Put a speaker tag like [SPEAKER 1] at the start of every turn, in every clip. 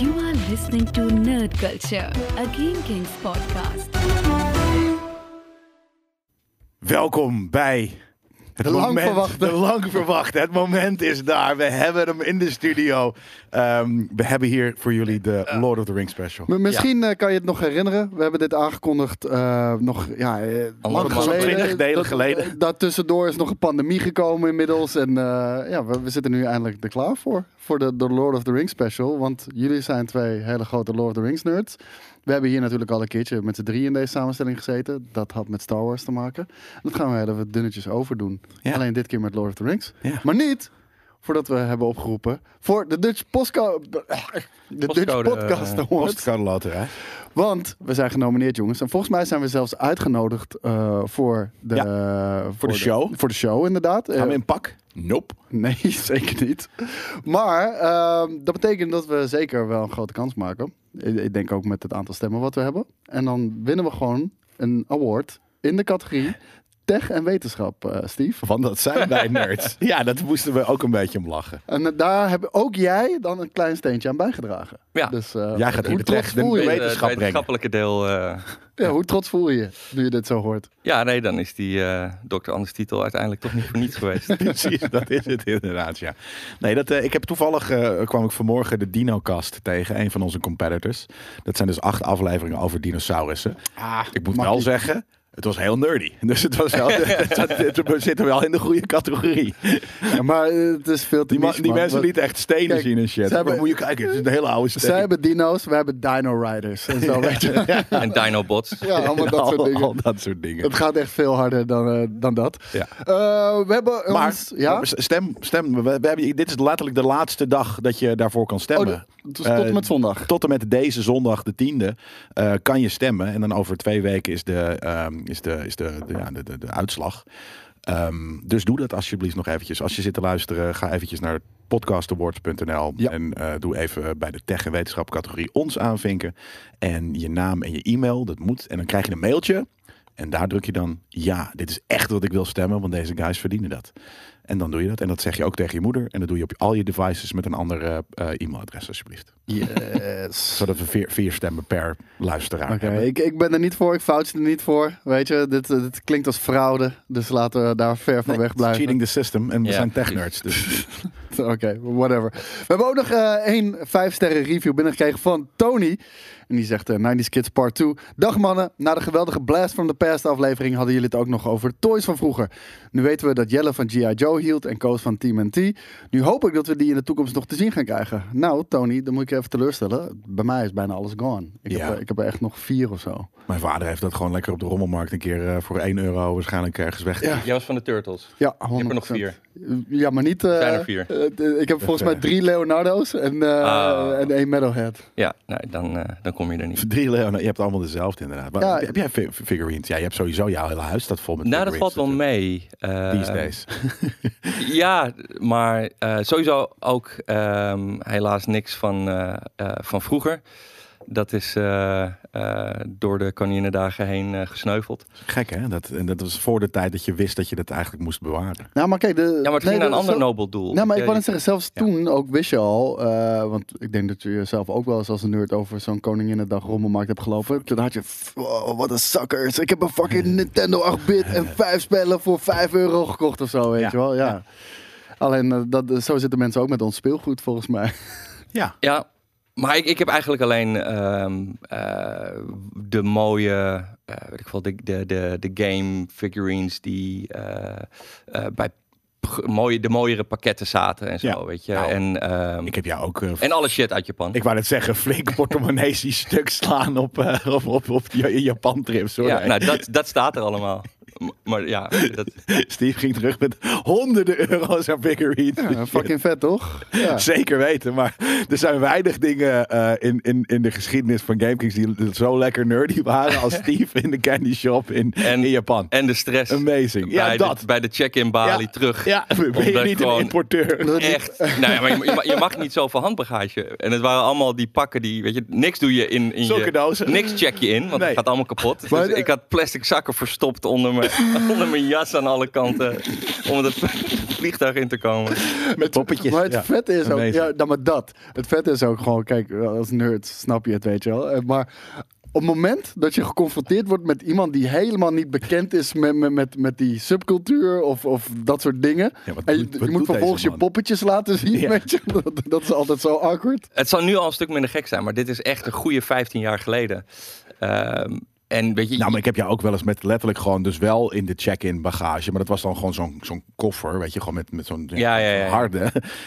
[SPEAKER 1] You are listening to Nerd Culture, a Game Kings podcast.
[SPEAKER 2] Welkom bij het
[SPEAKER 3] De lang
[SPEAKER 2] moment,
[SPEAKER 3] verwachte.
[SPEAKER 2] De lang verwachte. Het moment is daar. We hebben hem in de studio. Ehm, we hebben hier voor jullie de Lord of the Rings special.
[SPEAKER 3] M- Misschien eh, kan je het nog herinneren. We hebben dit aangekondigd eh, nog ja, eh, lang
[SPEAKER 2] zo'n
[SPEAKER 3] geleden.
[SPEAKER 2] 20 delen
[SPEAKER 3] Dat-
[SPEAKER 2] geleden.
[SPEAKER 3] Daartussendoor is nog een pandemie gekomen inmiddels. En eh, ja, we, we zitten nu eindelijk er klaar voor. Voor de, de Lord of the Rings special. Want jullie zijn twee hele grote Lord of the Rings nerds. We hebben hier natuurlijk al een keertje met z'n drie in deze samenstelling gezeten. Dat had met Star Wars te maken. En dat gaan we heel even dunnetjes overdoen.
[SPEAKER 2] Ja.
[SPEAKER 3] Alleen dit keer met Lord of the Rings.
[SPEAKER 2] Ja.
[SPEAKER 3] Maar niet voordat we hebben opgeroepen voor de Dutch Postco... De Dutch
[SPEAKER 4] Postcode,
[SPEAKER 3] Podcast
[SPEAKER 4] eh,
[SPEAKER 3] Awards.
[SPEAKER 2] Postcode loterij.
[SPEAKER 3] Want we zijn genomineerd, jongens. En volgens mij zijn we zelfs uitgenodigd eh, voor, de, eh,
[SPEAKER 2] Ja,
[SPEAKER 3] voor,
[SPEAKER 2] show.
[SPEAKER 3] Voor de show, inderdaad.
[SPEAKER 2] Gaan we
[SPEAKER 3] Eh,
[SPEAKER 2] in pak? Nope.
[SPEAKER 3] Nee, zeker niet. Maar ehm, dat betekent dat we zeker wel een grote kans maken. Ik, ik denk ook met het aantal stemmen wat we hebben. En dan winnen we gewoon een award in de categorie tech en wetenschap, eh, Steve.
[SPEAKER 2] Want dat zijn wij nerds. Ja, dat moesten we ook een beetje om lachen.
[SPEAKER 3] En eh, daar heb ook jij dan een klein steentje aan bijgedragen.
[SPEAKER 4] Ja.
[SPEAKER 3] Dus, eh,
[SPEAKER 2] Jij gaat
[SPEAKER 3] hoe
[SPEAKER 2] hier de
[SPEAKER 3] trots
[SPEAKER 2] tech- de
[SPEAKER 3] voel
[SPEAKER 2] weet-
[SPEAKER 3] je je?
[SPEAKER 4] Het, eh,
[SPEAKER 2] wetenschap
[SPEAKER 4] het wetenschappelijke deel. eh,
[SPEAKER 3] Ja, hoe trots voel je je nu je dit zo hoort?
[SPEAKER 4] ja, nee, dan is die eh dokter Anders titel uiteindelijk toch niet voor niets geweest.
[SPEAKER 2] Precies, dat is het inderdaad, ja. Nee, dat, eh, ik heb toevallig, eh, kwam ik vanmorgen de Dinocast tegen, een van onze competitors. Dat zijn dus acht afleveringen over dinosaurussen. ik moet
[SPEAKER 3] mag
[SPEAKER 2] wel
[SPEAKER 3] niet.
[SPEAKER 2] zeggen, het was heel nerdy. Dus het was wel, het zat- het- we zitten wel in de goede categorie.
[SPEAKER 3] Ja, maar eh, het is veel te
[SPEAKER 2] Die, ma-
[SPEAKER 3] niche,
[SPEAKER 2] die
[SPEAKER 3] man.
[SPEAKER 2] mensen
[SPEAKER 3] Wat-
[SPEAKER 2] lieten echt stenen
[SPEAKER 3] Kijk,
[SPEAKER 2] zien en shit.
[SPEAKER 3] ze hebben-
[SPEAKER 2] Maar moet je kijken, het is een hele oude steen.
[SPEAKER 3] Zij hebben dino's, wij hebben dino riders. En zo, weet je.
[SPEAKER 4] en Dinobots.
[SPEAKER 3] Ja, allemaal dat soort
[SPEAKER 2] Al- al
[SPEAKER 3] dingen.
[SPEAKER 2] dat soort dingen.
[SPEAKER 3] Het gaat echt veel harder dan, eh, dan dat.
[SPEAKER 2] Ja.
[SPEAKER 3] Eh, we hebben
[SPEAKER 2] Maar
[SPEAKER 3] ons... Ja?
[SPEAKER 2] stem, stem we, we hebben, dit is letterlijk de laatste dag dat je daarvoor kan stemmen.
[SPEAKER 3] Oh, d- tot en
[SPEAKER 2] Eh,
[SPEAKER 3] met zondag.
[SPEAKER 2] Tot en met deze zondag, de tiende, eh, kan je stemmen. En dan over twee weken is de, ehm, is de, is de, de, ja, de, de, de uitslag. Ehm, dus doe dat alsjeblieft nog eventjes. Als je zit te luisteren, ga eventjes naar podcastawards.nl
[SPEAKER 3] Ja.
[SPEAKER 2] en eh, doe even bij de tech en wetenschap categorie ons aanvinken. En je naam en je e-mail, dat moet. En dan krijg je een mailtje. En daar druk je dan, ja, dit is echt wat ik wil stemmen, want deze guys verdienen dat. En dan doe je dat. En dat zeg je ook tegen je moeder. En dat doe je op al je devices met een ander eh, eh, e-mailadres, alsjeblieft.
[SPEAKER 3] Yes.
[SPEAKER 2] Zodat we vier, vier stemmen per luisteraar
[SPEAKER 3] Oké,
[SPEAKER 2] hebben.
[SPEAKER 3] ik, ik ben er niet voor, ik fout er niet voor. Weet je, dit, eh, dit klinkt als fraude, dus laten we daar ver van
[SPEAKER 2] Nee,
[SPEAKER 3] weg blijven.
[SPEAKER 2] Cheating the system. En we
[SPEAKER 4] Ja,
[SPEAKER 2] zijn tech
[SPEAKER 4] precies.
[SPEAKER 2] nerds. Dus.
[SPEAKER 3] Oké, whatever. We hebben ook nog eh, één 5-sterren review binnengekregen van Tony. En die zegt eh, 90s Kids Part 2. Dag mannen, na de geweldige Blast from the Past aflevering hadden jullie het ook nog over toys van vroeger. Nu weten we dat Jelle van G.I. Joe hield en Koos van Team NT. Nu hoop ik dat we die in de toekomst nog te zien gaan krijgen. Nou Tony, dan moet ik je even teleurstellen. Bij mij is bijna alles gone. Ik,
[SPEAKER 2] Ja.
[SPEAKER 3] heb, er- ik heb er echt nog vier of zo.
[SPEAKER 2] Mijn vader heeft dat gewoon lekker op de rommelmarkt een keer eh, voor 1 euro waarschijnlijk ergens weg.
[SPEAKER 3] Ja.
[SPEAKER 4] Jij was van de Turtles.
[SPEAKER 3] Ja, 100%.
[SPEAKER 4] Ik heb er nog vier.
[SPEAKER 3] Ja, maar niet... eh,
[SPEAKER 4] zijn er vier. Dus,
[SPEAKER 3] eh, ik heb volgens mij drie Leonardo's en, eh,
[SPEAKER 4] Ah.
[SPEAKER 3] en één Metalhead.
[SPEAKER 4] Ja, nee, dan, eh, dan kom je er niet.
[SPEAKER 2] Drie Leonard, je hebt allemaal dezelfde inderdaad. Maar
[SPEAKER 3] Ja.
[SPEAKER 2] heb jij fi- figurines? Ja, je hebt sowieso jouw hele huis staat vol met
[SPEAKER 4] Nou, dat
[SPEAKER 2] figurines
[SPEAKER 4] valt wel mee. Eh,
[SPEAKER 2] natuurlijk. These days.
[SPEAKER 4] Ja, maar eh, sowieso ook ehm, helaas niks van, eh, eh, van vroeger. Dat is eh, eh, door de koninginnedagen heen eh, gesneuveld.
[SPEAKER 2] Gek hè? Dat, en dat was voor de tijd dat je wist dat je dat eigenlijk moest bewaren.
[SPEAKER 3] Nou, maar kijk, de,
[SPEAKER 4] Ja, maar het ging naar een ander
[SPEAKER 3] nood.
[SPEAKER 4] nobel doel.
[SPEAKER 3] Nou, maar ik wou
[SPEAKER 4] Ja, je-
[SPEAKER 3] net zeggen, zelfs
[SPEAKER 2] Ja.
[SPEAKER 3] toen ook wist je al, eh, want ik denk dat je jezelf ook wel eens als een nerd over zo'n Koninginnedag rommelmarkt hebt gelopen. Toen had je, wow, wat een suckers, ik heb een fucking Nintendo 8-bit en vijf spellen voor 5 euro gekocht of zo, weet
[SPEAKER 2] Ja.
[SPEAKER 3] je wel. Ja. Alleen, eh, dat, zo zitten mensen ook met ons speelgoed volgens mij.
[SPEAKER 2] Ja.
[SPEAKER 4] Ja, maar ik, ik heb eigenlijk alleen ehm, eh, de mooie, eh, weet ik wel, de, de, de, de game figurines die eh, eh, bij p- mooie, de mooiere pakketten zaten en zo,
[SPEAKER 2] Ja.
[SPEAKER 4] weet je.
[SPEAKER 2] Nou,
[SPEAKER 4] en, ehm,
[SPEAKER 2] Ik heb jou ook eh,
[SPEAKER 4] en alle shit uit Japan.
[SPEAKER 2] Ik wou net zeggen, flink portemonnees die stuk slaan op, eh, op, op, op die Japan-trips. hoor.
[SPEAKER 4] ja,
[SPEAKER 2] Nee.
[SPEAKER 4] nou, dat, dat staat er allemaal. M- Maar ja, dat,
[SPEAKER 2] Steve ging terug met honderden euro's aan figurines.
[SPEAKER 3] Ja, fucking vet, toch? Ja.
[SPEAKER 2] Zeker weten, maar er zijn weinig dingen eh, in, in, in de geschiedenis van GameKings die zo lekker nerdy waren als Steve in de candy shop in,
[SPEAKER 4] En-
[SPEAKER 2] in Japan.
[SPEAKER 4] en de stress
[SPEAKER 2] Amazing. Ja,
[SPEAKER 4] bij,
[SPEAKER 2] dat.
[SPEAKER 4] De, bij de check-in balie
[SPEAKER 2] Ja.
[SPEAKER 4] terug.
[SPEAKER 2] Ja, ben je
[SPEAKER 4] Omdat
[SPEAKER 2] niet een
[SPEAKER 4] gewoon-
[SPEAKER 2] importeur?
[SPEAKER 4] Echt. nou ja, maar je, je mag- je mag niet zoveel handbagage. En het waren allemaal die pakken die, weet je, niks doe je in, in
[SPEAKER 2] Zulke
[SPEAKER 4] je...
[SPEAKER 2] dozen.
[SPEAKER 4] Niks check je in, want
[SPEAKER 2] Nee.
[SPEAKER 4] het gaat allemaal kapot.
[SPEAKER 3] Maar
[SPEAKER 4] Dus
[SPEAKER 3] de-
[SPEAKER 4] ik had plastic zakken verstopt onder mijn onder mijn jas aan alle kanten. Om het vliegtuig in te komen.
[SPEAKER 2] Met poppetjes.
[SPEAKER 3] Maar het
[SPEAKER 2] ja.
[SPEAKER 3] vette is ook,
[SPEAKER 2] Amazing.
[SPEAKER 3] ja, dan maar dat. Het vette is ook gewoon, kijk, als nerd snap je het, weet je wel. Eh, Maar op het moment dat je geconfronteerd wordt met iemand die helemaal niet bekend is met, met, met, met die subcultuur of, of dat soort dingen.
[SPEAKER 2] Ja, wat
[SPEAKER 3] en
[SPEAKER 2] doet-
[SPEAKER 3] je,
[SPEAKER 2] wat
[SPEAKER 3] je
[SPEAKER 2] doet
[SPEAKER 3] moet
[SPEAKER 2] deze
[SPEAKER 3] vervolgens je
[SPEAKER 2] man?
[SPEAKER 3] poppetjes laten zien,
[SPEAKER 2] Ja.
[SPEAKER 3] weet je. Dat, dat is altijd zo awkward.
[SPEAKER 4] Het zal nu al een stuk minder gek zijn, maar dit is echt een goede 15 jaar geleden. Ehm, en weet je,
[SPEAKER 2] Nou, maar ik heb jou ook wel eens met letterlijk gewoon, dus wel in de check-in bagage. Maar dat was dan gewoon zo'n zo'n koffer, weet je, gewoon met, met zo'n
[SPEAKER 4] Ja, ja, ja,
[SPEAKER 2] zo'n
[SPEAKER 4] ja.
[SPEAKER 2] harde.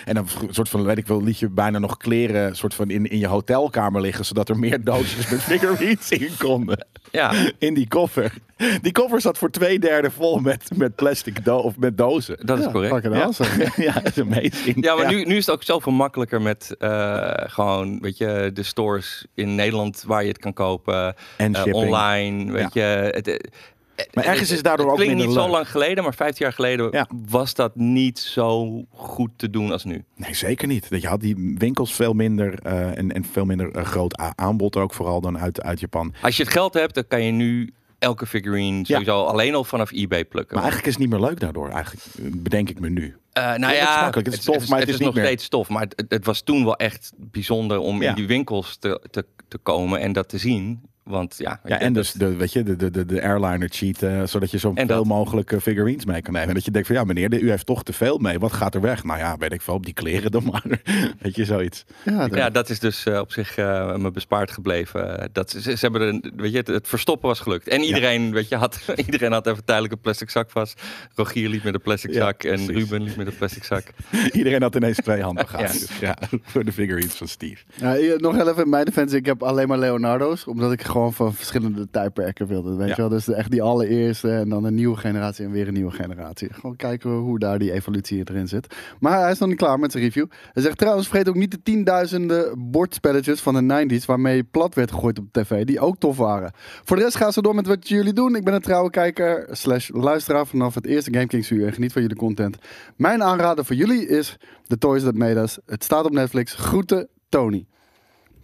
[SPEAKER 2] En dan een soort van, weet ik wel, liet je bijna nog kleren soort van in, in je hotelkamer liggen. Zodat er meer doosjes met figurines in konden.
[SPEAKER 4] ja,
[SPEAKER 2] In die koffer. Die koffer zat voor twee derde vol met, met plastic do of met dozen.
[SPEAKER 4] dat is
[SPEAKER 3] Ja,
[SPEAKER 4] correct.
[SPEAKER 3] fucking
[SPEAKER 2] Ja,
[SPEAKER 3] awesome.
[SPEAKER 2] ja, dat is amazing.
[SPEAKER 4] Ja, maar Nu, nu is het ook zoveel makkelijker met eh, gewoon, weet je, de stores in Nederland waar je het kan kopen.
[SPEAKER 2] En
[SPEAKER 4] eh,
[SPEAKER 2] shipping.
[SPEAKER 4] online, weet je. Het, eh,
[SPEAKER 2] Maar
[SPEAKER 4] het-
[SPEAKER 2] ergens is
[SPEAKER 4] het-
[SPEAKER 2] daardoor
[SPEAKER 4] het
[SPEAKER 2] ook
[SPEAKER 4] klinkt
[SPEAKER 2] minder
[SPEAKER 4] niet zo
[SPEAKER 2] leuk.
[SPEAKER 4] lang geleden, maar 15 jaar geleden
[SPEAKER 2] Ja.
[SPEAKER 4] was dat niet zo goed te doen als nu.
[SPEAKER 2] Nee, zeker niet. Dat Je had die winkels veel minder eh, en, en veel minder eh, groot a- aanbod ook vooral dan uit, uit Japan.
[SPEAKER 4] Als je het geld hebt, dan kan je nu elke figurine sowieso alleen al vanaf eBay plukken.
[SPEAKER 2] Maar eigenlijk is het niet meer leuk daardoor, eigenlijk eh, bedenk ik me nu.
[SPEAKER 4] Eh, nou
[SPEAKER 2] het is
[SPEAKER 4] ja,
[SPEAKER 2] makkelijk, het is tof, maar het is niet
[SPEAKER 4] nog
[SPEAKER 2] meer-
[SPEAKER 4] steeds tof. Maar het, het was toen wel echt bijzonder om
[SPEAKER 2] Ja.
[SPEAKER 4] in die winkels te, te, te komen en dat te zien. Want ja,
[SPEAKER 2] Ja, en dus de, weet je, de, de, de- de airliner cheat, eh, zodat je zo
[SPEAKER 4] En
[SPEAKER 2] veel
[SPEAKER 4] dat.
[SPEAKER 2] mogelijk eh, figurines mee kan nemen. En dat je denkt van ja meneer, de- u heeft toch te veel mee, wat gaat er weg? Nou ja, weet ik veel, op die kleren dan maar. weet je, zoiets.
[SPEAKER 3] Ja, dat-
[SPEAKER 4] Ja, dat is dus eh, op zich eh, me bespaard gebleven. Eh, Dat, ze, ze hebben er, een- weet je, het, het verstoppen was gelukt. En iedereen, weet je, had, iedereen had even tijdelijk een plastic zak vast. Rogier liep met een plastic
[SPEAKER 2] Ja,
[SPEAKER 4] zak en
[SPEAKER 2] precies.
[SPEAKER 4] Ruben liep met een plastic zak.
[SPEAKER 2] Iedereen had ineens twee handbagages. ja. voor de figurines van Steve.
[SPEAKER 3] Ja, hier, nog heel even in mijn defensie. Ik heb alleen maar Leonardo's. Omdat ik gewoon van verschillende tijdperken wilde. Weet
[SPEAKER 2] Ja.
[SPEAKER 3] je wel? Dus echt die allereerste. En dan een nieuwe generatie en weer een nieuwe generatie. Gewoon kijken hoe daar die evolutie erin zit. Maar hij is nog niet klaar met zijn review. Hij zegt trouwens, vergeet ook niet de tienduizenden bordspelletjes van de 90s. Waarmee je plat werd gegooid op tv. Die ook tof waren. Voor de rest gaan ze door met wat jullie doen. Ik ben een trouwe kijker slash luisteraar vanaf het eerste Game Kings uur. En geniet van jullie content. Mijn aanrader voor jullie is The Toys That Made Us. Het staat op Netflix. Groeten. Tony.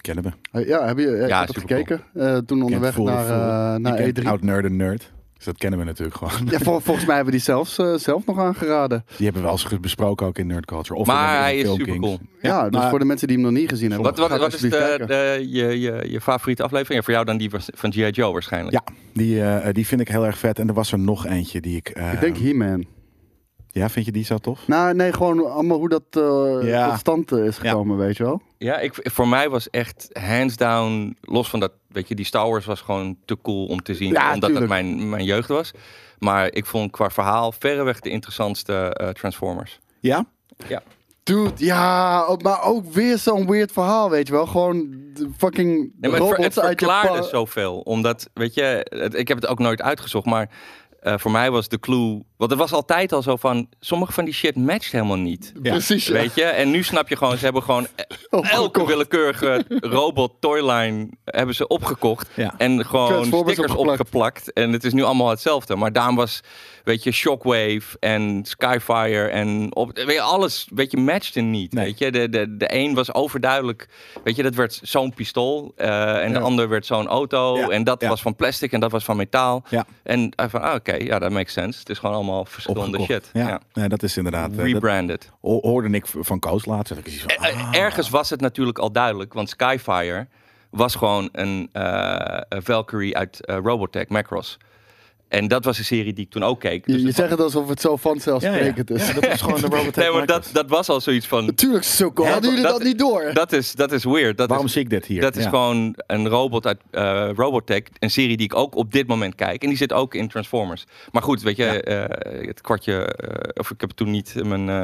[SPEAKER 2] Kennen we.
[SPEAKER 3] Uh, Ja, heb je ja, ik
[SPEAKER 4] Ja,
[SPEAKER 3] heb het
[SPEAKER 4] supercool.
[SPEAKER 3] gekeken eh, toen onderweg
[SPEAKER 2] voel,
[SPEAKER 3] naar,
[SPEAKER 2] voel.
[SPEAKER 3] eh, naar
[SPEAKER 2] Je
[SPEAKER 3] E3.
[SPEAKER 2] kent Oud nerd en nerd. Dus dat kennen we natuurlijk gewoon.
[SPEAKER 3] Ja, vol- volgens mij hebben we die zelfs, eh, zelf nog aangeraden.
[SPEAKER 2] Die hebben we wel eens besproken ook in Nerd Culture. Of
[SPEAKER 4] Maar
[SPEAKER 2] in de
[SPEAKER 4] hij is
[SPEAKER 2] Film Kings.
[SPEAKER 4] supercool.
[SPEAKER 3] Ja, dus
[SPEAKER 2] maar-
[SPEAKER 3] voor de mensen die hem nog niet gezien hebben.
[SPEAKER 4] Wat, wat,
[SPEAKER 3] ga
[SPEAKER 4] wat is
[SPEAKER 3] alsjeblieft
[SPEAKER 4] de,
[SPEAKER 3] kijken.
[SPEAKER 4] de- je, je, je favoriete aflevering? Ja, voor jou dan die was- van G.I. Joe waarschijnlijk.
[SPEAKER 2] Ja, die, eh, die vind ik heel erg vet. En er was er nog eentje die ik... eh,
[SPEAKER 3] Ik denk He-Man.
[SPEAKER 2] Ja, vind je die zo tof?
[SPEAKER 3] Nou, nee, gewoon allemaal hoe dat eh
[SPEAKER 2] Ja.
[SPEAKER 3] tot stand eh, is
[SPEAKER 2] Ja.
[SPEAKER 3] gekomen, weet je wel.
[SPEAKER 4] Ja, ik, voor mij was echt hands down, los van dat, weet je, die Star Wars was gewoon te cool om te zien,
[SPEAKER 3] Ja,
[SPEAKER 4] omdat
[SPEAKER 3] tuurlijk.
[SPEAKER 4] dat mijn, mijn jeugd was. Maar ik vond qua verhaal verreweg de interessantste eh, Transformers.
[SPEAKER 2] Ja?
[SPEAKER 3] Dude, ja, ook- maar ook weer zo'n weird verhaal, weet je wel. Gewoon de fucking
[SPEAKER 4] Nee, maar het, ver-
[SPEAKER 3] robots
[SPEAKER 4] het
[SPEAKER 3] uit Japan.
[SPEAKER 4] verklaarde zoveel, omdat, weet je, het- ik heb het ook nooit uitgezocht, maar eh, voor mij was de clue, want het was altijd al zo van, sommige van die shit matcht helemaal niet.
[SPEAKER 3] Precies, ja.
[SPEAKER 4] Weet je, en nu snap je gewoon, ze hebben gewoon e-
[SPEAKER 3] Oh,
[SPEAKER 4] elke
[SPEAKER 3] gekocht.
[SPEAKER 4] willekeurige robot toyline hebben ze opgekocht
[SPEAKER 2] Ja.
[SPEAKER 4] en gewoon
[SPEAKER 3] Transformers
[SPEAKER 4] stickers
[SPEAKER 3] opgeplakt.
[SPEAKER 4] opgeplakt. en het is nu allemaal hetzelfde. Maar daarom was weet je Shockwave en Skyfire en op, weet je, alles weet je matchte niet.
[SPEAKER 2] Nee.
[SPEAKER 4] Weet je, de, de, de een was overduidelijk, weet je, dat werd zo'n pistool eh, en
[SPEAKER 2] Ja.
[SPEAKER 4] de ander werd zo'n auto
[SPEAKER 2] Ja,
[SPEAKER 4] en dat
[SPEAKER 2] ja.
[SPEAKER 4] was van plastic en dat was van metaal.
[SPEAKER 2] Ja.
[SPEAKER 4] En eh, van ah, oké, ja, dat makes sense. Het is gewoon allemaal verschillende
[SPEAKER 2] Opgekocht.
[SPEAKER 4] shit.
[SPEAKER 2] Ja.
[SPEAKER 4] Ja.
[SPEAKER 2] Nee, dat is inderdaad... eh, dat
[SPEAKER 4] Rebranded.
[SPEAKER 2] ho- hoorde ik v- van Koos laatst. Dat ik zoiets van,
[SPEAKER 4] Eh,
[SPEAKER 2] ah.
[SPEAKER 4] Ergens was het natuurlijk al duidelijk, want Skyfire was gewoon een eh, een Valkyrie uit eh, Robotech, Macross. En dat was een serie die ik toen ook keek.
[SPEAKER 3] Je,
[SPEAKER 4] Dus
[SPEAKER 3] je
[SPEAKER 4] dat-
[SPEAKER 3] zegt het alsof het zo vanzelfsprekend
[SPEAKER 2] Ja,
[SPEAKER 3] is.
[SPEAKER 2] ja, dat is gewoon de Robotech
[SPEAKER 4] nee, maar
[SPEAKER 2] Micros.
[SPEAKER 4] dat, dat was al zoiets van...
[SPEAKER 3] Natuurlijk, sukkel.
[SPEAKER 4] Hè,
[SPEAKER 3] Hadden jullie dat,
[SPEAKER 4] dat-
[SPEAKER 3] niet door?
[SPEAKER 4] Dat is, dat is weird. Dat
[SPEAKER 2] Waarom
[SPEAKER 4] is,
[SPEAKER 2] zie ik dit hier?
[SPEAKER 4] Dat is
[SPEAKER 2] Ja.
[SPEAKER 4] gewoon een robot uit eh, Robotech. Een serie die ik ook op dit moment kijk. En die zit ook in Transformers. Maar goed, weet je, eh, het kwartje. eh, of ik heb toen niet mijn eh,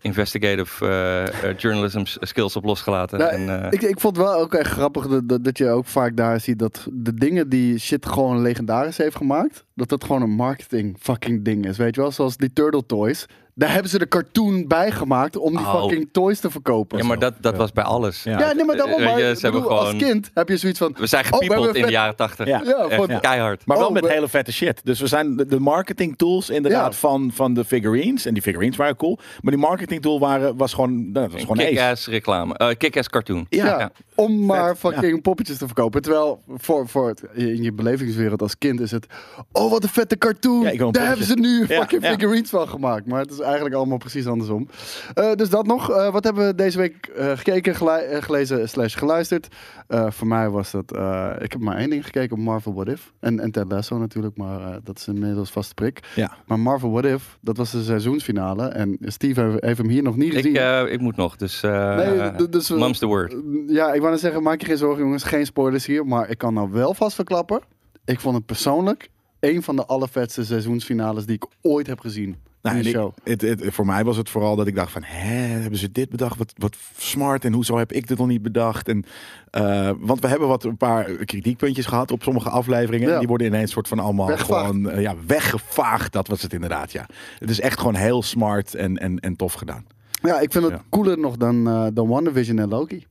[SPEAKER 4] investigative eh, eh, journalism s- skills op losgelaten.
[SPEAKER 3] Nou,
[SPEAKER 4] en, eh,
[SPEAKER 3] ik, ik vond wel ook echt grappig dat, dat, dat je ook vaak daar ziet dat de dingen die shit gewoon legendarisch heeft gemaakt, dat dat gewoon een marketing fucking ding is. Weet je wel, zoals die Turtle Toys. Daar hebben ze de cartoon bij gemaakt om die
[SPEAKER 4] Oh.
[SPEAKER 3] fucking toys te verkopen.
[SPEAKER 4] Ja, maar dat, dat was bij alles.
[SPEAKER 2] Ja.
[SPEAKER 3] Ja, nee, maar daarom.
[SPEAKER 4] Eh,
[SPEAKER 3] Maar,
[SPEAKER 4] weet je,
[SPEAKER 3] ik
[SPEAKER 4] ze hebben
[SPEAKER 3] bedoel, Als
[SPEAKER 4] gewoon-
[SPEAKER 3] kind heb je zoiets van...
[SPEAKER 4] We zijn
[SPEAKER 3] oh, we
[SPEAKER 4] gepiepeld
[SPEAKER 3] hebben
[SPEAKER 4] in de
[SPEAKER 3] vet-
[SPEAKER 4] jaren tachtig.
[SPEAKER 2] Ja.
[SPEAKER 3] Ja,
[SPEAKER 4] Echt
[SPEAKER 3] van-
[SPEAKER 4] keihard.
[SPEAKER 2] Maar wel
[SPEAKER 3] Oh,
[SPEAKER 2] met
[SPEAKER 3] we-
[SPEAKER 2] hele vette shit. Dus we zijn de, de marketing tools inderdaad
[SPEAKER 3] Ja.
[SPEAKER 2] van, van de figurines. En die figurines waren cool. Maar die marketing tool waren, was gewoon, nou, dat was
[SPEAKER 4] Een
[SPEAKER 2] gewoon ace.
[SPEAKER 4] Kick-ass reclame. Eh, Kick-ass cartoon.
[SPEAKER 3] Ja,
[SPEAKER 4] Ja.
[SPEAKER 3] om maar
[SPEAKER 2] Vet,
[SPEAKER 3] fucking poppetjes te verkopen. Terwijl voor, voor het- in je belevingswereld als kind is het... Oh, wat een vette cartoon.
[SPEAKER 2] Ja, ik wil een
[SPEAKER 3] Daar hebben
[SPEAKER 2] poppetje.
[SPEAKER 3] ze nu
[SPEAKER 2] Ja,
[SPEAKER 3] fucking
[SPEAKER 2] ja.
[SPEAKER 3] figurines van gemaakt. Maar het is eigenlijk allemaal precies andersom. Eh, dus dat nog. Eh, wat hebben we deze week eh, gekeken, gelu- eh, gelezen slash geluisterd? Eh, voor mij was dat... eh, ik heb maar één ding gekeken op Marvel What If. En, en Ted Lasso natuurlijk, maar eh, dat is inmiddels vaste prik.
[SPEAKER 2] Ja.
[SPEAKER 3] Maar Marvel What If, dat was de seizoensfinale. En Steve heeft- heeft hem hier nog niet
[SPEAKER 4] Ik,
[SPEAKER 3] gezien.
[SPEAKER 4] eh, ik moet nog, dus... eh
[SPEAKER 3] Nee, d- dus we-
[SPEAKER 4] Mum's the word.
[SPEAKER 3] Ja, ik wou net zeggen, maak je geen zorgen jongens, geen spoilers hier. Maar ik kan nou wel vast verklappen. Ik vond het persoonlijk een van de allervetste seizoensfinales die ik ooit heb gezien
[SPEAKER 2] Nou,
[SPEAKER 3] in
[SPEAKER 2] en
[SPEAKER 3] de
[SPEAKER 2] ik-
[SPEAKER 3] show.
[SPEAKER 2] het, het, voor mij was het vooral dat ik dacht van, hè, hebben ze dit bedacht? Wat, wat smart en hoezo heb ik dit nog niet bedacht? En, eh, want we hebben wat een paar kritiekpuntjes gehad op sommige afleveringen.
[SPEAKER 3] Ja.
[SPEAKER 2] Die worden ineens soort van allemaal
[SPEAKER 3] Weggevaagd.
[SPEAKER 2] gewoon eh, ja, weggevaagd. Dat was het inderdaad, ja. Het is echt gewoon heel smart en, en, en tof gedaan.
[SPEAKER 3] Ja, ik vind het
[SPEAKER 2] Ja.
[SPEAKER 3] cooler nog dan, eh dan WandaVision en Loki.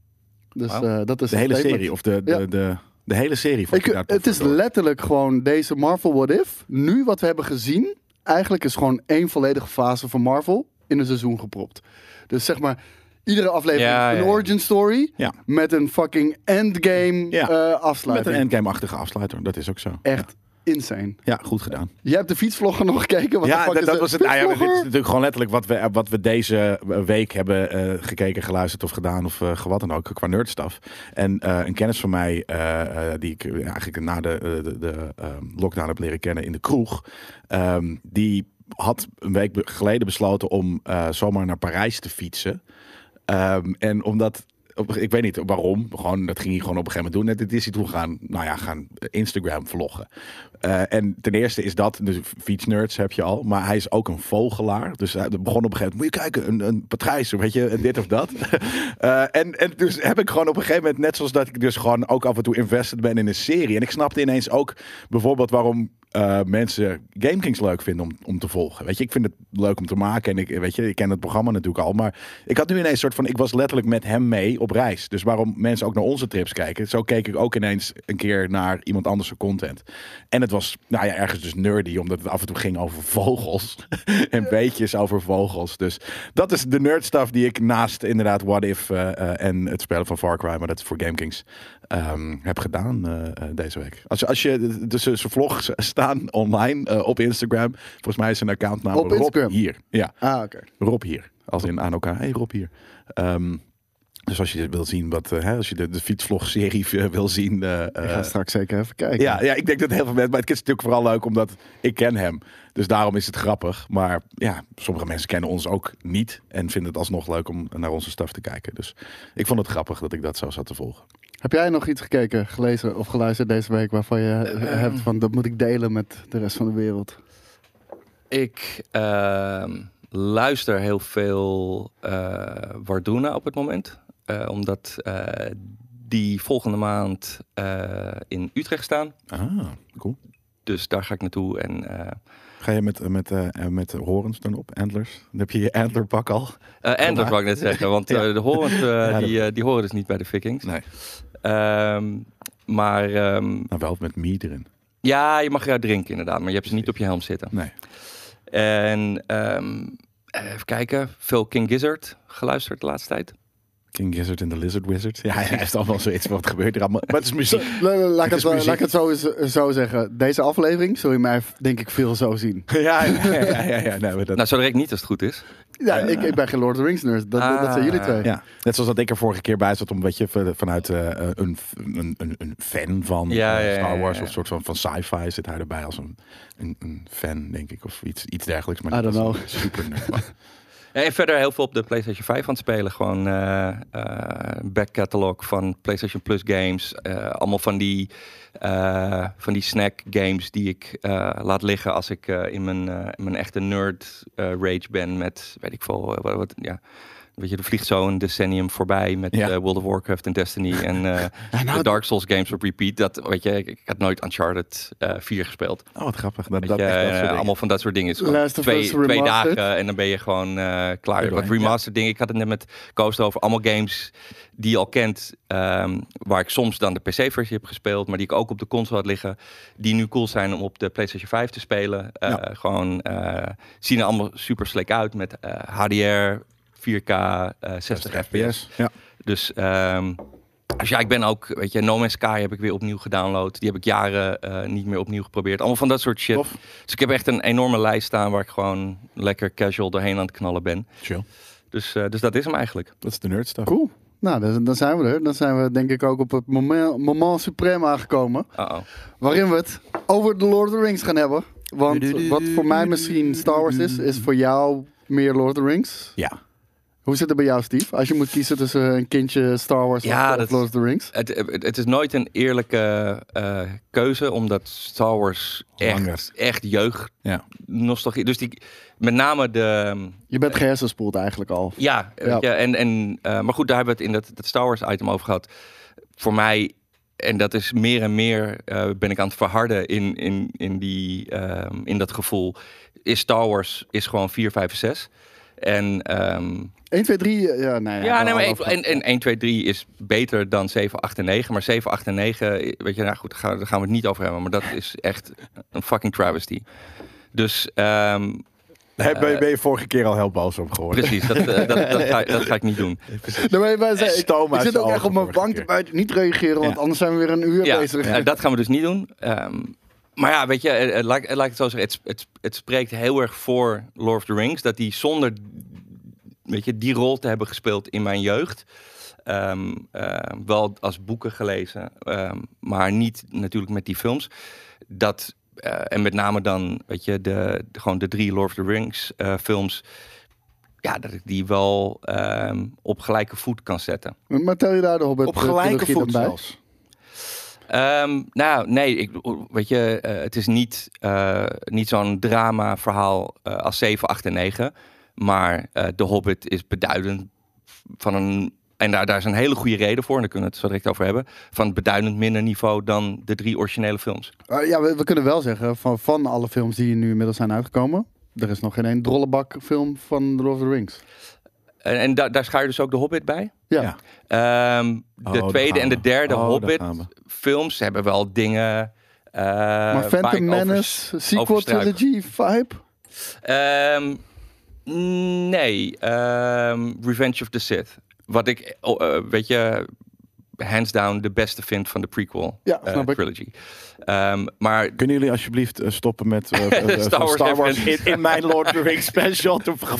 [SPEAKER 3] Dus
[SPEAKER 4] Wauw.
[SPEAKER 3] eh, dat is
[SPEAKER 2] De
[SPEAKER 3] een
[SPEAKER 2] hele
[SPEAKER 3] statement.
[SPEAKER 2] serie, of de, de,
[SPEAKER 3] Ja.
[SPEAKER 2] de, de, hele serie. vond
[SPEAKER 3] Ik,
[SPEAKER 2] ik daar tof
[SPEAKER 3] het is
[SPEAKER 2] voor door.
[SPEAKER 3] letterlijk gewoon deze Marvel What If. Nu wat we hebben gezien, eigenlijk is gewoon één volledige fase van Marvel in een seizoen gepropt. Dus zeg maar, iedere aflevering
[SPEAKER 4] Ja, ja,
[SPEAKER 3] een
[SPEAKER 4] ja.
[SPEAKER 3] origin story
[SPEAKER 2] Ja.
[SPEAKER 3] met een fucking endgame
[SPEAKER 2] Ja.
[SPEAKER 3] eh,
[SPEAKER 2] Met
[SPEAKER 3] afsluiting.
[SPEAKER 2] een endgame-achtige afsluiter, dat is ook zo.
[SPEAKER 3] Echt insane.
[SPEAKER 2] Ja, goed gedaan.
[SPEAKER 3] Je hebt de fietsvlogger nog gekeken. Wat de
[SPEAKER 2] ja,
[SPEAKER 3] fuck
[SPEAKER 2] dat,
[SPEAKER 3] is
[SPEAKER 2] dat
[SPEAKER 3] de
[SPEAKER 2] was het. Ah, ja, dit is
[SPEAKER 3] fietsvlogger?
[SPEAKER 2] natuurlijk gewoon letterlijk wat we, eh, wat we deze week hebben eh, gekeken, geluisterd of gedaan of eh wat dan ook qua nerdstaf. En eh, een kennis van mij, eh, eh, die ik eh, eigenlijk na de, eh, de, de ehm, lockdown heb leren kennen in de kroeg, ehm, die had een week be- geleden besloten om eh, zomaar naar Parijs te fietsen. Ehm, en omdat, op- ik weet niet waarom, gewoon, dat ging hij gewoon op een gegeven moment doen. En dit is hij toen gaan, nou ja, gaan Instagram vloggen. Eh, en ten eerste is dat, dus fietsnerds heb je al, maar hij is ook een vogelaar. Dus hij begon op een gegeven moment, moet je kijken, een, een patrijs, weet je, en dit of dat. Eh, en, en dus heb ik gewoon op een gegeven moment, net zoals dat ik dus gewoon ook af en toe invested ben in een serie. En ik snapte ineens ook bijvoorbeeld waarom eh, mensen GameKings leuk vinden om, om te volgen. Weet je, ik vind het leuk om te maken en ik, weet je, ik ken het programma natuurlijk al. Maar ik had nu ineens een soort van, ik was letterlijk met hem mee op reis. Dus waarom mensen ook naar onze trips kijken. Zo keek ik ook ineens een keer naar iemand anders zijn content. En het was, nou ja, ergens dus nerdy, omdat het af en toe ging over vogels. en beetjes over vogels. Dus dat is de nerd stuff die ik naast inderdaad What If eh, eh, en het spelen van Far Cry, maar dat is voor GameKings, ehm, heb gedaan eh, eh, deze week. Als, je- als je, dus eh, zijn vlogs staan online eh, op Instagram. Volgens mij is zijn account naam
[SPEAKER 3] Op
[SPEAKER 2] Rob
[SPEAKER 3] Instagram?
[SPEAKER 2] hier. Ja.
[SPEAKER 3] Ah, oké.
[SPEAKER 2] Rob hier. Als in aan elkaar. Hey Rob hier. Ehm, dus als je wil zien wat, eh, hè, als je de, de fietsvlogserie eh, wil zien. eh,
[SPEAKER 3] Ik ga
[SPEAKER 2] eh,
[SPEAKER 3] straks zeker even kijken.
[SPEAKER 2] ja, ja, ik denk dat heel veel mensen. Maar het is natuurlijk vooral leuk omdat ik ken hem. Dus daarom is het grappig. Maar ja, sommige mensen kennen ons ook niet. En vinden het alsnog leuk om naar onze staf te kijken. Dus ik vond het grappig dat ik dat zo zat te volgen.
[SPEAKER 3] Heb jij nog iets gekeken, gelezen of geluisterd deze week waarvan je eh,
[SPEAKER 2] Ehm.
[SPEAKER 3] hebt van dat moet ik delen met de rest van de wereld?
[SPEAKER 4] Ik ehm, luister heel veel eh Warduna op het moment. Eh, omdat eh, die volgende maand eh, in Utrecht staan.
[SPEAKER 2] Ah, cool.
[SPEAKER 4] Dus daar ga ik naartoe. En, eh,
[SPEAKER 2] Ga je met, eh, met, eh, eh, met horens dan op? Antlers? Dan heb je je antlerpak al?
[SPEAKER 4] eh, en dat wou ik net zeggen. Want eh, de horens eh,
[SPEAKER 2] dat-
[SPEAKER 4] die, eh, die horen dus niet bij de Vikings.
[SPEAKER 2] Nee.
[SPEAKER 4] Ehm, maar ehm,
[SPEAKER 2] Nou, wel met mie erin.
[SPEAKER 4] ja, je mag eruit drinken inderdaad. Maar je hebt ze niet op je helm zitten.
[SPEAKER 2] Nee.
[SPEAKER 4] En ehm, even kijken. Veel King Gizzard geluisterd de laatste tijd.
[SPEAKER 2] King Gizzard en de Lizard Wizard. Ja, hij heeft allemaal zoiets. Wat gebeurt er allemaal? Maar het is muziek.
[SPEAKER 3] La- la- Laat
[SPEAKER 2] Het
[SPEAKER 3] ik het,
[SPEAKER 2] is
[SPEAKER 3] zo-
[SPEAKER 2] muziek.
[SPEAKER 3] laat ik het zo, eens- eh, zo zeggen. Deze aflevering zul je mij denk ik veel zo zien.
[SPEAKER 2] Ja, ja, ja. ja, ja. Nee, maar dat,
[SPEAKER 4] Nou, zo direct niet als het goed is.
[SPEAKER 3] Ja, ik, ik ben geen Lord of the Rings nerd. Dat, dat zijn jullie twee.
[SPEAKER 2] Ah. ja. Net zoals dat ik er vorige keer bij zat, om weet je, van- vanuit eh, een, een, een, een fan van
[SPEAKER 4] Ja,
[SPEAKER 2] eh,
[SPEAKER 4] ja, ja,
[SPEAKER 2] Star Wars
[SPEAKER 4] ja.
[SPEAKER 2] of een soort van, van sci-fi zit hij erbij als een, een, een fan, denk ik, of iets, iets dergelijks. Maar
[SPEAKER 3] I
[SPEAKER 2] niet
[SPEAKER 3] don't
[SPEAKER 2] als een Super nerd. Maar-
[SPEAKER 4] Ja, En verder heel veel op de PlayStation 5 aan het spelen. Gewoon eh, eh, back catalog van PlayStation Plus games. Eh, allemaal van die, eh, van die snack games die ik eh, laat liggen als ik eh, in, mijn, eh, in mijn echte nerd eh, rage ben met, weet ik veel, eh, wat, wat- ja, Weet je, er vliegt zo'n decennium voorbij met
[SPEAKER 2] Ja.
[SPEAKER 4] eh, World of Warcraft en Destiny en eh,
[SPEAKER 3] nou,
[SPEAKER 4] de Dark Souls games op repeat. Dat, weet je, ik, ik had nooit Uncharted eh 4 gespeeld.
[SPEAKER 2] Oh, wat grappig. Dat,
[SPEAKER 4] Weet
[SPEAKER 2] dat,
[SPEAKER 4] je,
[SPEAKER 2] echt dat soort
[SPEAKER 4] eh,
[SPEAKER 2] dingen.
[SPEAKER 4] allemaal van dat soort dingen. Het is gewoon
[SPEAKER 3] Last of
[SPEAKER 4] twee,
[SPEAKER 3] Us
[SPEAKER 4] twee
[SPEAKER 3] remastered.
[SPEAKER 4] dagen en dan ben je gewoon eh, klaar. Wat
[SPEAKER 2] Doorheen,
[SPEAKER 4] remastered dingen. Ik had het net met Coast over. Allemaal games die je al kent. ehm, waar ik soms dan de PC-versie heb gespeeld. Maar die ik ook op de console had liggen. Die nu cool zijn om op de PlayStation 5 te spelen. Eh,
[SPEAKER 2] Ja.
[SPEAKER 4] Gewoon eh, zien er allemaal super slick uit. Met eh, HDR, 4K, eh 60 FPS.
[SPEAKER 2] FPS. Ja.
[SPEAKER 4] Dus ehm, dus ja, ik ben ook, weet je, No Man's Sky heb ik weer opnieuw gedownload. Die heb ik jaren eh, niet meer opnieuw geprobeerd. Allemaal van dat soort shit.
[SPEAKER 2] Tof.
[SPEAKER 4] Dus ik heb echt een enorme lijst staan waar ik gewoon lekker casual doorheen aan het knallen ben.
[SPEAKER 2] Chill.
[SPEAKER 4] Dus, eh, dus dat is hem eigenlijk.
[SPEAKER 2] Dat is de nerd stuff.
[SPEAKER 3] Cool. Nou, dan, dan zijn we er. Dan zijn we denk ik ook op het moment, moment supreme aangekomen.
[SPEAKER 4] Uh-oh.
[SPEAKER 3] Waarin we het over The Lord of the Rings gaan hebben. Want wat voor mij misschien Star Wars is, is voor jou meer Lord of the Rings.
[SPEAKER 2] Ja.
[SPEAKER 3] Hoe zit het bij jou, Steve? Als je moet kiezen tussen een kindje Star Wars
[SPEAKER 4] Ja,
[SPEAKER 3] of
[SPEAKER 4] dat-
[SPEAKER 3] Lord of the Rings.
[SPEAKER 4] Het, eh, het, het is nooit een eerlijke eh, keuze, omdat Star Wars
[SPEAKER 2] Langer.
[SPEAKER 4] echt, echt jeugd,
[SPEAKER 2] Ja.
[SPEAKER 4] nostalgie. Dus die, met name de,
[SPEAKER 3] Je bent gehersenspoeld eigenlijk al.
[SPEAKER 4] Ja,
[SPEAKER 3] Ja.
[SPEAKER 4] weet je, en, en, eh, maar goed, daar hebben we het in dat, dat Star Wars item over gehad. Voor mij, en dat is meer en meer, eh, ben ik aan het verharden in, in, in, die, ehm, in dat gevoel. Is Star Wars is gewoon 4, 5 en 6. En, ehm,
[SPEAKER 3] 1, 2, 3. eh, Ja, nee,
[SPEAKER 4] ja,
[SPEAKER 3] ja,
[SPEAKER 4] nee, maar
[SPEAKER 3] al over
[SPEAKER 4] even- en, en 1, 2, 3 is beter dan 7, 8 en 9. Maar 7, 8 en 9, eh, weet je, nou goed, daar gaan, daar gaan we het niet over hebben. Maar dat is echt een fucking travesty. Dus ehm,
[SPEAKER 2] Daar ben je- ben je vorige keer al heel boos op geworden.
[SPEAKER 4] precies, dat, eh, dat, dat, ga, dat ga ik niet doen.
[SPEAKER 3] Nee, maar wij zijn- ik,
[SPEAKER 2] Stoma
[SPEAKER 3] ik
[SPEAKER 2] is
[SPEAKER 3] zit ook
[SPEAKER 2] al
[SPEAKER 3] echt op mijn
[SPEAKER 2] vorige
[SPEAKER 3] bank te
[SPEAKER 2] keer.
[SPEAKER 3] buiten. Niet reageren, want
[SPEAKER 2] Ja.
[SPEAKER 3] anders zijn we weer een uur
[SPEAKER 4] ja,
[SPEAKER 3] bezig.
[SPEAKER 4] nou, dat gaan we dus niet doen. Ehm, maar ja, weet je, eh, eh, laat, ik- eh, laat ik het zo zeggen. Het, sp- het, sp- het spreekt heel erg voor Lord of the Rings. Dat die zonder weet je, die rol te hebben gespeeld in mijn jeugd. ehm, eh, wel als boeken gelezen, ehm, maar niet natuurlijk met die films. Dat, eh, en met name dan, weet je, de, de- gewoon de drie Lord of the Rings eh, films. Ja, dat ik die wel ehm, op gelijke voet kan zetten.
[SPEAKER 3] Maar tel je daar eh, de Hobbit
[SPEAKER 2] Op gelijke
[SPEAKER 3] trilogie
[SPEAKER 2] voet
[SPEAKER 3] dan bij?
[SPEAKER 2] zelfs.
[SPEAKER 4] Ehm, nou, nee, ik, weet je, eh, het is niet, eh, niet zo'n drama-verhaal eh, als 7, 8 en 9. Maar eh The Hobbit is beduidend van een. En daar, daar is een hele goede reden voor, en daar kunnen we het zo direct over hebben. Van een beduidend minder niveau dan de drie originele films.
[SPEAKER 3] Eh, ja, we, we kunnen wel zeggen, van, van alle films die nu inmiddels zijn uitgekomen... er is nog geen één drollebak film van The Lord of the Rings.
[SPEAKER 4] En, en da- daar schaar je dus ook The Hobbit bij.
[SPEAKER 3] Ja.
[SPEAKER 2] Ja.
[SPEAKER 4] Ehm,
[SPEAKER 2] Oh,
[SPEAKER 4] de
[SPEAKER 2] daar
[SPEAKER 4] tweede
[SPEAKER 2] gaan
[SPEAKER 4] en de
[SPEAKER 2] we.
[SPEAKER 4] derde
[SPEAKER 2] Oh, daar gaan we.
[SPEAKER 4] Hobbit-films hebben wel dingen. eh, waar
[SPEAKER 3] maar
[SPEAKER 4] ik
[SPEAKER 3] Phantom
[SPEAKER 4] over-
[SPEAKER 3] Menace, sequel
[SPEAKER 4] overstruik.
[SPEAKER 3] trilogy, vibe?
[SPEAKER 4] Ehm, nee, ehm, Revenge of the Sith. Wat ik, oh, eh, weet je, hands down de beste vind van de prequel
[SPEAKER 3] Ja,
[SPEAKER 4] eh,
[SPEAKER 3] snap ik.
[SPEAKER 4] trilogy. Ehm, maar
[SPEAKER 2] Kunnen jullie alsjeblieft eh, stoppen met eh, eh, eh,
[SPEAKER 4] Star Wars
[SPEAKER 2] in,
[SPEAKER 4] referenties.
[SPEAKER 2] in mijn Lord of the Rings special? Toen-
[SPEAKER 4] oké,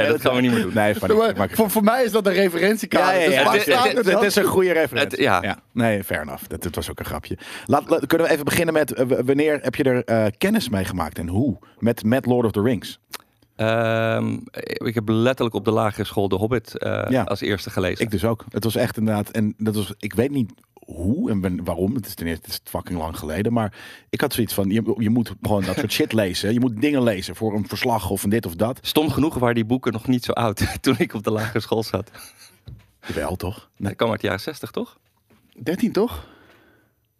[SPEAKER 4] dat gaan we niet meer doen.
[SPEAKER 2] Nee, van
[SPEAKER 3] Maar voor, voor mij is dat een referentiekader.
[SPEAKER 2] Ja, ja,
[SPEAKER 3] dus
[SPEAKER 2] ja.
[SPEAKER 3] waar
[SPEAKER 4] het-
[SPEAKER 3] staat
[SPEAKER 4] het-
[SPEAKER 3] het
[SPEAKER 2] Dat
[SPEAKER 3] dan?
[SPEAKER 2] is een goede referentie.
[SPEAKER 4] Het- ja.
[SPEAKER 2] Nee, fair enough. Dat, dat was ook een grapje. Laat, laat- kunnen we even beginnen met eh, w- wanneer heb je er eh, kennis mee gemaakt en hoe? Met, met Lord of the Rings.
[SPEAKER 4] Ehm, ik heb letterlijk op de lagere school de Hobbit eh,
[SPEAKER 2] Ja.
[SPEAKER 4] als eerste gelezen.
[SPEAKER 2] Ik dus ook. Het was echt inderdaad, en dat was, ik weet niet hoe en wen- waarom. Het is ten eerste het is fucking lang geleden, maar ik had zoiets van, je, je moet gewoon dat soort shit lezen. Je moet dingen lezen voor een verslag of een dit of dat.
[SPEAKER 4] Stom genoeg waren die boeken nog niet zo oud toen ik op de lagere school zat.
[SPEAKER 2] Wel toch? Nee,
[SPEAKER 4] Dat kwam uit de jaren 60, toch?
[SPEAKER 3] 13 toch?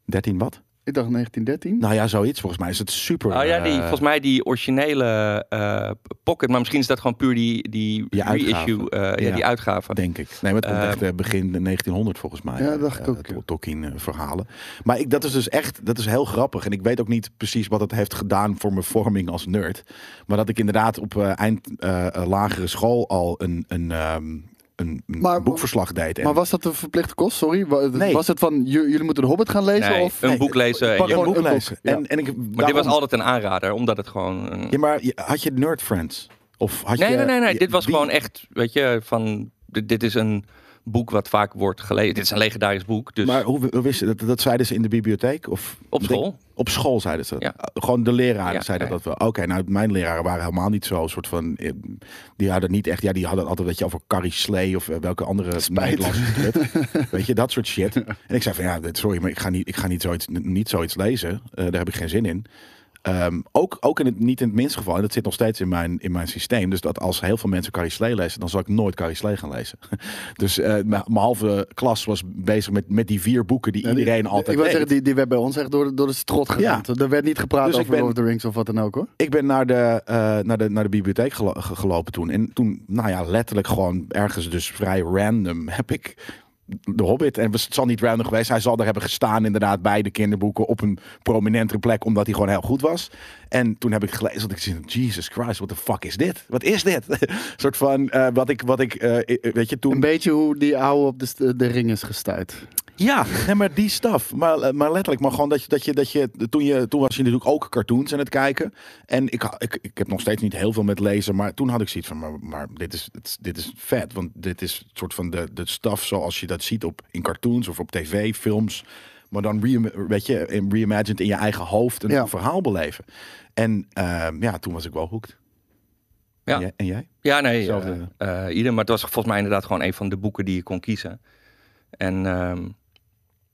[SPEAKER 2] 13 wat?
[SPEAKER 3] Ik dacht 1913.
[SPEAKER 2] Nou ja, zoiets. Volgens mij is het super.
[SPEAKER 4] Oh ja,
[SPEAKER 2] eh,
[SPEAKER 4] die, volgens mij die originele eh, pocket. Maar misschien is dat gewoon puur die, die
[SPEAKER 2] Ja, uitgave.
[SPEAKER 4] reissue, eh, ja.
[SPEAKER 2] Ja.
[SPEAKER 4] die uitgave.
[SPEAKER 2] Denk ik. Nee, maar het komt
[SPEAKER 4] Eh,
[SPEAKER 2] echt eh, begin de 1900 volgens mij.
[SPEAKER 3] Ehm, Ja,
[SPEAKER 2] eh,
[SPEAKER 3] dacht ik
[SPEAKER 2] eh,
[SPEAKER 3] ook, ja.
[SPEAKER 2] Tolkien eh, verhalen. Maar ik, dat is dus echt, dat is heel grappig. En ik weet ook niet precies wat het heeft gedaan voor mijn vorming als nerd. Maar dat ik inderdaad op eh, eind eh, eh, lagere school al een, een, ehm, een, een
[SPEAKER 3] Maar-
[SPEAKER 2] boekverslag deed. En
[SPEAKER 3] maar was dat een verplichte kost? Sorry. Wa-
[SPEAKER 2] Nee.
[SPEAKER 3] Was het van, j- jullie moeten de Hobbit gaan lezen?
[SPEAKER 4] Nee,
[SPEAKER 3] of...
[SPEAKER 4] een
[SPEAKER 2] Nee,
[SPEAKER 4] boek lezen. en
[SPEAKER 3] pak
[SPEAKER 4] je-
[SPEAKER 2] een
[SPEAKER 3] gewoon
[SPEAKER 2] boek
[SPEAKER 3] een boek,
[SPEAKER 2] lezen.
[SPEAKER 3] ja.
[SPEAKER 2] En, en ik,
[SPEAKER 4] Maar dit was altijd een aanrader, omdat het gewoon... een-
[SPEAKER 2] Ja, maar je- had je nerd friends? Of had
[SPEAKER 4] nee,
[SPEAKER 2] je,
[SPEAKER 4] nee, nee, nee.
[SPEAKER 2] je-
[SPEAKER 4] Dit was
[SPEAKER 2] wie-
[SPEAKER 4] gewoon echt, weet je, van... Dit, dit is een boek wat vaak wordt gelezen. Dit is een legendarisch boek, dus
[SPEAKER 2] Maar hoe, hoe wist je dat? Dat zeiden ze in de bibliotheek? Of
[SPEAKER 4] op school.
[SPEAKER 2] Op school zeiden ze dat.
[SPEAKER 4] Ja.
[SPEAKER 2] Uh, Gewoon de leraren
[SPEAKER 4] Ja,
[SPEAKER 2] zeiden
[SPEAKER 4] ja.
[SPEAKER 2] dat wel. Oké, nou mijn leraren waren helemaal niet zo. soort van, eh, die hadden niet echt, ja die hadden altijd weet je over Carrie Slee of eh, welke andere Nederlandse kut. Weet je, dat soort shit. En ik zei van ja, dit- sorry, maar ik ga niet, ik ga niet zoiets, niet zoiets lezen. Eh, daar heb ik geen zin in. Ehm, ook ook in het, niet in het minste geval, en dat zit nog steeds in mijn, in mijn systeem. Dus dat als heel veel mensen Carrie Slee lezen, dan zal ik nooit Carrie Slee gaan lezen. dus eh, mijn mijn halve klas was bezig met, met die vier boeken die
[SPEAKER 3] Nou, die-
[SPEAKER 2] iedereen altijd
[SPEAKER 3] Ik wil
[SPEAKER 2] weet.
[SPEAKER 3] zeggen, die, die werd bij ons echt door, de- door de strot gegaan. Er werd niet gepraat
[SPEAKER 2] Dus ik
[SPEAKER 3] over Lord
[SPEAKER 2] ben-
[SPEAKER 3] of the Rings of wat dan ook hoor.
[SPEAKER 2] Ik ben naar de, eh, naar de, naar de bibliotheek gelo- ge- gelopen toen. En toen, nou ja, letterlijk gewoon ergens dus vrij random heb ik de Hobbit. En het zal niet random geweest. Hij zal daar hebben gestaan inderdaad bij de kinderboeken op een prominentere plek. Omdat hij gewoon heel goed was. En toen heb ik gelezen dat ik zin Jesus Christ, what the fuck is dit? Wat is dit? Een soort van, eh, wat ik, wat ik eh, eh, weet je,
[SPEAKER 3] Een
[SPEAKER 2] toen...
[SPEAKER 3] beetje hoe die oude op de, st- de ring is gestuurd.
[SPEAKER 2] Ja, nee, maar die staf. Maar, eh, maar letterlijk, maar gewoon dat je, dat je, dat je, toen je, toen was je natuurlijk ook cartoons aan het kijken. En ik, ha- ik, ik heb nog steeds niet heel veel met lezen, maar toen had ik zoiets van, maar, maar dit, is, het is- dit is vet. Want dit is het soort van de, de staf zoals je dat ziet op, in cartoons of op tv, films. Maar dan re, weet je, in- reimagined in je eigen hoofd een
[SPEAKER 3] Ja.
[SPEAKER 2] verhaal beleven. En eh, ja, toen was ik wel hooked.
[SPEAKER 4] Ja.
[SPEAKER 2] En jij? En jij?
[SPEAKER 4] Ja, nee,
[SPEAKER 2] Zelfde.
[SPEAKER 4] eh, eh, ieder. Maar het was volgens mij inderdaad gewoon een van de boeken die je kon kiezen. En ehm,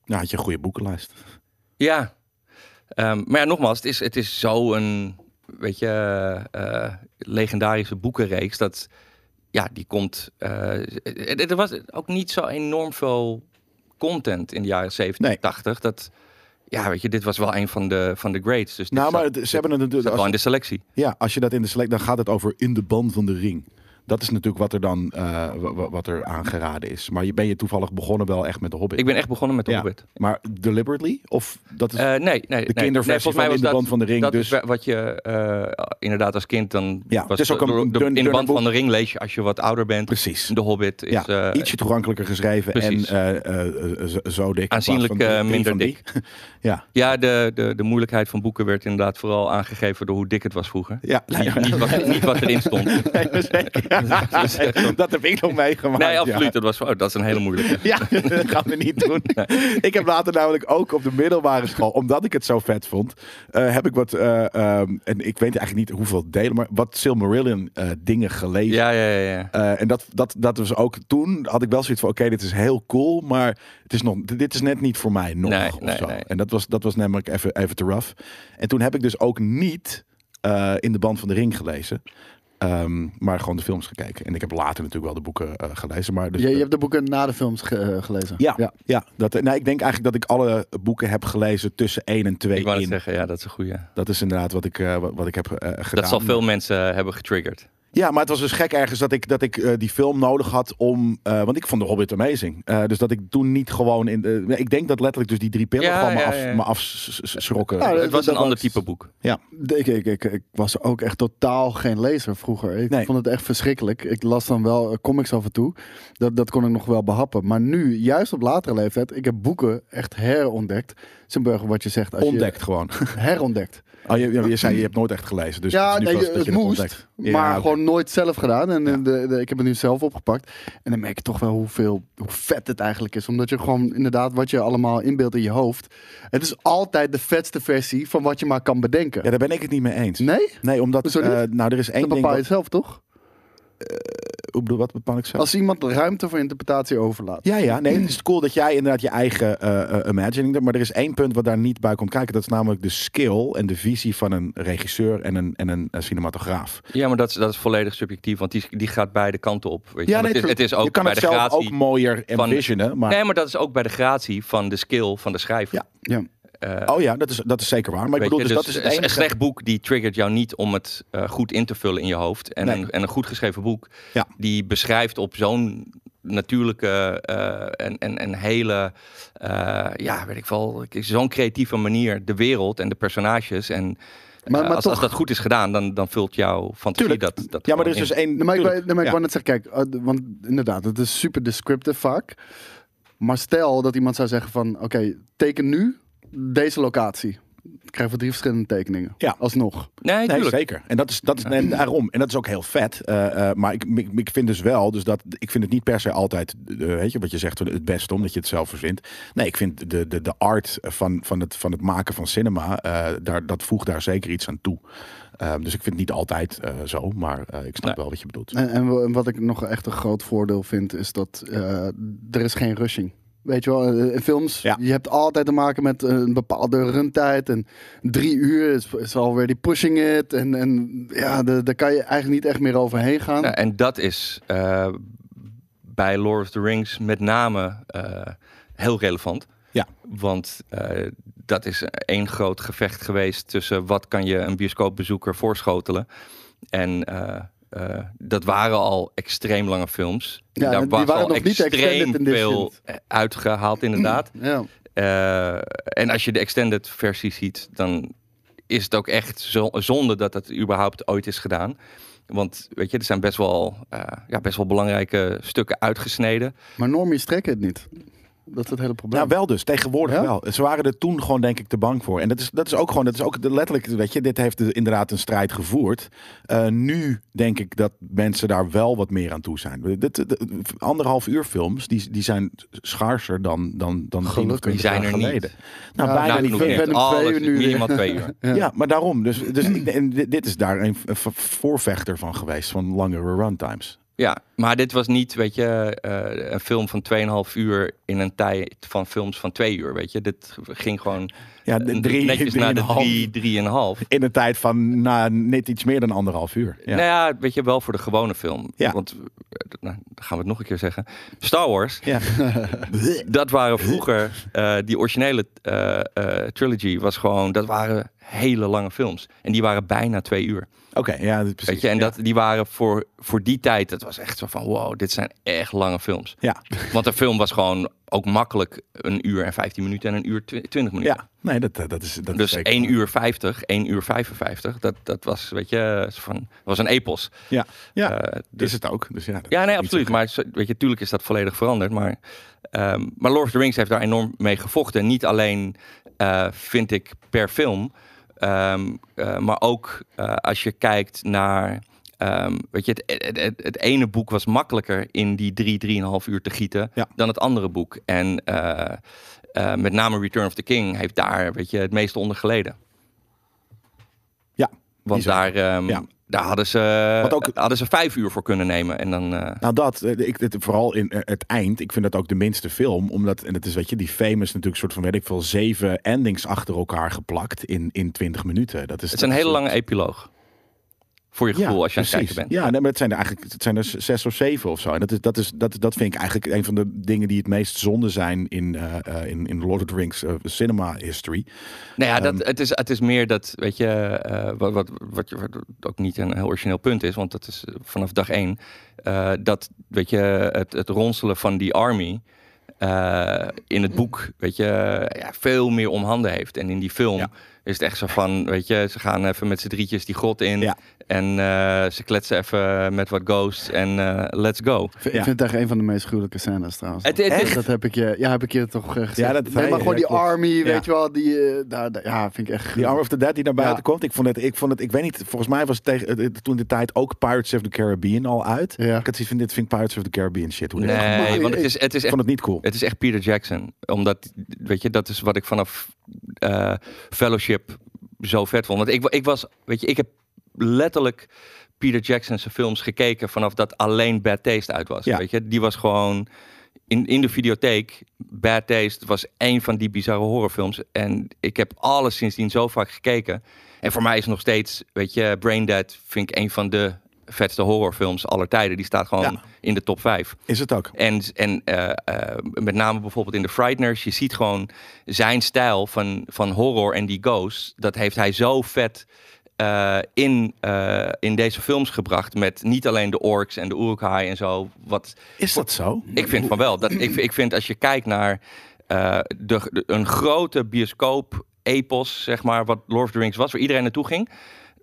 [SPEAKER 2] Nou, had je een goede boekenlijst.
[SPEAKER 4] ja, Ehm, maar ja, nogmaals, het is, het is zo'n, weet je, eh, legendarische boekenreeks. Dat, ja, die komt, eh, er er was ook niet zo enorm veel content in de jaren 70,
[SPEAKER 2] Nee.
[SPEAKER 4] 80. Dat, ja, weet je, dit was wel een van de, van de greats. Dus dit
[SPEAKER 2] Nou,
[SPEAKER 4] zat-
[SPEAKER 2] maar het- ze hebben het
[SPEAKER 4] zat
[SPEAKER 2] natuurlijk...
[SPEAKER 4] wel in de selectie.
[SPEAKER 2] Ja, als je dat in de select, dan gaat het over in de band van de ring. Dat is natuurlijk wat er dan eh, wa- wa- wat er aangeraden is. Maar je, ben je toevallig begonnen wel echt met de Hobbit?
[SPEAKER 4] Ik ben echt begonnen met The
[SPEAKER 2] Ja.
[SPEAKER 4] Hobbit.
[SPEAKER 2] Maar deliberately? Of dat is
[SPEAKER 4] Eh, nee, nee, nee.
[SPEAKER 2] de kinderversie
[SPEAKER 4] nee, volgens mij
[SPEAKER 2] van
[SPEAKER 4] was
[SPEAKER 2] in de
[SPEAKER 4] dat-
[SPEAKER 2] band van de ring?
[SPEAKER 4] Dat
[SPEAKER 2] dus
[SPEAKER 4] is wa- wat je eh, inderdaad als kind dan.
[SPEAKER 2] Ja,
[SPEAKER 4] was
[SPEAKER 2] het is ook
[SPEAKER 4] de-
[SPEAKER 2] een
[SPEAKER 4] door- de-
[SPEAKER 2] dun-
[SPEAKER 4] in de
[SPEAKER 2] dunner
[SPEAKER 4] band
[SPEAKER 2] boek.
[SPEAKER 4] van de ring lees je als je wat ouder bent.
[SPEAKER 2] precies.
[SPEAKER 4] De Hobbit is
[SPEAKER 2] ja,
[SPEAKER 4] eh,
[SPEAKER 2] ietsje toegankelijker geschreven
[SPEAKER 4] precies.
[SPEAKER 2] en eh, eh, eh, zo- zo dik.
[SPEAKER 4] aanzienlijk
[SPEAKER 2] in plaats
[SPEAKER 4] eh,
[SPEAKER 2] van drie
[SPEAKER 4] minder
[SPEAKER 2] van die.
[SPEAKER 4] dik.
[SPEAKER 2] Ja,
[SPEAKER 4] Ja, de, de, de moeilijkheid van boeken werd inderdaad vooral aangegeven door hoe dik het was vroeger.
[SPEAKER 2] ja.
[SPEAKER 4] Niet, niet, wat, niet wat erin stond.
[SPEAKER 2] Nee, zeker. dat heb ik nog meegemaakt.
[SPEAKER 4] Nee,
[SPEAKER 2] ja.
[SPEAKER 4] absoluut. Dat, was, oh, dat is een hele moeilijke.
[SPEAKER 2] Ja, dat gaan we niet doen. Ik heb later namelijk ook op de middelbare school, omdat ik het zo vet vond, eh, heb ik wat, eh, ehm, en ik weet eigenlijk niet hoeveel delen, maar wat Silmarillion eh, dingen gelezen.
[SPEAKER 4] Ja, ja, ja. ja.
[SPEAKER 2] Eh, en dat, dat, dat was ook toen, had ik wel zoiets van, oké, dit is heel cool, maar het is nog, dit is net niet voor mij nog.
[SPEAKER 4] Nee,
[SPEAKER 2] of
[SPEAKER 4] nee,
[SPEAKER 2] zo.
[SPEAKER 4] nee.
[SPEAKER 2] En dat was, dat was namelijk even, even te rough. En toen heb ik dus ook niet eh, In de Band van de Ring gelezen. ehm, maar gewoon de films gekeken. En ik heb later natuurlijk wel de boeken eh, gelezen. Maar dus,
[SPEAKER 3] Je, je
[SPEAKER 2] eh,
[SPEAKER 3] hebt de boeken na de films ge- eh, gelezen.
[SPEAKER 2] ja, ja. dat, nou, ik denk eigenlijk dat ik alle boeken heb gelezen tussen 1 en 2
[SPEAKER 4] Ik wou
[SPEAKER 2] in.
[SPEAKER 4] het zeggen, ja, dat is een goede.
[SPEAKER 2] Dat is inderdaad wat ik, eh, wat, wat ik heb eh, gedaan.
[SPEAKER 4] Dat zal veel mensen eh, hebben getriggerd.
[SPEAKER 2] Ja, maar het was dus gek ergens dat ik, dat ik eh, die film nodig had om... eh, want ik vond The Hobbit amazing. Eh, dus dat ik toen niet gewoon in... de- nee, ik denk dat letterlijk dus die drie pillen
[SPEAKER 4] Ja,
[SPEAKER 2] gewoon me,
[SPEAKER 4] ja,
[SPEAKER 2] af,
[SPEAKER 4] ja.
[SPEAKER 2] me afschrokken.
[SPEAKER 3] Ja,
[SPEAKER 4] het was
[SPEAKER 3] Nou, dat
[SPEAKER 4] een ander
[SPEAKER 3] was-
[SPEAKER 4] type boek.
[SPEAKER 3] Ik, ik, ik, ik was ook echt totaal geen lezer vroeger. Ik
[SPEAKER 2] Nee.
[SPEAKER 3] vond het echt verschrikkelijk. Ik las dan wel eh, comics af en toe. Dat, dat kon ik nog wel behappen. Maar nu, juist op latere leeftijd, ik heb boeken echt herontdekt. Simburger, wat je zegt. Als
[SPEAKER 2] ontdekt gewoon.
[SPEAKER 3] Je herontdekt.
[SPEAKER 2] Oh, je, je, je zei, je hebt nooit echt gelezen. Dus
[SPEAKER 3] ja,
[SPEAKER 2] het is nu
[SPEAKER 3] nee,
[SPEAKER 2] pas
[SPEAKER 3] je-
[SPEAKER 2] dat
[SPEAKER 3] het
[SPEAKER 2] je
[SPEAKER 3] moest.
[SPEAKER 2] ontdekt. Ja,
[SPEAKER 3] maar
[SPEAKER 2] oké.
[SPEAKER 3] gewoon nooit zelf gedaan. En eh,
[SPEAKER 2] Ja.
[SPEAKER 3] de, de- ik heb het nu zelf opgepakt. En dan merk je toch wel hoeveel, hoe vet het eigenlijk is. Omdat je gewoon inderdaad wat je allemaal inbeeldt in je hoofd. Het is altijd de vetste versie van wat je maar kan bedenken.
[SPEAKER 2] Ja, daar ben ik het niet mee eens.
[SPEAKER 3] Nee?
[SPEAKER 2] Nee, omdat...
[SPEAKER 3] Hoezo niet?
[SPEAKER 2] eh, nou, er is één
[SPEAKER 3] Dat
[SPEAKER 2] ding...
[SPEAKER 3] bepaal je
[SPEAKER 2] Wat,
[SPEAKER 3] zelf toch?
[SPEAKER 2] Hoe bedoel- wat bepaal ik zelf?
[SPEAKER 3] Als iemand ruimte voor interpretatie overlaat.
[SPEAKER 2] Ja, ja. Nee, het is cool dat jij inderdaad je eigen eh, eh, imagining hebt. Maar er is één punt wat daar niet bij komt kijken. Dat is namelijk de skill en de visie van een regisseur en een, en een eh, cinematograaf.
[SPEAKER 4] Ja, maar dat is, dat is volledig subjectief, want die, die gaat beide kanten op. Weet je?
[SPEAKER 2] Ja,
[SPEAKER 4] Want
[SPEAKER 2] nee,
[SPEAKER 4] het, is, het is ook
[SPEAKER 2] je kan
[SPEAKER 4] bij
[SPEAKER 2] het
[SPEAKER 4] de
[SPEAKER 2] zelf
[SPEAKER 4] gratie.
[SPEAKER 2] ook mooier
[SPEAKER 4] van-
[SPEAKER 2] envisionen. Maar,
[SPEAKER 4] Nee, maar dat is ook bij de gratie van de skill van de schrijver.
[SPEAKER 2] Ja.
[SPEAKER 3] Ja.
[SPEAKER 4] Eh,
[SPEAKER 2] oh ja, dat is, dat is zeker waar. Maar ik bedoel,
[SPEAKER 4] weet je,
[SPEAKER 2] dus, dat is het
[SPEAKER 4] een-
[SPEAKER 2] enige.
[SPEAKER 4] Een slecht boek die triggert jou niet om het eh, goed in te vullen in je hoofd. En,
[SPEAKER 2] Nee.
[SPEAKER 4] een, en een goed geschreven boek
[SPEAKER 2] Ja.
[SPEAKER 4] die beschrijft op zo'n natuurlijke eh, en, en, en hele, eh, ja, weet ik wel, zo'n creatieve manier de wereld en de personages. En eh,
[SPEAKER 3] Maar- maar
[SPEAKER 4] als,
[SPEAKER 3] toch-
[SPEAKER 4] als dat goed is gedaan, dan, dan vult jouw fantasie
[SPEAKER 2] Tuurlijk.
[SPEAKER 4] dat, dat.
[SPEAKER 2] ja, maar er is
[SPEAKER 4] gewoon
[SPEAKER 2] dus één.
[SPEAKER 3] Nee, maar ik, wou-
[SPEAKER 2] tuurlijk,
[SPEAKER 3] nee, maar ik
[SPEAKER 2] ja.
[SPEAKER 3] wou net zeggen, kijk, eh, d- want inderdaad, het is super descriptive vaak. Maar stel dat iemand zou zeggen van, oké, teken nu deze locatie. Dan krijgen we drie verschillende tekeningen.
[SPEAKER 2] Ja.
[SPEAKER 3] Alsnog.
[SPEAKER 4] in. Nee,
[SPEAKER 2] Nee,
[SPEAKER 4] tuurlijk.
[SPEAKER 2] zeker. En dat is, dat is en daarom. En dat is ook heel vet. Eh, eh, maar ik, ik, ik vind dus wel, dus dat, ik vind het niet per se altijd, eh, weet je, wat je zegt, het beste omdat je het zelf verzint. Nee, ik vind de, de, de art van, van, het, van het maken van cinema, eh, daar, dat voegt daar zeker iets aan toe. Eh, dus ik vind het niet altijd eh, zo, maar eh, ik snap
[SPEAKER 4] Nee.
[SPEAKER 2] wel wat je bedoelt.
[SPEAKER 3] En, en wa- en wat ik nog echt een groot voordeel vind, is dat eh, er is geen rushing. Weet je wel, eh, in films.
[SPEAKER 2] Ja.
[SPEAKER 3] Je hebt altijd te maken met een bepaalde runtijd. En drie uur is, is alweer die pushing it. En, en ja, de- daar kan je eigenlijk niet echt meer overheen gaan.
[SPEAKER 4] Nou, en dat is eh, bij Lord of the Rings met name eh, heel relevant.
[SPEAKER 2] Ja.
[SPEAKER 4] Want eh, dat is één groot gevecht geweest tussen wat kan je een bioscoopbezoeker voorschotelen. En eh, eh, dat waren al extreem lange films.
[SPEAKER 3] Ja, en die waren nog niet
[SPEAKER 4] extreem
[SPEAKER 3] extended
[SPEAKER 4] veel
[SPEAKER 3] editions.
[SPEAKER 4] eh, uitgehaald inderdaad.
[SPEAKER 3] Ja.
[SPEAKER 4] Eh, en als je de extended versie ziet, dan is het ook echt zo- zonde dat dat überhaupt ooit is gedaan. Want weet je, er zijn best wel, eh, ja, best wel belangrijke stukken uitgesneden.
[SPEAKER 3] Maar normies trekken het niet. Dat is het hele probleem.
[SPEAKER 2] Nou, wel dus. Tegenwoordig
[SPEAKER 3] Ja?
[SPEAKER 2] wel. Ze waren er toen gewoon, denk ik, te bang voor. En dat is, dat is ook gewoon, dat is ook de- letterlijk, weet je, dit heeft de- inderdaad een strijd gevoerd. Eh, nu denk ik dat mensen daar wel wat meer aan toe zijn. Dit, dit- anderhalf uur films, die, die zijn schaarser dan, dan, dan
[SPEAKER 3] Gelukkig.
[SPEAKER 4] Die zijn er niet.
[SPEAKER 2] Nou,
[SPEAKER 3] Ja,
[SPEAKER 2] bijna
[SPEAKER 4] Nou,
[SPEAKER 2] niet
[SPEAKER 4] genoeg
[SPEAKER 2] meer.
[SPEAKER 3] ben
[SPEAKER 4] echt.
[SPEAKER 3] hem twee
[SPEAKER 4] Alles,
[SPEAKER 3] uur nu weer.
[SPEAKER 4] minimaal twee uur.
[SPEAKER 2] Ja. maar daarom. Dus, dus ik, en dit dit is daar een v- v- voorvechter van geweest, van langere runtimes.
[SPEAKER 4] Ja, maar dit was niet, weet je, eh, een film van 2,5 uur in een tijd van films van 2 uur, weet je. Dit ging gewoon
[SPEAKER 2] Ja,
[SPEAKER 4] eh,
[SPEAKER 2] de drie,
[SPEAKER 4] netjes naar de
[SPEAKER 2] drieënhalf.
[SPEAKER 4] 3, drie, 3,5.
[SPEAKER 2] In een tijd van nou, net iets meer dan anderhalf uur. Ja.
[SPEAKER 4] Nou ja, weet je, wel voor de gewone film.
[SPEAKER 2] Ja.
[SPEAKER 4] Want, eh, nou, dan gaan we het nog een keer zeggen. Star Wars,
[SPEAKER 2] Ja.
[SPEAKER 4] dat waren vroeger, eh, die originele eh, eh, trilogy was gewoon, dat waren hele lange films. En die waren bijna twee uur.
[SPEAKER 2] Oké, ja, precies.
[SPEAKER 4] Weet je, en
[SPEAKER 2] Ja.
[SPEAKER 4] dat, die waren voor, voor die tijd, dat was echt zo van, wow, dit zijn echt lange films.
[SPEAKER 2] Ja,
[SPEAKER 4] Want een film was gewoon ook makkelijk een uur en 15 minuten en een uur twi- 20 minuten.
[SPEAKER 2] ja. nee, dat, eh, dat is. Dat is
[SPEAKER 4] Dus
[SPEAKER 2] zeker
[SPEAKER 4] 1
[SPEAKER 2] waar.
[SPEAKER 4] uur 50, 1 uur 55, dat, dat was, weet je, zo van, was een epos.
[SPEAKER 2] Ja, ja.
[SPEAKER 4] Eh,
[SPEAKER 2] is het ook. Dus ja, dat
[SPEAKER 4] Ja,
[SPEAKER 2] is
[SPEAKER 4] nee,
[SPEAKER 2] niet
[SPEAKER 4] absoluut.
[SPEAKER 2] zo
[SPEAKER 4] Maar zo- weet je, tuurlijk is dat volledig veranderd. Maar, ehm, maar Lord of the Rings heeft daar enorm mee gevochten. Niet alleen, eh, vind ik, per film. ehm, eh, maar ook eh, als je kijkt naar... ehm, weet je, het, het, het, het ene boek was makkelijker in die drie, drieënhalf uur te gieten...
[SPEAKER 2] Ja.
[SPEAKER 4] dan het andere boek. En eh, eh, met name Return of the King heeft daar weet je, het meeste onder geleden.
[SPEAKER 2] Ja.
[SPEAKER 4] Want
[SPEAKER 2] die zijn-
[SPEAKER 4] daar, ehm,
[SPEAKER 2] Ja.
[SPEAKER 4] daar hadden, ze,
[SPEAKER 2] Wat ook-
[SPEAKER 4] hadden ze vijf uur voor kunnen nemen. En dan... eh,
[SPEAKER 2] Nou, dat, eh, ik, het, vooral in eh, het eind, ik vind dat ook de minste film. Omdat, en dat is, weet je, die famous natuurlijk soort van, weet ik veel, zeven endings achter elkaar geplakt in, in 20 minuten. Dat is,
[SPEAKER 4] Het is een
[SPEAKER 2] dat
[SPEAKER 4] hele
[SPEAKER 2] is-
[SPEAKER 4] lange epiloog. Voor je gevoel als je aan het kijken
[SPEAKER 2] precies.
[SPEAKER 4] bent.
[SPEAKER 2] Ja, nee, maar het zijn er eigenlijk het zijn er z- zes of zeven of zo. En dat, is, dat, is, dat, dat vind ik eigenlijk een van de dingen die het meest zonde zijn in, eh, eh, in, in Lord of the Rings eh, cinema history.
[SPEAKER 4] Nou ja,
[SPEAKER 2] Ehm.
[SPEAKER 4] dat, het, is, het is meer dat, weet je, eh, wat, wat, wat, je- wat ook niet een heel origineel punt is, want dat is eh, vanaf dag één, eh, dat, weet je, het, het ronselen van die army eh, in het boek, weet je, ja, veel meer om handen heeft. En in die film
[SPEAKER 2] Ja.
[SPEAKER 4] is het echt zo van, weet je, ze gaan even met z'n drietjes die grot in
[SPEAKER 2] Ja.
[SPEAKER 4] en eh, ze kletsen even met wat ghosts en eh, let's go.
[SPEAKER 3] Ik vind- Ik
[SPEAKER 2] Ja.
[SPEAKER 3] vind het echt een van de meest gruwelijke scènes trouwens.
[SPEAKER 4] Het- het-
[SPEAKER 3] Dat heb ik je, ja, heb ik je toch eh, gezegd.
[SPEAKER 2] Ja, dat zei
[SPEAKER 3] nee,
[SPEAKER 2] je,
[SPEAKER 3] maar gewoon
[SPEAKER 2] ja,
[SPEAKER 3] die
[SPEAKER 2] klopt.
[SPEAKER 3] army,
[SPEAKER 2] Ja.
[SPEAKER 3] weet je wel. Die, eh, daar, daar- ja, vind ik echt
[SPEAKER 2] Die
[SPEAKER 3] gruwelijk.
[SPEAKER 2] Arm of the Dead die naar buiten
[SPEAKER 3] Ja.
[SPEAKER 2] komt. Ik vond, het, ik vond het, ik weet niet, volgens mij was het tegen, eh, eh, toen de tijd ook Pirates of the Caribbean al uit.
[SPEAKER 3] Ja.
[SPEAKER 2] Ik had zoiets van, dit vind ik Pirates of the Caribbean shit. Hoe dit is gemaakt.
[SPEAKER 4] Nee, want het is, het is
[SPEAKER 2] Ik
[SPEAKER 4] echt
[SPEAKER 2] vond het niet cool.
[SPEAKER 4] Het is echt Peter Jackson. Omdat, weet je, dat is wat ik vanaf eh, Fellowship zo vet vond. Want ik, wa- ik was, weet je, ik heb letterlijk Peter Jackson's films gekeken vanaf dat alleen Bad Taste uit was.
[SPEAKER 2] Ja.
[SPEAKER 4] Weet je, die was gewoon in, in de videotheek. Bad Taste was één van die bizarre horrorfilms. En ik heb alles sindsdien zo vaak gekeken. En voor mij is nog steeds, weet je, Braindead vind ik een van de vetste horrorfilms aller tijden. Die staat gewoon
[SPEAKER 2] Ja.
[SPEAKER 4] in de top 5.
[SPEAKER 2] Is het ook.
[SPEAKER 4] En, en eh, eh, met name bijvoorbeeld in The Frighteners, je ziet gewoon zijn stijl van, van horror en die ghosts. Dat heeft hij zo vet eh, in, eh, in deze films gebracht. Met niet alleen de orks en de urukhai en zo. Wat,
[SPEAKER 2] Is dat zo?
[SPEAKER 4] ik vind van wel. Dat, ik, ik vind als je kijkt naar eh, de, de- een grote bioscoop epos, zeg maar, wat Lord of the Rings was, waar iedereen naartoe ging,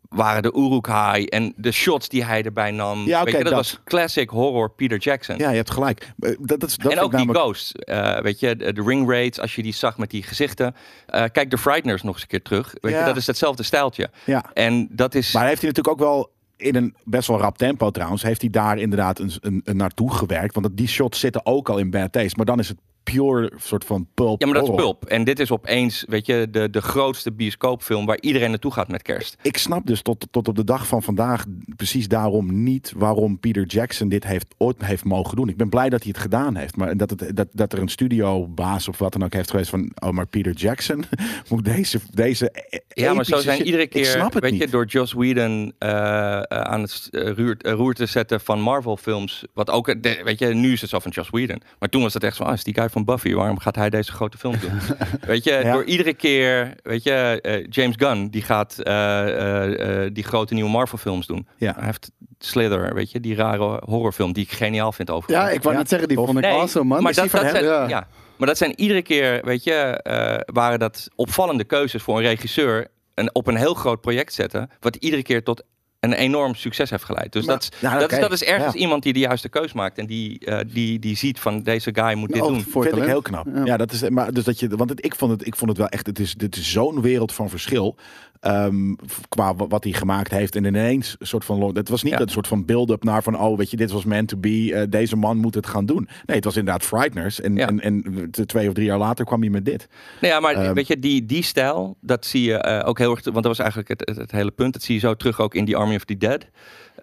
[SPEAKER 4] waren de Uruk-hai en de shots die hij erbij
[SPEAKER 2] Ja,
[SPEAKER 4] nam. Weet
[SPEAKER 2] oké,
[SPEAKER 4] je, dat,
[SPEAKER 2] dat.
[SPEAKER 4] was classic horror Peter Jackson.
[SPEAKER 2] Ja, je hebt gelijk. Eh, Dat, dat, is- dat vind
[SPEAKER 4] en ook
[SPEAKER 2] ik namelijk...
[SPEAKER 4] die ghosts, eh, weet je, de de ring raids, als je die zag met die gezichten. Eh, kijk de Frighteners nog eens een keer terug. Weet
[SPEAKER 2] Ja.
[SPEAKER 4] je, dat is hetzelfde stijltje.
[SPEAKER 2] Ja.
[SPEAKER 4] En dat is...
[SPEAKER 2] Maar heeft hij natuurlijk ook wel in een best wel rap tempo trouwens, heeft hij daar inderdaad een, een, een naartoe gewerkt. Want dat- die shots zitten ook al in Bad Taste. Maar dan is het pure soort van pulp.
[SPEAKER 4] Ja, maar dat is
[SPEAKER 2] horror.
[SPEAKER 4] pulp. En dit is opeens, weet je, de, de grootste bioscoopfilm waar iedereen naartoe gaat met kerst.
[SPEAKER 2] Ik snap dus tot, tot op de dag van vandaag precies daarom niet waarom Peter Jackson dit heeft, ooit heeft mogen doen. Ik ben blij dat hij het gedaan heeft. Maar dat, het, dat, dat er een studiobaas of wat dan ook heeft geweest van... Oh, maar Peter Jackson moet deze... deze
[SPEAKER 4] Ja, maar zo
[SPEAKER 2] epische
[SPEAKER 4] zijn
[SPEAKER 2] shit-
[SPEAKER 4] iedere keer,
[SPEAKER 2] dus Ik snap het
[SPEAKER 4] weet
[SPEAKER 2] niet.
[SPEAKER 4] je, door Joss Whedon eh, eh, aan het st- eh, ruurt- eh, roer te zetten van Marvel-films. Wat ook, eh, de- weet je, nu is het zo van Joss Whedon. Maar toen was het echt zo, ah, is die guy van Buffy, waarom gaat hij deze grote film doen? weet je,
[SPEAKER 2] Ja.
[SPEAKER 4] door iedere keer, weet je, eh, James Gunn, die gaat eh, eh, eh, die grote nieuwe Marvel-films doen.
[SPEAKER 2] Ja.
[SPEAKER 4] Hij heeft Slither, weet je, die rare horrorfilm die ik geniaal vind overigens.
[SPEAKER 3] Ja, ik wou
[SPEAKER 2] Ja,
[SPEAKER 3] net zeggen, die
[SPEAKER 2] tof.
[SPEAKER 3] vond ik awesome, man.
[SPEAKER 4] Maar
[SPEAKER 3] Is die
[SPEAKER 4] dat, dat
[SPEAKER 3] van
[SPEAKER 4] zijn,
[SPEAKER 3] hem?
[SPEAKER 4] ja. maar dat zijn iedere keer, weet je, eh, waren dat opvallende keuzes voor een regisseur. Een, op een heel groot project zetten, wat iedere keer tot een enorm succes heeft geleid. Dus
[SPEAKER 2] Maar-
[SPEAKER 4] dat, is,
[SPEAKER 2] nou,
[SPEAKER 4] dat, is,
[SPEAKER 2] oké,
[SPEAKER 4] dat is ergens
[SPEAKER 2] ja.
[SPEAKER 4] iemand die de juiste keus maakt. En die, eh, die, die ziet van deze guy moet dit
[SPEAKER 3] Oog
[SPEAKER 4] doen.
[SPEAKER 3] voor
[SPEAKER 2] Vind ik heel
[SPEAKER 3] talent.
[SPEAKER 2] knap.
[SPEAKER 3] Ja.
[SPEAKER 2] Ja, dat is. Maar dus dat je, want het, ik vond het, ik vond het wel echt. Het is, dit is zo'n wereld van verschil. ehm, f- qua wa- wat hij gemaakt heeft en ineens een soort van. lo- Het was niet
[SPEAKER 4] Ja.
[SPEAKER 2] dat soort van build-up naar van oh, weet je, dit was meant to be. eh, deze man moet het gaan doen. Nee, het was inderdaad Frighteners en,
[SPEAKER 4] Ja.
[SPEAKER 2] en, en t- twee of drie jaar later kwam hij met dit.
[SPEAKER 4] Nou ja, maar
[SPEAKER 3] Ehm.
[SPEAKER 4] weet je, die, die stijl, dat zie je eh, ook heel erg. Want dat was eigenlijk het, het, het hele punt. Dat zie je zo terug ook in die Army of the Dead.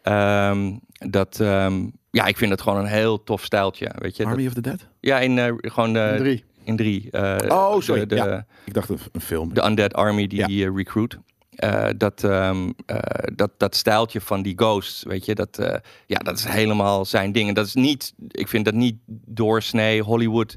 [SPEAKER 4] Ehm, dat, ehm, ja, ik vind het gewoon een heel tof stijltje. Weet je, Dat-
[SPEAKER 2] Army of the Dead.
[SPEAKER 4] ja, in eh, gewoon eh,
[SPEAKER 3] In drie.
[SPEAKER 4] in drie. eh,
[SPEAKER 2] Oh, sorry,
[SPEAKER 4] De, de,
[SPEAKER 2] ja. Ik dacht een, een film.
[SPEAKER 4] de Undead Army die
[SPEAKER 2] Ja.
[SPEAKER 4] die eh, recruit. Eh, dat, ehm, eh, dat, dat stijltje van die ghosts, weet je, dat, eh, ja, dat is helemaal zijn ding. En dat is niet, ik vind dat niet doorsnee Hollywood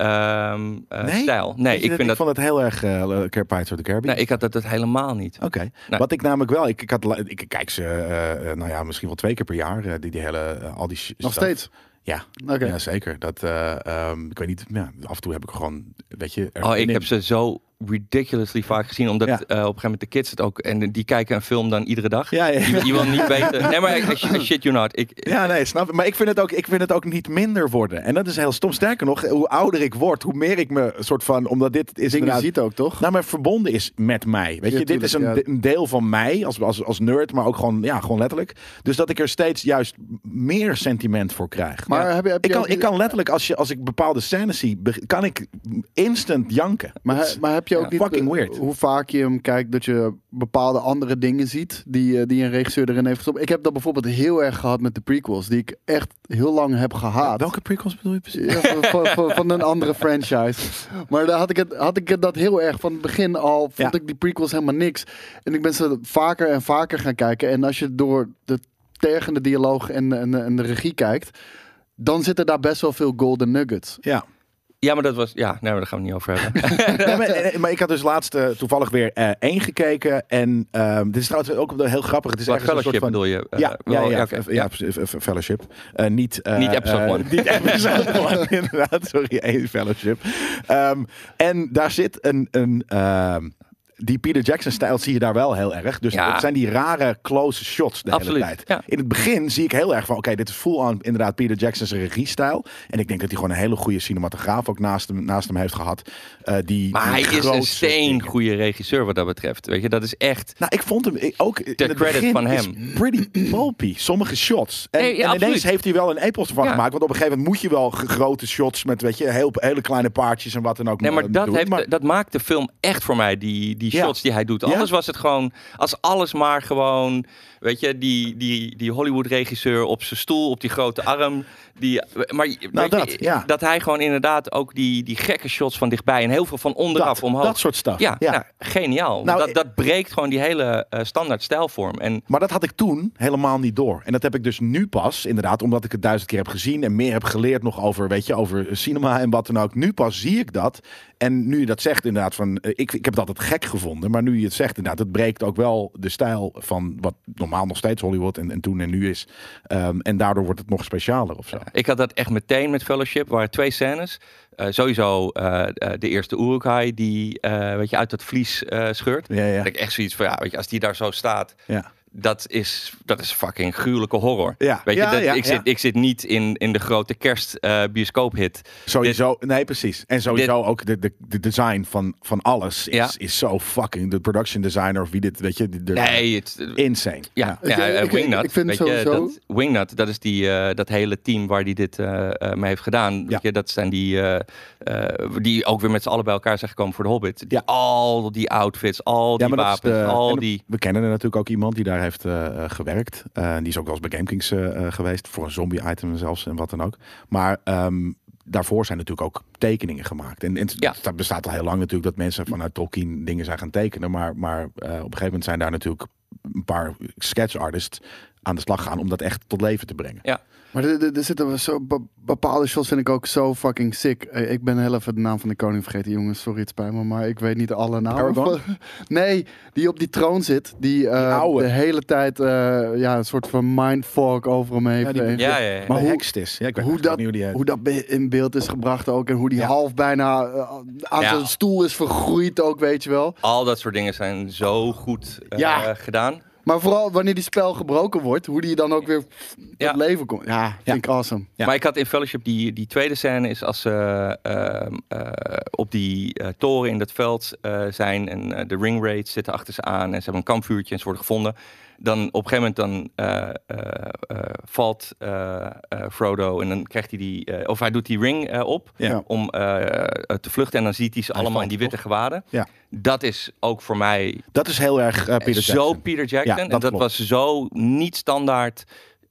[SPEAKER 4] ehm, eh,
[SPEAKER 2] Nee?
[SPEAKER 4] stijl.
[SPEAKER 2] Weet
[SPEAKER 4] Nee,
[SPEAKER 2] je
[SPEAKER 4] ik vind dat,
[SPEAKER 2] vond het heel erg eh Pirates of the Caribbean.
[SPEAKER 4] nee, ik had dat, dat helemaal niet.
[SPEAKER 2] Oké.
[SPEAKER 4] Nee.
[SPEAKER 2] Wat ik namelijk wel, ik, ik, had, la- ik kijk ze, eh, eh, nou ja, misschien wel twee keer per jaar. eh, die, die hele, eh, al die sh-
[SPEAKER 3] Nog
[SPEAKER 2] stuff.
[SPEAKER 3] steeds?
[SPEAKER 2] Ja.
[SPEAKER 3] Oké.
[SPEAKER 2] Ja, zeker. Dat, eh, ehm, ik weet niet, ja, af en toe heb ik gewoon, weet je... er
[SPEAKER 4] Oh,
[SPEAKER 2] zin
[SPEAKER 4] ik
[SPEAKER 2] in.
[SPEAKER 4] heb ze zo ridiculously vaak gezien, omdat
[SPEAKER 2] Ja.
[SPEAKER 4] eh, op een gegeven moment de kids het ook, en die kijken een film dan iedere dag.
[SPEAKER 2] Ja, ja.
[SPEAKER 4] Je, je wil niet weten. Nee, maar ik, I shit you not. Ik,
[SPEAKER 2] Ja, nee, snap ik. Maar ik vind, het ook, ik vind het ook niet minder worden. En dat is heel stom. Sterker nog, hoe ouder ik word, hoe meer ik me soort van... Omdat dit is
[SPEAKER 3] Dingen
[SPEAKER 2] inderdaad...
[SPEAKER 3] ziet ook, toch?
[SPEAKER 2] Nou, maar verbonden is met mij. Weet
[SPEAKER 3] Ja,
[SPEAKER 2] je, dit
[SPEAKER 3] tuurlijk,
[SPEAKER 2] is een,
[SPEAKER 3] ja.
[SPEAKER 2] de- een deel van mij als, als, als nerd, maar ook gewoon, ja, gewoon letterlijk. Dus dat ik er steeds juist meer sentiment voor krijg.
[SPEAKER 3] Maar
[SPEAKER 2] Ja.
[SPEAKER 3] heb je- heb
[SPEAKER 2] ik,
[SPEAKER 3] je
[SPEAKER 2] kan,
[SPEAKER 3] ook
[SPEAKER 2] ik
[SPEAKER 3] niet-
[SPEAKER 2] kan letterlijk, als, je, als ik bepaalde scènes zie, be- kan ik instant janken.
[SPEAKER 3] Maar,
[SPEAKER 2] Dat is-
[SPEAKER 3] he- maar heb je ook
[SPEAKER 2] ja,
[SPEAKER 3] niet
[SPEAKER 2] fucking
[SPEAKER 3] eh,
[SPEAKER 2] weird.
[SPEAKER 3] hoe vaak je hem kijkt dat je bepaalde andere dingen ziet die, eh, die een regisseur erin heeft gestopt? Ik heb dat bijvoorbeeld heel erg gehad met de prequels, die ik echt heel lang heb gehaat.
[SPEAKER 2] Welke prequels bedoel je precies?
[SPEAKER 3] Ja, van, van- van- van een andere franchise. Maar daar had ik, het, had ik het dat heel erg. Van het begin al
[SPEAKER 2] Ja.
[SPEAKER 3] vond ik die prequels helemaal niks. En ik ben ze vaker en vaker gaan kijken. En als je door de tergende dialoog en, en, en de regie kijkt, dan zitten daar best wel veel golden nuggets.
[SPEAKER 2] Ja.
[SPEAKER 4] Ja, maar dat was. Ja, nee, maar daar gaan we het niet over hebben.
[SPEAKER 2] Nee, maar, eh, maar ik had dus laatst eh, toevallig weer eh, één gekeken. En ehm, dit is trouwens ook heel grappig. Het is
[SPEAKER 4] Wat
[SPEAKER 2] ergens een soort
[SPEAKER 4] fellowship
[SPEAKER 2] van...
[SPEAKER 4] bedoel je? Eh,
[SPEAKER 2] ja, ja,
[SPEAKER 4] wel,
[SPEAKER 2] ja,
[SPEAKER 4] oké.
[SPEAKER 2] f- ja, f- f- fellowship. Eh, niet, eh,
[SPEAKER 4] Niet episode
[SPEAKER 2] eh,
[SPEAKER 4] one.
[SPEAKER 2] niet episode one, inderdaad. Sorry, één fellowship. Ehm, en daar zit een... een ehm, die Peter Jackson-stijl zie je daar wel heel erg. Dus
[SPEAKER 4] Ja.
[SPEAKER 2] het zijn die rare close shots de
[SPEAKER 4] Absoluut,
[SPEAKER 2] hele tijd.
[SPEAKER 4] ja.
[SPEAKER 2] In het begin zie ik heel erg van... oké, dit is full-on inderdaad Peter Jackson's regiestijl. En ik denk dat hij gewoon een hele goede cinematograaf... ook naast hem, naast hem heeft gehad. eh, die,
[SPEAKER 4] Maar
[SPEAKER 2] die
[SPEAKER 4] hij is
[SPEAKER 2] grootse
[SPEAKER 4] een steen
[SPEAKER 2] dingen.
[SPEAKER 4] goede regisseur wat dat betreft. Weet je, dat is echt.
[SPEAKER 2] Nou, ik vond hem ik- ook in het
[SPEAKER 4] credit
[SPEAKER 2] begin
[SPEAKER 4] van
[SPEAKER 2] is
[SPEAKER 4] hem.
[SPEAKER 2] pretty pulpy. Sommige shots. En,
[SPEAKER 4] Nee, ja,
[SPEAKER 2] en ineens
[SPEAKER 4] absoluut.
[SPEAKER 2] heeft hij wel een epos ervan
[SPEAKER 4] Ja.
[SPEAKER 2] gemaakt. Want op een gegeven moment moet je wel g- grote shots met weet je, heel, hele kleine paardjes en wat dan ook.
[SPEAKER 4] Nee, maar
[SPEAKER 2] eh,
[SPEAKER 4] dat,
[SPEAKER 2] doen.
[SPEAKER 4] heeft,
[SPEAKER 2] Maar-
[SPEAKER 4] dat maakt de film echt voor mij, die, die
[SPEAKER 2] Ja.
[SPEAKER 4] shots die hij doet.
[SPEAKER 2] Ja.
[SPEAKER 4] Anders was het gewoon, als alles maar gewoon, weet je, die, die, die Hollywood-regisseur op zijn stoel, op die grote arm. Die, maar weet je,
[SPEAKER 2] Nou, dat, ja.
[SPEAKER 4] dat hij gewoon inderdaad ook die, die gekke shots van dichtbij en heel veel van onderaf
[SPEAKER 2] dat,
[SPEAKER 4] omhoog.
[SPEAKER 2] dat soort stuff.
[SPEAKER 4] ja,
[SPEAKER 2] ja.
[SPEAKER 4] nou, geniaal.
[SPEAKER 2] Nou,
[SPEAKER 4] dat, dat breekt gewoon die hele eh, standaard stijlvorm. En
[SPEAKER 2] Maar dat had ik toen helemaal niet door. En dat heb ik dus nu pas, inderdaad, omdat ik het duizend keer heb gezien en meer heb geleerd nog over, weet je, over cinema en wat dan ook. Nu pas zie ik dat. En nu je dat zegt, inderdaad, van eh, ik, ik heb dat het gek gevonden. Maar nu je het zegt, inderdaad, het breekt ook wel de stijl van wat normaal nog steeds Hollywood en, en toen en nu is. Ehm, en daardoor wordt het nog specialer of zo.
[SPEAKER 4] Ik had dat echt meteen met Fellowship. Er waren twee scènes. Eh, sowieso eh, eh, de eerste Urukai die eh, weet je, uit dat vlies eh, scheurt.
[SPEAKER 2] Ja, ja.
[SPEAKER 4] Dat ik echt zoiets van, ja, weet je, als die daar zo staat,
[SPEAKER 2] Ja.
[SPEAKER 4] dat is, dat is fucking gruwelijke horror.
[SPEAKER 2] Ja.
[SPEAKER 4] Weet je,
[SPEAKER 2] Ja,
[SPEAKER 4] dat,
[SPEAKER 2] ja,
[SPEAKER 4] ik,
[SPEAKER 2] ja.
[SPEAKER 4] Zit, ik zit niet in, in de grote kerst eh, bioscoophit.
[SPEAKER 2] Sowieso, nee, precies. En sowieso ook de, de, de design van, van alles is,
[SPEAKER 4] Ja.
[SPEAKER 2] is zo fucking. De production designer of wie dit, weet je, de, de-
[SPEAKER 4] Nee, het,
[SPEAKER 2] insane.
[SPEAKER 4] ja,
[SPEAKER 3] Ik-
[SPEAKER 4] ja, eh,
[SPEAKER 3] ik-
[SPEAKER 4] Wingnut.
[SPEAKER 3] ik vind
[SPEAKER 4] weet je,
[SPEAKER 3] sowieso-
[SPEAKER 4] dat, Wingnut, dat is die, eh, dat hele team waar die dit eh, eh, mee heeft gedaan. Weet je, dat zijn die, eh, eh, die ook weer met z'n allen bij elkaar zijn gekomen voor de Hobbit. Die-
[SPEAKER 2] Ja.
[SPEAKER 4] Al die outfits, al die
[SPEAKER 2] dat is
[SPEAKER 4] wapens,
[SPEAKER 2] de- en
[SPEAKER 4] al
[SPEAKER 2] de-
[SPEAKER 4] die...
[SPEAKER 2] We kennen er natuurlijk ook iemand die daar heeft eh, eh, gewerkt. Eh, die is ook wel eens bij GameKings eh, eh, geweest. Voor een zombie-item zelfs en wat dan ook. Maar ehm, daarvoor zijn natuurlijk ook tekeningen gemaakt. En, en het-
[SPEAKER 4] Ja.
[SPEAKER 2] dat bestaat al heel lang natuurlijk dat mensen vanuit Tolkien dingen zijn gaan tekenen. Maar, maar eh, op een gegeven moment zijn daar natuurlijk een paar sketch artists aan de slag gaan om dat echt tot leven te brengen.
[SPEAKER 4] Ja.
[SPEAKER 3] Maar er, er- er zitten wel zo be- bepaalde shots vind ik ook zo fucking sick. Eh, Ik ben heel even de naam van de koning vergeten, jongens. Sorry, het spijt me, maar ik weet niet alle namen.
[SPEAKER 2] Aragorn?
[SPEAKER 3] van- Nee, die op die troon zit. Die, eh,
[SPEAKER 2] oude.
[SPEAKER 3] de hele tijd eh, ja, een soort van mindfog over hem heeft.
[SPEAKER 2] Ja, die-
[SPEAKER 3] En-
[SPEAKER 4] Ja, ja, ja.
[SPEAKER 2] Maar
[SPEAKER 3] hoe-
[SPEAKER 2] hoe is? Ja, ik weet
[SPEAKER 3] hoe
[SPEAKER 2] eigenlijk
[SPEAKER 3] dat,
[SPEAKER 2] niet hoe die heet.
[SPEAKER 3] hoe dat be- in beeld is gebracht ook. En hoe die
[SPEAKER 2] Ja.
[SPEAKER 3] half bijna eh, aan
[SPEAKER 4] Ja.
[SPEAKER 3] zijn stoel is vergroeid ook, weet je wel.
[SPEAKER 4] Al dat soort dingen zijn zo goed eh,
[SPEAKER 3] Ja.
[SPEAKER 4] gedaan.
[SPEAKER 3] Maar vooral wanneer die spel gebroken wordt, hoe die dan ook weer tot
[SPEAKER 4] Ja.
[SPEAKER 3] leven komt. Ja, vind
[SPEAKER 2] Ja.
[SPEAKER 3] ik awesome.
[SPEAKER 2] Ja.
[SPEAKER 4] Maar ik had in Fellowship die, die tweede scène is als ze ehm, eh, op die eh, toren in dat veld eh, zijn en eh, de ring raids zitten achter ze aan en ze hebben een kampvuurtje en ze worden gevonden. Dan op een gegeven moment dan, eh, eh, eh, valt eh, eh, Frodo en dan krijgt hij die, eh, of hij doet die ring eh, op
[SPEAKER 2] Ja.
[SPEAKER 4] om eh, eh, te vluchten en dan ziet hij ze allemaal
[SPEAKER 2] valt,
[SPEAKER 4] in die witte gewaden.
[SPEAKER 2] Ja.
[SPEAKER 4] Dat is ook voor mij
[SPEAKER 2] Dat is heel erg eh, Peter
[SPEAKER 4] zo
[SPEAKER 2] Jackson.
[SPEAKER 4] Peter Jackson.
[SPEAKER 2] Ja,
[SPEAKER 4] en
[SPEAKER 2] dat
[SPEAKER 4] dat
[SPEAKER 2] klopt.
[SPEAKER 4] was zo niet standaard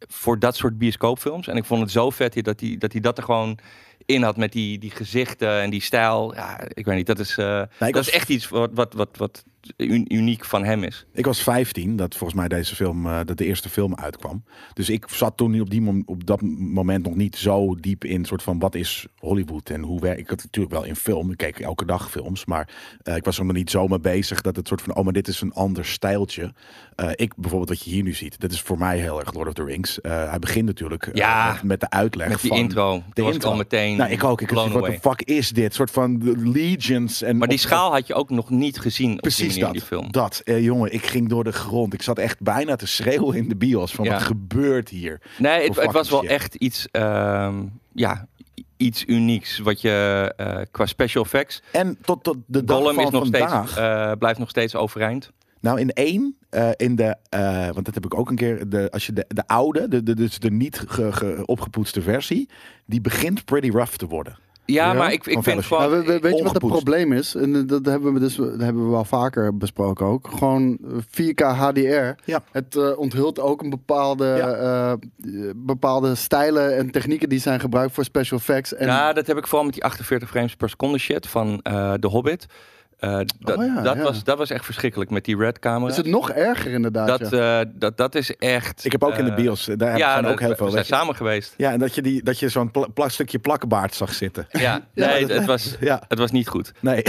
[SPEAKER 4] voor dat soort bioscoopfilms. En ik vond het zo vet hier dat hij dat, hij dat er gewoon in had met die, die gezichten en die stijl. Ja, ik weet niet, dat is, eh, dat
[SPEAKER 2] was-
[SPEAKER 4] is echt iets wat, wat, wat, wat un- uniek van hem is.
[SPEAKER 2] Ik was 15 dat volgens mij deze film, eh, dat de eerste film uitkwam. Dus ik zat toen op, die mom- op dat moment nog niet zo diep in soort van wat is Hollywood en hoe werkt. Ik had natuurlijk wel in film, ik keek elke dag films, maar eh, ik was er nog niet zo mee bezig dat het soort van, oh maar dit is een ander stijltje. Eh, ik bijvoorbeeld wat je hier nu ziet, dat is voor mij heel erg Lord of the Rings. Eh, hij begint natuurlijk eh,
[SPEAKER 4] Ja.
[SPEAKER 2] met, met de uitleg
[SPEAKER 4] Met die
[SPEAKER 2] van
[SPEAKER 4] intro. Toen was ik al meteen
[SPEAKER 2] Nou, ik ook. Ik dacht,
[SPEAKER 4] blown
[SPEAKER 2] wat de
[SPEAKER 4] away.
[SPEAKER 2] fuck is dit? soort van de legions en
[SPEAKER 4] Maar die
[SPEAKER 2] op-
[SPEAKER 4] schaal had je ook nog niet gezien op die,
[SPEAKER 2] Precies
[SPEAKER 4] manier in
[SPEAKER 2] dat.
[SPEAKER 4] die film.
[SPEAKER 2] Dat, eh, jongen, ik ging door de grond. Ik zat echt bijna te schreeuwen in de bios van
[SPEAKER 4] Ja.
[SPEAKER 2] wat gebeurt hier.
[SPEAKER 4] Nee,
[SPEAKER 2] Voor
[SPEAKER 4] het, het was wel
[SPEAKER 2] fucking shit.
[SPEAKER 4] echt iets, ehm, ja, iets unieks. Wat je eh, qua special effects.
[SPEAKER 2] En tot, tot de dag
[SPEAKER 4] Gollum
[SPEAKER 2] van
[SPEAKER 4] is nog
[SPEAKER 2] vandaag.
[SPEAKER 4] steeds, eh, blijft nog steeds overeind.
[SPEAKER 2] Nou, in één, eh, in de, eh, want dat heb ik ook een keer, de, als je de, de oude, de, de, dus de niet ge- ge- opgepoetste versie, die begint pretty rough te worden.
[SPEAKER 4] Ja,
[SPEAKER 3] Ja,
[SPEAKER 4] maar ik,
[SPEAKER 2] van
[SPEAKER 4] ik vind
[SPEAKER 2] Fellowship.
[SPEAKER 4] gewoon...
[SPEAKER 3] Maar we- we- weet je wat het
[SPEAKER 2] ongepoetst.
[SPEAKER 3] probleem is? En eh, dat hebben we dus dat hebben we wel vaker besproken ook. Gewoon eh, 4K HDR.
[SPEAKER 2] Ja.
[SPEAKER 3] Het eh, onthult ook een bepaalde,
[SPEAKER 2] Ja.
[SPEAKER 3] eh, eh, bepaalde stijlen en technieken die zijn gebruikt voor special effects. En
[SPEAKER 4] Ja, dat heb ik vooral met die 48 frames per seconde shit van eh The Hobbit. Eh, dat,
[SPEAKER 2] Oh
[SPEAKER 3] ja,
[SPEAKER 4] dat,
[SPEAKER 3] ja.
[SPEAKER 4] Was, dat was echt verschrikkelijk met die red camera.
[SPEAKER 3] is het nog erger inderdaad.
[SPEAKER 4] dat,
[SPEAKER 3] ja.
[SPEAKER 4] eh, dat, dat is echt...
[SPEAKER 2] Ik heb ook in de
[SPEAKER 4] eh,
[SPEAKER 2] bios, daar heb ik
[SPEAKER 4] ja,
[SPEAKER 2] gewoon
[SPEAKER 4] dat-
[SPEAKER 2] ook heel
[SPEAKER 4] we
[SPEAKER 2] veel.
[SPEAKER 4] zijn
[SPEAKER 2] Weet je.
[SPEAKER 4] samen geweest.
[SPEAKER 2] Ja, en dat je, die, dat je zo'n pla- pla- stukje plakbaard zag zitten.
[SPEAKER 4] Ja, nee, het, het was,
[SPEAKER 2] Ja,
[SPEAKER 4] het was niet goed.
[SPEAKER 2] nee.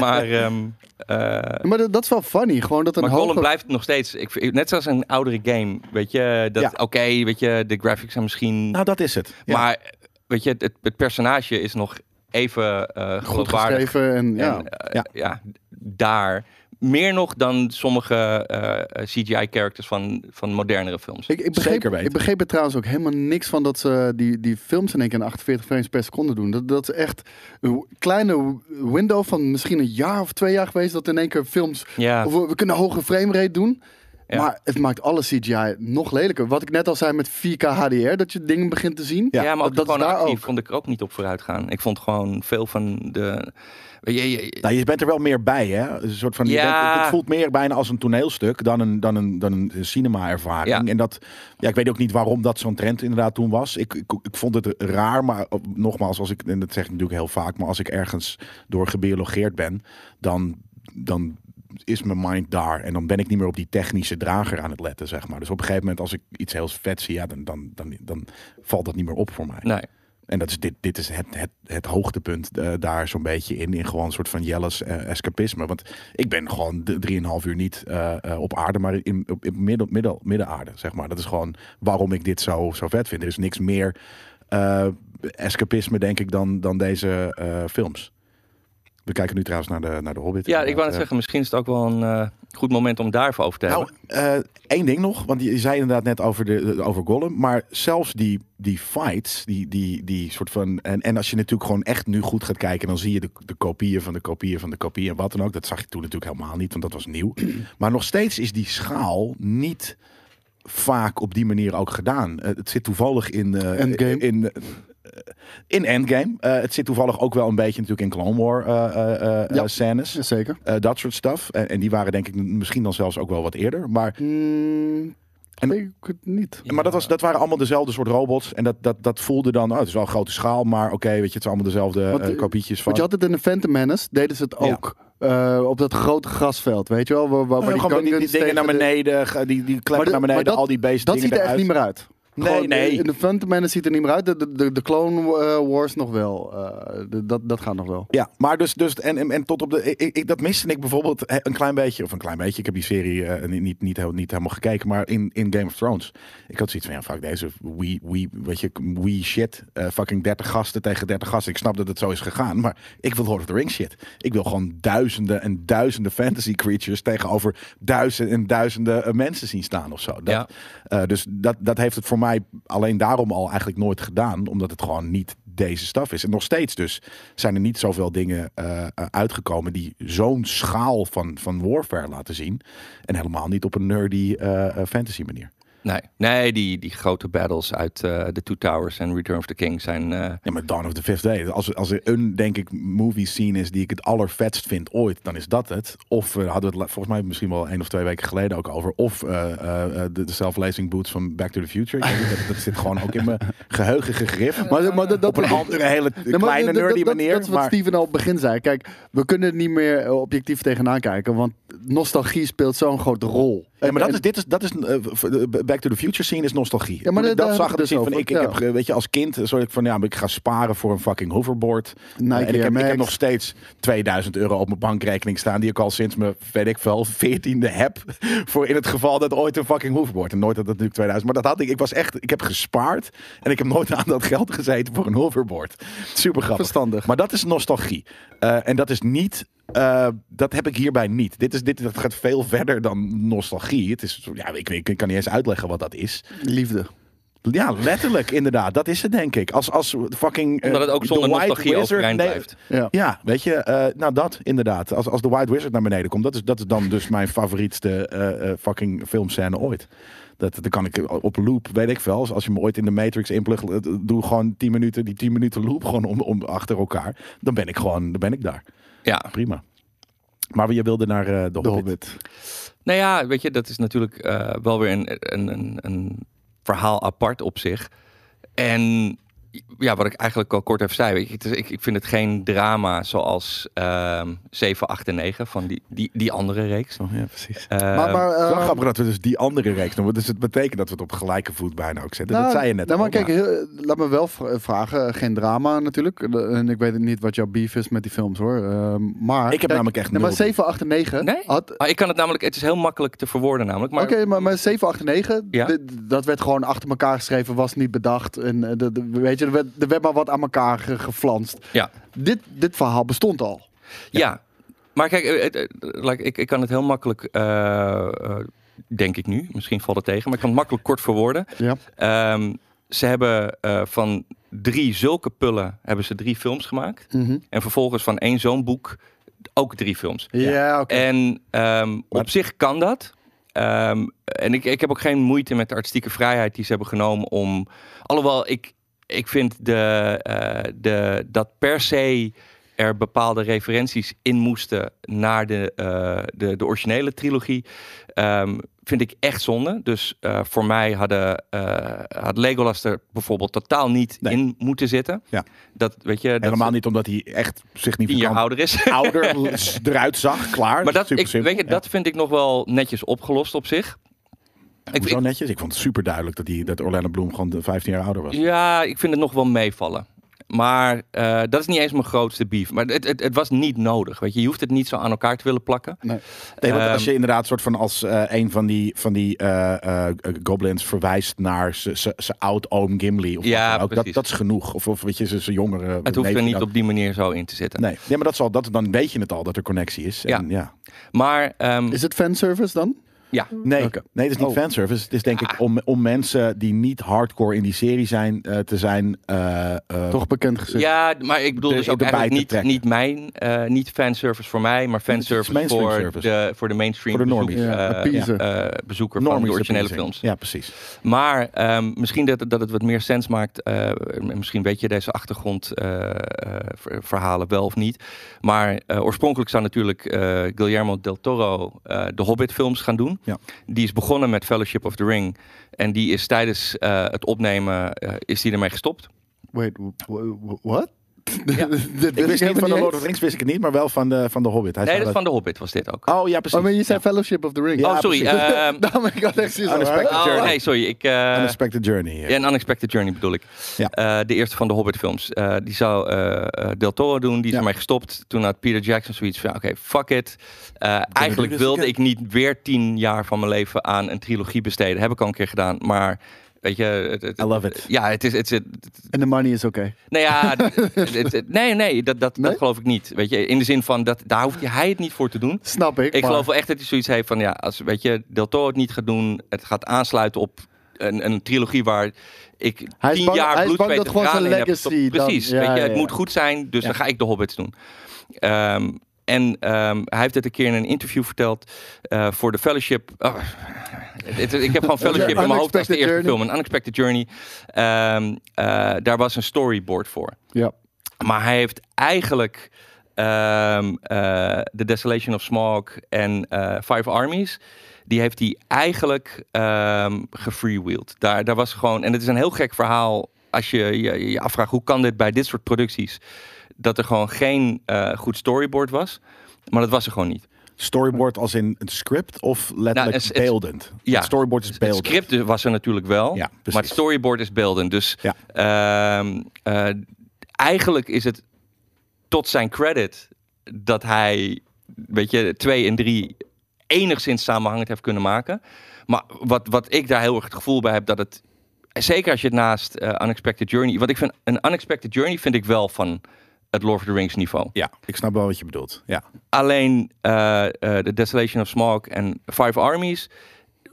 [SPEAKER 4] Maar, ehm eh,
[SPEAKER 3] Maar dat, dat is wel funny. Gewoon dat een
[SPEAKER 4] maar Gollum
[SPEAKER 3] hoge...
[SPEAKER 4] blijft nog steeds... Ik, vind- net zoals een oudere game, weet je. Dat,
[SPEAKER 2] Ja.
[SPEAKER 4] Oké, weet je, de graphics zijn misschien...
[SPEAKER 2] nou, dat is het. Ja.
[SPEAKER 4] Maar, weet je, het, het personage is nog even eh
[SPEAKER 3] goed
[SPEAKER 4] geloofwaardig
[SPEAKER 3] geschreven. En, ja.
[SPEAKER 4] En, eh,
[SPEAKER 2] Ja.
[SPEAKER 4] ja. daar. Meer nog dan sommige eh, CGI-characters van, van modernere films.
[SPEAKER 3] Ik, ik, begreep,
[SPEAKER 2] Zeker weten.
[SPEAKER 3] ik begreep er trouwens ook helemaal niks van dat ze die, die films in één keer in 48 frames per seconde doen. Dat, dat is echt een w- kleine w- window van misschien een jaar of twee jaar geweest dat in één keer films...
[SPEAKER 4] ja,
[SPEAKER 3] Of we, we kunnen hoge framerate doen,
[SPEAKER 4] Ja.
[SPEAKER 3] maar het maakt alle CGI nog lelijker. Wat ik net al zei met 4K HDR, dat je dingen begint te zien.
[SPEAKER 4] ja, maar ook
[SPEAKER 3] dat-
[SPEAKER 4] dat
[SPEAKER 3] dat is
[SPEAKER 4] gewoon
[SPEAKER 3] daar
[SPEAKER 4] actief
[SPEAKER 3] ook.
[SPEAKER 4] vond ik er ook niet op vooruit gaan. Ik vond gewoon veel van de... weet je, je-
[SPEAKER 2] Nou, je bent er wel meer bij, hè? Een soort van, je
[SPEAKER 4] Ja.
[SPEAKER 2] bent- het voelt meer bijna als een toneelstuk dan een, dan een, dan een cinema-ervaring.
[SPEAKER 4] Ja.
[SPEAKER 2] En dat, ja, ik weet ook niet waarom dat zo'n trend inderdaad toen was. Ik, ik, ik vond het raar, maar op- nogmaals, als ik, en dat zeg ik natuurlijk heel vaak, maar als ik ergens door gebiologeerd ben, dan, dan is mijn mind daar. En dan ben ik niet meer op die technische drager aan het letten, zeg maar. Dus op een gegeven moment, als ik iets heel vet zie, ja, dan, dan, dan, dan valt dat niet meer op voor mij.
[SPEAKER 4] nee.
[SPEAKER 2] En dat is dit, dit is het, het, het hoogtepunt eh, daar zo'n beetje in. In gewoon een soort van Jelle's eh, escapisme. Want ik ben gewoon de- drieënhalf uur niet eh, eh, op aarde, maar in, op, in middel, middel, middenaarde, zeg maar. Dat is gewoon waarom ik dit zo, zo vet vind. Er is niks meer eh, escapisme, denk ik, dan, dan deze eh, films. We kijken nu trouwens naar de, naar de Hobbit.
[SPEAKER 4] Ja, ik wou
[SPEAKER 2] inderdaad,
[SPEAKER 4] net zeggen, misschien is het ook wel een, eh, goed moment om daarvoor over te hebben.
[SPEAKER 2] Nou, eh, één ding nog, want je zei inderdaad net over, de, de- over Gollum, maar zelfs die, die fights, die, die, die soort van. En, en als je natuurlijk gewoon echt nu goed gaat kijken, dan zie je de, de kopieën van de kopieën van de kopieën en wat dan ook. Dat zag je toen natuurlijk helemaal niet, want dat was nieuw. Maar nog steeds is die schaal niet vaak op die manier ook gedaan. Eh, het zit toevallig in. eh,
[SPEAKER 3] Endgame.
[SPEAKER 2] In, eh, in Endgame. Eh, het zit toevallig ook wel een beetje natuurlijk in Clone War eh, eh, eh,
[SPEAKER 3] Ja.
[SPEAKER 2] scènes.
[SPEAKER 3] Zeker.
[SPEAKER 2] Eh, dat soort stuff. En, en die waren denk ik misschien dan zelfs ook wel wat eerder. Maar,
[SPEAKER 3] Mm,
[SPEAKER 2] En-
[SPEAKER 3] weet ik het niet.
[SPEAKER 2] maar dat, was, dat waren allemaal dezelfde soort robots. En dat, dat, dat voelde dan, oh, het is wel een grote schaal, maar oké, weet je, het zijn allemaal dezelfde
[SPEAKER 3] Want,
[SPEAKER 2] eh,
[SPEAKER 3] eh,
[SPEAKER 2] kopietjes van.
[SPEAKER 3] Want je had het in de Phantom Menace, deden ze het
[SPEAKER 2] Ja.
[SPEAKER 3] ook. eh, op dat grote grasveld, weet je wel? Waar, waar,
[SPEAKER 2] Oh,
[SPEAKER 3] waar
[SPEAKER 2] gewoon die, die,
[SPEAKER 3] Gungans
[SPEAKER 2] dingen naar
[SPEAKER 3] tegen de-
[SPEAKER 2] beneden, ge- die, die
[SPEAKER 3] Maar
[SPEAKER 2] kleppen
[SPEAKER 3] de-
[SPEAKER 2] naar beneden,
[SPEAKER 3] maar dat-
[SPEAKER 2] al die beesten
[SPEAKER 3] Dat
[SPEAKER 2] dingen
[SPEAKER 3] ziet er echt
[SPEAKER 2] eruit.
[SPEAKER 3] niet meer uit.
[SPEAKER 2] Nee, nee.
[SPEAKER 3] In de Phantom Menace ziet er niet meer uit. De, de, de, de Clone eh, Wars nog wel. eh, de- dat, dat gaat nog wel.
[SPEAKER 2] Ja, maar dus, dus en, en, en tot op de. Ik, ik- dat miste ik bijvoorbeeld eh, een klein beetje, of een klein beetje. Ik heb die serie eh, niet, niet, niet, heel- niet helemaal gekeken, maar in, in Game of Thrones. Ik had zoiets van, ja, fuck deze we, we, weet je, we shit. eh, fucking 30 gasten tegen 30 gasten. Ik snap dat het zo is gegaan, maar ik wil Lord of the Rings shit. Ik wil gewoon duizenden en duizenden fantasy creatures tegenover duizenden en duizenden eh, mensen zien staan of zo. Dat,
[SPEAKER 4] Ja.
[SPEAKER 2] eh, dus dat, dat heeft het voor mij alleen daarom al eigenlijk nooit gedaan. Omdat het gewoon niet deze staf is. En nog steeds dus zijn er niet zoveel dingen eh, eh, uitgekomen die zo'n schaal van, van warfare laten zien. En helemaal niet op een nerdy eh, eh, fantasy manier.
[SPEAKER 4] Nee, nee die, die grote battles uit eh The Two Towers en Return of the King zijn... eh,
[SPEAKER 2] Ja, maar Dawn of the Fifth Day. Als, als er een, denk ik, movie scene is die ik het allervetst vind ooit, dan is dat het. Of we hadden het la- volgens mij misschien wel één of twee weken geleden ook over. Of eh, eh, eh, de, de self-lacing boots van Back to the Future. Ik weet niet, dat, dat zit gewoon ook in mijn geheugen gegrift.
[SPEAKER 3] Maar, maar dat, dat,
[SPEAKER 2] op een andere hele
[SPEAKER 3] Nee, maar
[SPEAKER 2] kleine
[SPEAKER 3] dat- dat-
[SPEAKER 2] nerdy
[SPEAKER 3] dat-
[SPEAKER 2] manier.
[SPEAKER 3] Dat, is wat
[SPEAKER 2] maar
[SPEAKER 3] Steven al op het begin zei. Kijk, we kunnen er niet meer eh, objectief tegenaan kijken. Want nostalgie speelt zo'n grote rol.
[SPEAKER 2] ja, maar dat is, dit is, dat is eh, v- eh, Back to the Future scene is nostalgie.
[SPEAKER 3] Ja, maar
[SPEAKER 2] dat,
[SPEAKER 3] daar- daar
[SPEAKER 2] zag
[SPEAKER 3] heb
[SPEAKER 2] ik
[SPEAKER 3] ik
[SPEAKER 2] dus
[SPEAKER 3] het
[SPEAKER 2] in van
[SPEAKER 3] over,
[SPEAKER 2] ik, ik
[SPEAKER 3] ja.
[SPEAKER 2] heb ge- weet je als kind eh, soort van ja, maar ik ga sparen voor een fucking hoverboard.
[SPEAKER 3] Nike
[SPEAKER 2] Eh, en ik, heb, ik
[SPEAKER 3] Air
[SPEAKER 2] heb
[SPEAKER 3] Max.
[SPEAKER 2] nog steeds 2000 euro op mijn bankrekening staan die ik al sinds mijn weet ik wel 14e heb voor in het geval dat ooit een fucking hoverboard en nooit dat dat natuurlijk 2000, maar dat had ik ik was echt ik heb gespaard en ik heb nooit aan dat geld gezeten voor een hoverboard. Super grappig.
[SPEAKER 3] Verstandig.
[SPEAKER 2] Maar dat is nostalgie. Eh, en dat is niet. eh, dat heb ik hierbij niet. Dit, is, dit dat gaat veel verder dan nostalgie. Het is, ja, ik, ik kan niet eens uitleggen wat dat is.
[SPEAKER 3] Liefde.
[SPEAKER 2] Ja, letterlijk, inderdaad. Dat is het, denk ik. Als, als fucking. eh,
[SPEAKER 4] omdat het ook
[SPEAKER 2] de
[SPEAKER 4] zonder
[SPEAKER 2] White
[SPEAKER 4] nostalgie
[SPEAKER 2] Wizard-
[SPEAKER 4] overeind
[SPEAKER 2] nee,
[SPEAKER 4] blijft.
[SPEAKER 3] Ja.
[SPEAKER 2] Ja, weet je, eh, nou dat inderdaad. Als, als de White Wizard naar beneden komt, dat is, dat is dan dus mijn favorietste eh, eh, fucking filmscène ooit. Dat, dat kan ik op loop, weet ik wel. Als je me ooit in de Matrix inplugt, eh, doe gewoon 10 minuten, die 10 minuten loop gewoon om, om achter elkaar. Dan ben ik gewoon, dan ben ik daar.
[SPEAKER 4] Ja,
[SPEAKER 2] Prima. Maar je wilde naar eh, de,
[SPEAKER 3] De
[SPEAKER 2] Hobbit.
[SPEAKER 3] Hobbit.
[SPEAKER 4] Nou ja, weet je, dat is natuurlijk eh, wel weer een, een, een, een verhaal apart op zich. En ja, wat ik eigenlijk al kort even zei, weet je, het is- ik, ik vind het geen drama zoals ehm 7, 8 en 9 van die, die, die andere reeks.
[SPEAKER 2] Oh, ja, precies.
[SPEAKER 4] Ehm,
[SPEAKER 3] Maar, maar,
[SPEAKER 2] Het is
[SPEAKER 3] eh,
[SPEAKER 2] wel grappig dat we dus die andere reeks noemen. Dus het betekent dat we het op gelijke voet bijna ook zetten. dat
[SPEAKER 3] Nou,
[SPEAKER 2] zei je net
[SPEAKER 3] nou,
[SPEAKER 2] al,
[SPEAKER 3] maar kijk, heel- laat me wel v- vragen. eh, Geen drama natuurlijk. Eh, En ik weet niet wat jouw beef is met die films hoor. Eh, maar
[SPEAKER 2] Ik heb
[SPEAKER 3] kijk,
[SPEAKER 2] namelijk echt
[SPEAKER 3] nee, maar
[SPEAKER 2] nul beef.
[SPEAKER 3] 7, 8 en 9
[SPEAKER 4] Nee?
[SPEAKER 3] had...
[SPEAKER 4] ah, ik kan het namelijk, het is heel makkelijk te verwoorden namelijk. Maar
[SPEAKER 3] Oké, maar, maar 7, 8 en 9,
[SPEAKER 4] Ja.
[SPEAKER 3] dit- dat werd gewoon achter elkaar geschreven, was niet bedacht. En eh, dat- weet je, er werd, er werd maar wat aan elkaar ge- geflanst.
[SPEAKER 4] ja,
[SPEAKER 3] Dit, dit verhaal bestond al.
[SPEAKER 4] ja. Maar kijk, eh, eh, eh, like, ik, ik kan het heel makkelijk, eh, eh, denk ik nu, misschien valt het tegen, maar ik kan het makkelijk kort verwoorden.
[SPEAKER 3] Ja.
[SPEAKER 4] Ehm, ze hebben eh, van drie zulke pullen hebben ze drie films gemaakt.
[SPEAKER 3] Mhm.
[SPEAKER 4] En vervolgens van één zo'n boek ook drie films.
[SPEAKER 3] Ja, oké.
[SPEAKER 4] En ehm, op zich kan dat. Ehm, en ik, ik heb ook geen moeite met de artistieke vrijheid die ze hebben genomen om. Alhoewel, ik, ik vind de, eh, de, dat per se er bepaalde referenties in moesten naar de, eh, de, de originele trilogie. ehm, vind ik echt zonde. Dus eh, voor mij hadden, eh, had Legolas er bijvoorbeeld totaal niet
[SPEAKER 2] Nee.
[SPEAKER 4] in moeten zitten.
[SPEAKER 2] Ja.
[SPEAKER 4] Dat weet je, dat
[SPEAKER 2] Helemaal
[SPEAKER 4] ze
[SPEAKER 2] niet omdat hij echt
[SPEAKER 4] tien jaar
[SPEAKER 2] significant
[SPEAKER 4] ouder is.
[SPEAKER 2] ouder l- eruit zag. Klaar.
[SPEAKER 4] Maar dat,
[SPEAKER 2] super
[SPEAKER 4] ik,
[SPEAKER 2] simpel.
[SPEAKER 4] weet je, dat vind ik nog wel netjes opgelost op zich. Ik,
[SPEAKER 2] Hoezo
[SPEAKER 4] ik-
[SPEAKER 2] netjes? Ik vond het super duidelijk dat, die, dat Orlando Bloom gewoon de 15 jaar ouder was.
[SPEAKER 4] ja, ik vind het nog wel meevallen. Maar eh, dat is niet eens mijn grootste beef. Maar het, het, het was niet nodig. Weet je? je hoeft het niet zo aan elkaar te willen plakken.
[SPEAKER 3] Nee.
[SPEAKER 2] Nee, want
[SPEAKER 4] Ehm,
[SPEAKER 2] als je inderdaad soort van als eh, een van die, van die eh, eh, goblins verwijst naar zijn oud-oom Gimli. Of wat
[SPEAKER 4] Ja,
[SPEAKER 2] dan ook, dat,
[SPEAKER 4] precies.
[SPEAKER 2] dat is genoeg. Of, of weet je, zijn jongere.
[SPEAKER 4] Het hoeft er niet op die manier zo in te zitten.
[SPEAKER 2] Nee, nee maar dat zal, dat, dan weet je het al dat er connectie is. En, ja.
[SPEAKER 4] Maar ehm,
[SPEAKER 3] Is het fanservice dan?
[SPEAKER 4] ja,
[SPEAKER 2] Nee,
[SPEAKER 3] Oké.
[SPEAKER 2] nee, het is niet
[SPEAKER 3] Oh.
[SPEAKER 2] fanservice. Het is denk
[SPEAKER 4] Ah.
[SPEAKER 2] ik om, om mensen die niet hardcore in die serie zijn eh, te zijn. eh, eh,
[SPEAKER 3] Toch bekend gezicht.
[SPEAKER 4] ja, maar ik bedoel
[SPEAKER 2] Er-
[SPEAKER 4] dus ook
[SPEAKER 2] erbij
[SPEAKER 4] eigenlijk
[SPEAKER 2] te
[SPEAKER 4] niet,
[SPEAKER 2] trekken.
[SPEAKER 4] niet mijn, eh, niet fanservice voor mij, maar
[SPEAKER 2] is
[SPEAKER 4] fanservice
[SPEAKER 2] mainstream
[SPEAKER 4] voor
[SPEAKER 2] service.
[SPEAKER 4] de, voor de mainstream
[SPEAKER 2] Voor de
[SPEAKER 4] bezoek-
[SPEAKER 2] normies.
[SPEAKER 3] Ja,
[SPEAKER 4] eh,
[SPEAKER 3] appeasen.
[SPEAKER 4] eh, bezoeker van
[SPEAKER 2] normies
[SPEAKER 4] de originele
[SPEAKER 2] appeasing.
[SPEAKER 4] films. Dus
[SPEAKER 2] Ja, precies.
[SPEAKER 4] Maar ehm, misschien dat, dat het wat meer sens maakt. eh, en misschien weet je deze eh, achtergrondverhalen wel of niet. Maar eh, oorspronkelijk zou natuurlijk eh, Guillermo del Toro eh, de Hobbit-films gaan doen.
[SPEAKER 2] Ja.
[SPEAKER 4] Die is begonnen met Fellowship of the Ring. En die is tijdens eh, het opnemen eh, is die ermee gestopt.
[SPEAKER 3] Wait, wh- wh- what? Dit
[SPEAKER 2] Ik wist niet
[SPEAKER 3] helemaal
[SPEAKER 2] van de Lord
[SPEAKER 3] niet
[SPEAKER 2] of the
[SPEAKER 3] eens.
[SPEAKER 2] Rings, wist ik het niet, maar wel van de, van de Hobbit. Hij
[SPEAKER 4] Nee,
[SPEAKER 2] zei
[SPEAKER 4] dat is van de Hobbit was dit ook.
[SPEAKER 2] Oh ja, precies.
[SPEAKER 3] Oh, maar je zei Fellowship of the Ring.
[SPEAKER 2] Ja,
[SPEAKER 4] oh, sorry.
[SPEAKER 2] precies.
[SPEAKER 4] ehm,
[SPEAKER 3] Daarom ik had echt zoiets van,
[SPEAKER 2] Unexpected
[SPEAKER 3] hè?
[SPEAKER 4] oh,
[SPEAKER 2] Journey.
[SPEAKER 4] nee, sorry. Ik, eh,
[SPEAKER 2] Unexpected Journey. eh.
[SPEAKER 4] Ja, een Unexpected Journey bedoel ik.
[SPEAKER 2] Ja.
[SPEAKER 4] Eh, de eerste van de Hobbit-films. Eh, die zou eh, eh, Del Toro doen. Die is
[SPEAKER 2] Ja.
[SPEAKER 4] ermee gestopt. Toen had Peter Jackson zoiets van: oké, fuck it. Eh, eigenlijk
[SPEAKER 2] dit
[SPEAKER 4] wilde
[SPEAKER 2] eens
[SPEAKER 4] ik niet weer tien jaar van mijn leven aan een trilogie besteden. Heb ik al een keer gedaan. Maar weet je. Het, het-
[SPEAKER 2] I love it.
[SPEAKER 4] ja, het is. Het, is- het-
[SPEAKER 3] En de money is oké.
[SPEAKER 4] nou ja, het- het- het- het- nee, nee, dat, dat,
[SPEAKER 3] Nee?
[SPEAKER 4] dat geloof ik niet. Weet je, in de zin van dat daar hoeft hij het niet voor te doen.
[SPEAKER 3] Snap ik.
[SPEAKER 4] Ik
[SPEAKER 3] maar-
[SPEAKER 4] geloof wel echt dat hij zoiets heeft van ja, als weet je, Del Toro het niet gaat doen, het gaat aansluiten op een, een trilogie waar ik
[SPEAKER 3] Hij is
[SPEAKER 4] tien
[SPEAKER 3] bang- hij
[SPEAKER 4] jaar
[SPEAKER 3] is
[SPEAKER 4] bloed,
[SPEAKER 3] bang
[SPEAKER 4] zweet
[SPEAKER 3] dat
[SPEAKER 4] en
[SPEAKER 3] gewoon
[SPEAKER 4] tranen
[SPEAKER 3] zijn
[SPEAKER 4] in heb.
[SPEAKER 3] legacy dan-
[SPEAKER 4] Precies,
[SPEAKER 3] ja,
[SPEAKER 4] weet je,
[SPEAKER 3] ja,
[SPEAKER 4] het
[SPEAKER 3] ja.
[SPEAKER 4] moet goed zijn, dus dan ga ik de Hobbits doen. Ehm, en ehm, hij heeft het een keer in een interview verteld eh, voor de Fellowship. Oh, het- ik heb gewoon Fellowship in mijn hoofd als de
[SPEAKER 3] Unexpected
[SPEAKER 4] eerste
[SPEAKER 3] Journey.
[SPEAKER 4] film, een Unexpected Journey. Ehm, eh, daar was een storyboard voor.
[SPEAKER 3] Ja.
[SPEAKER 4] Maar hij heeft eigenlijk ehm, eh, The Desolation of Smog en eh, Five Armies. Die heeft hij eigenlijk ehm gefreewheeld. Daar, daar was gewoon. En het is een heel gek verhaal. Als je je, je afvraagt hoe kan dit bij dit soort producties. Dat er gewoon geen eh, goed storyboard was. Maar dat was er gewoon niet.
[SPEAKER 2] Storyboard als in een script of letterlijk
[SPEAKER 4] Nou, het- het-
[SPEAKER 2] beeldend?
[SPEAKER 4] ja.
[SPEAKER 2] Het Storyboard is
[SPEAKER 4] Het
[SPEAKER 2] beeldend.
[SPEAKER 4] script was er natuurlijk wel.
[SPEAKER 2] Ja, precies.
[SPEAKER 4] maar het storyboard is beeldend. Dus
[SPEAKER 2] Ja.
[SPEAKER 4] ehm, eh, eigenlijk is het tot zijn credit dat hij, weet je, twee en drie enigszins samenhangend heeft kunnen maken. Maar wat, wat ik daar heel erg het gevoel bij heb, dat het, zeker als je het naast eh, Unexpected Journey, want ik vind een Unexpected Journey vind ik wel van het Lord of the Rings niveau.
[SPEAKER 2] Ja, ik snap wel wat je bedoelt. Ja.
[SPEAKER 4] Alleen eh, eh, The Desolation of Smog en Five Armies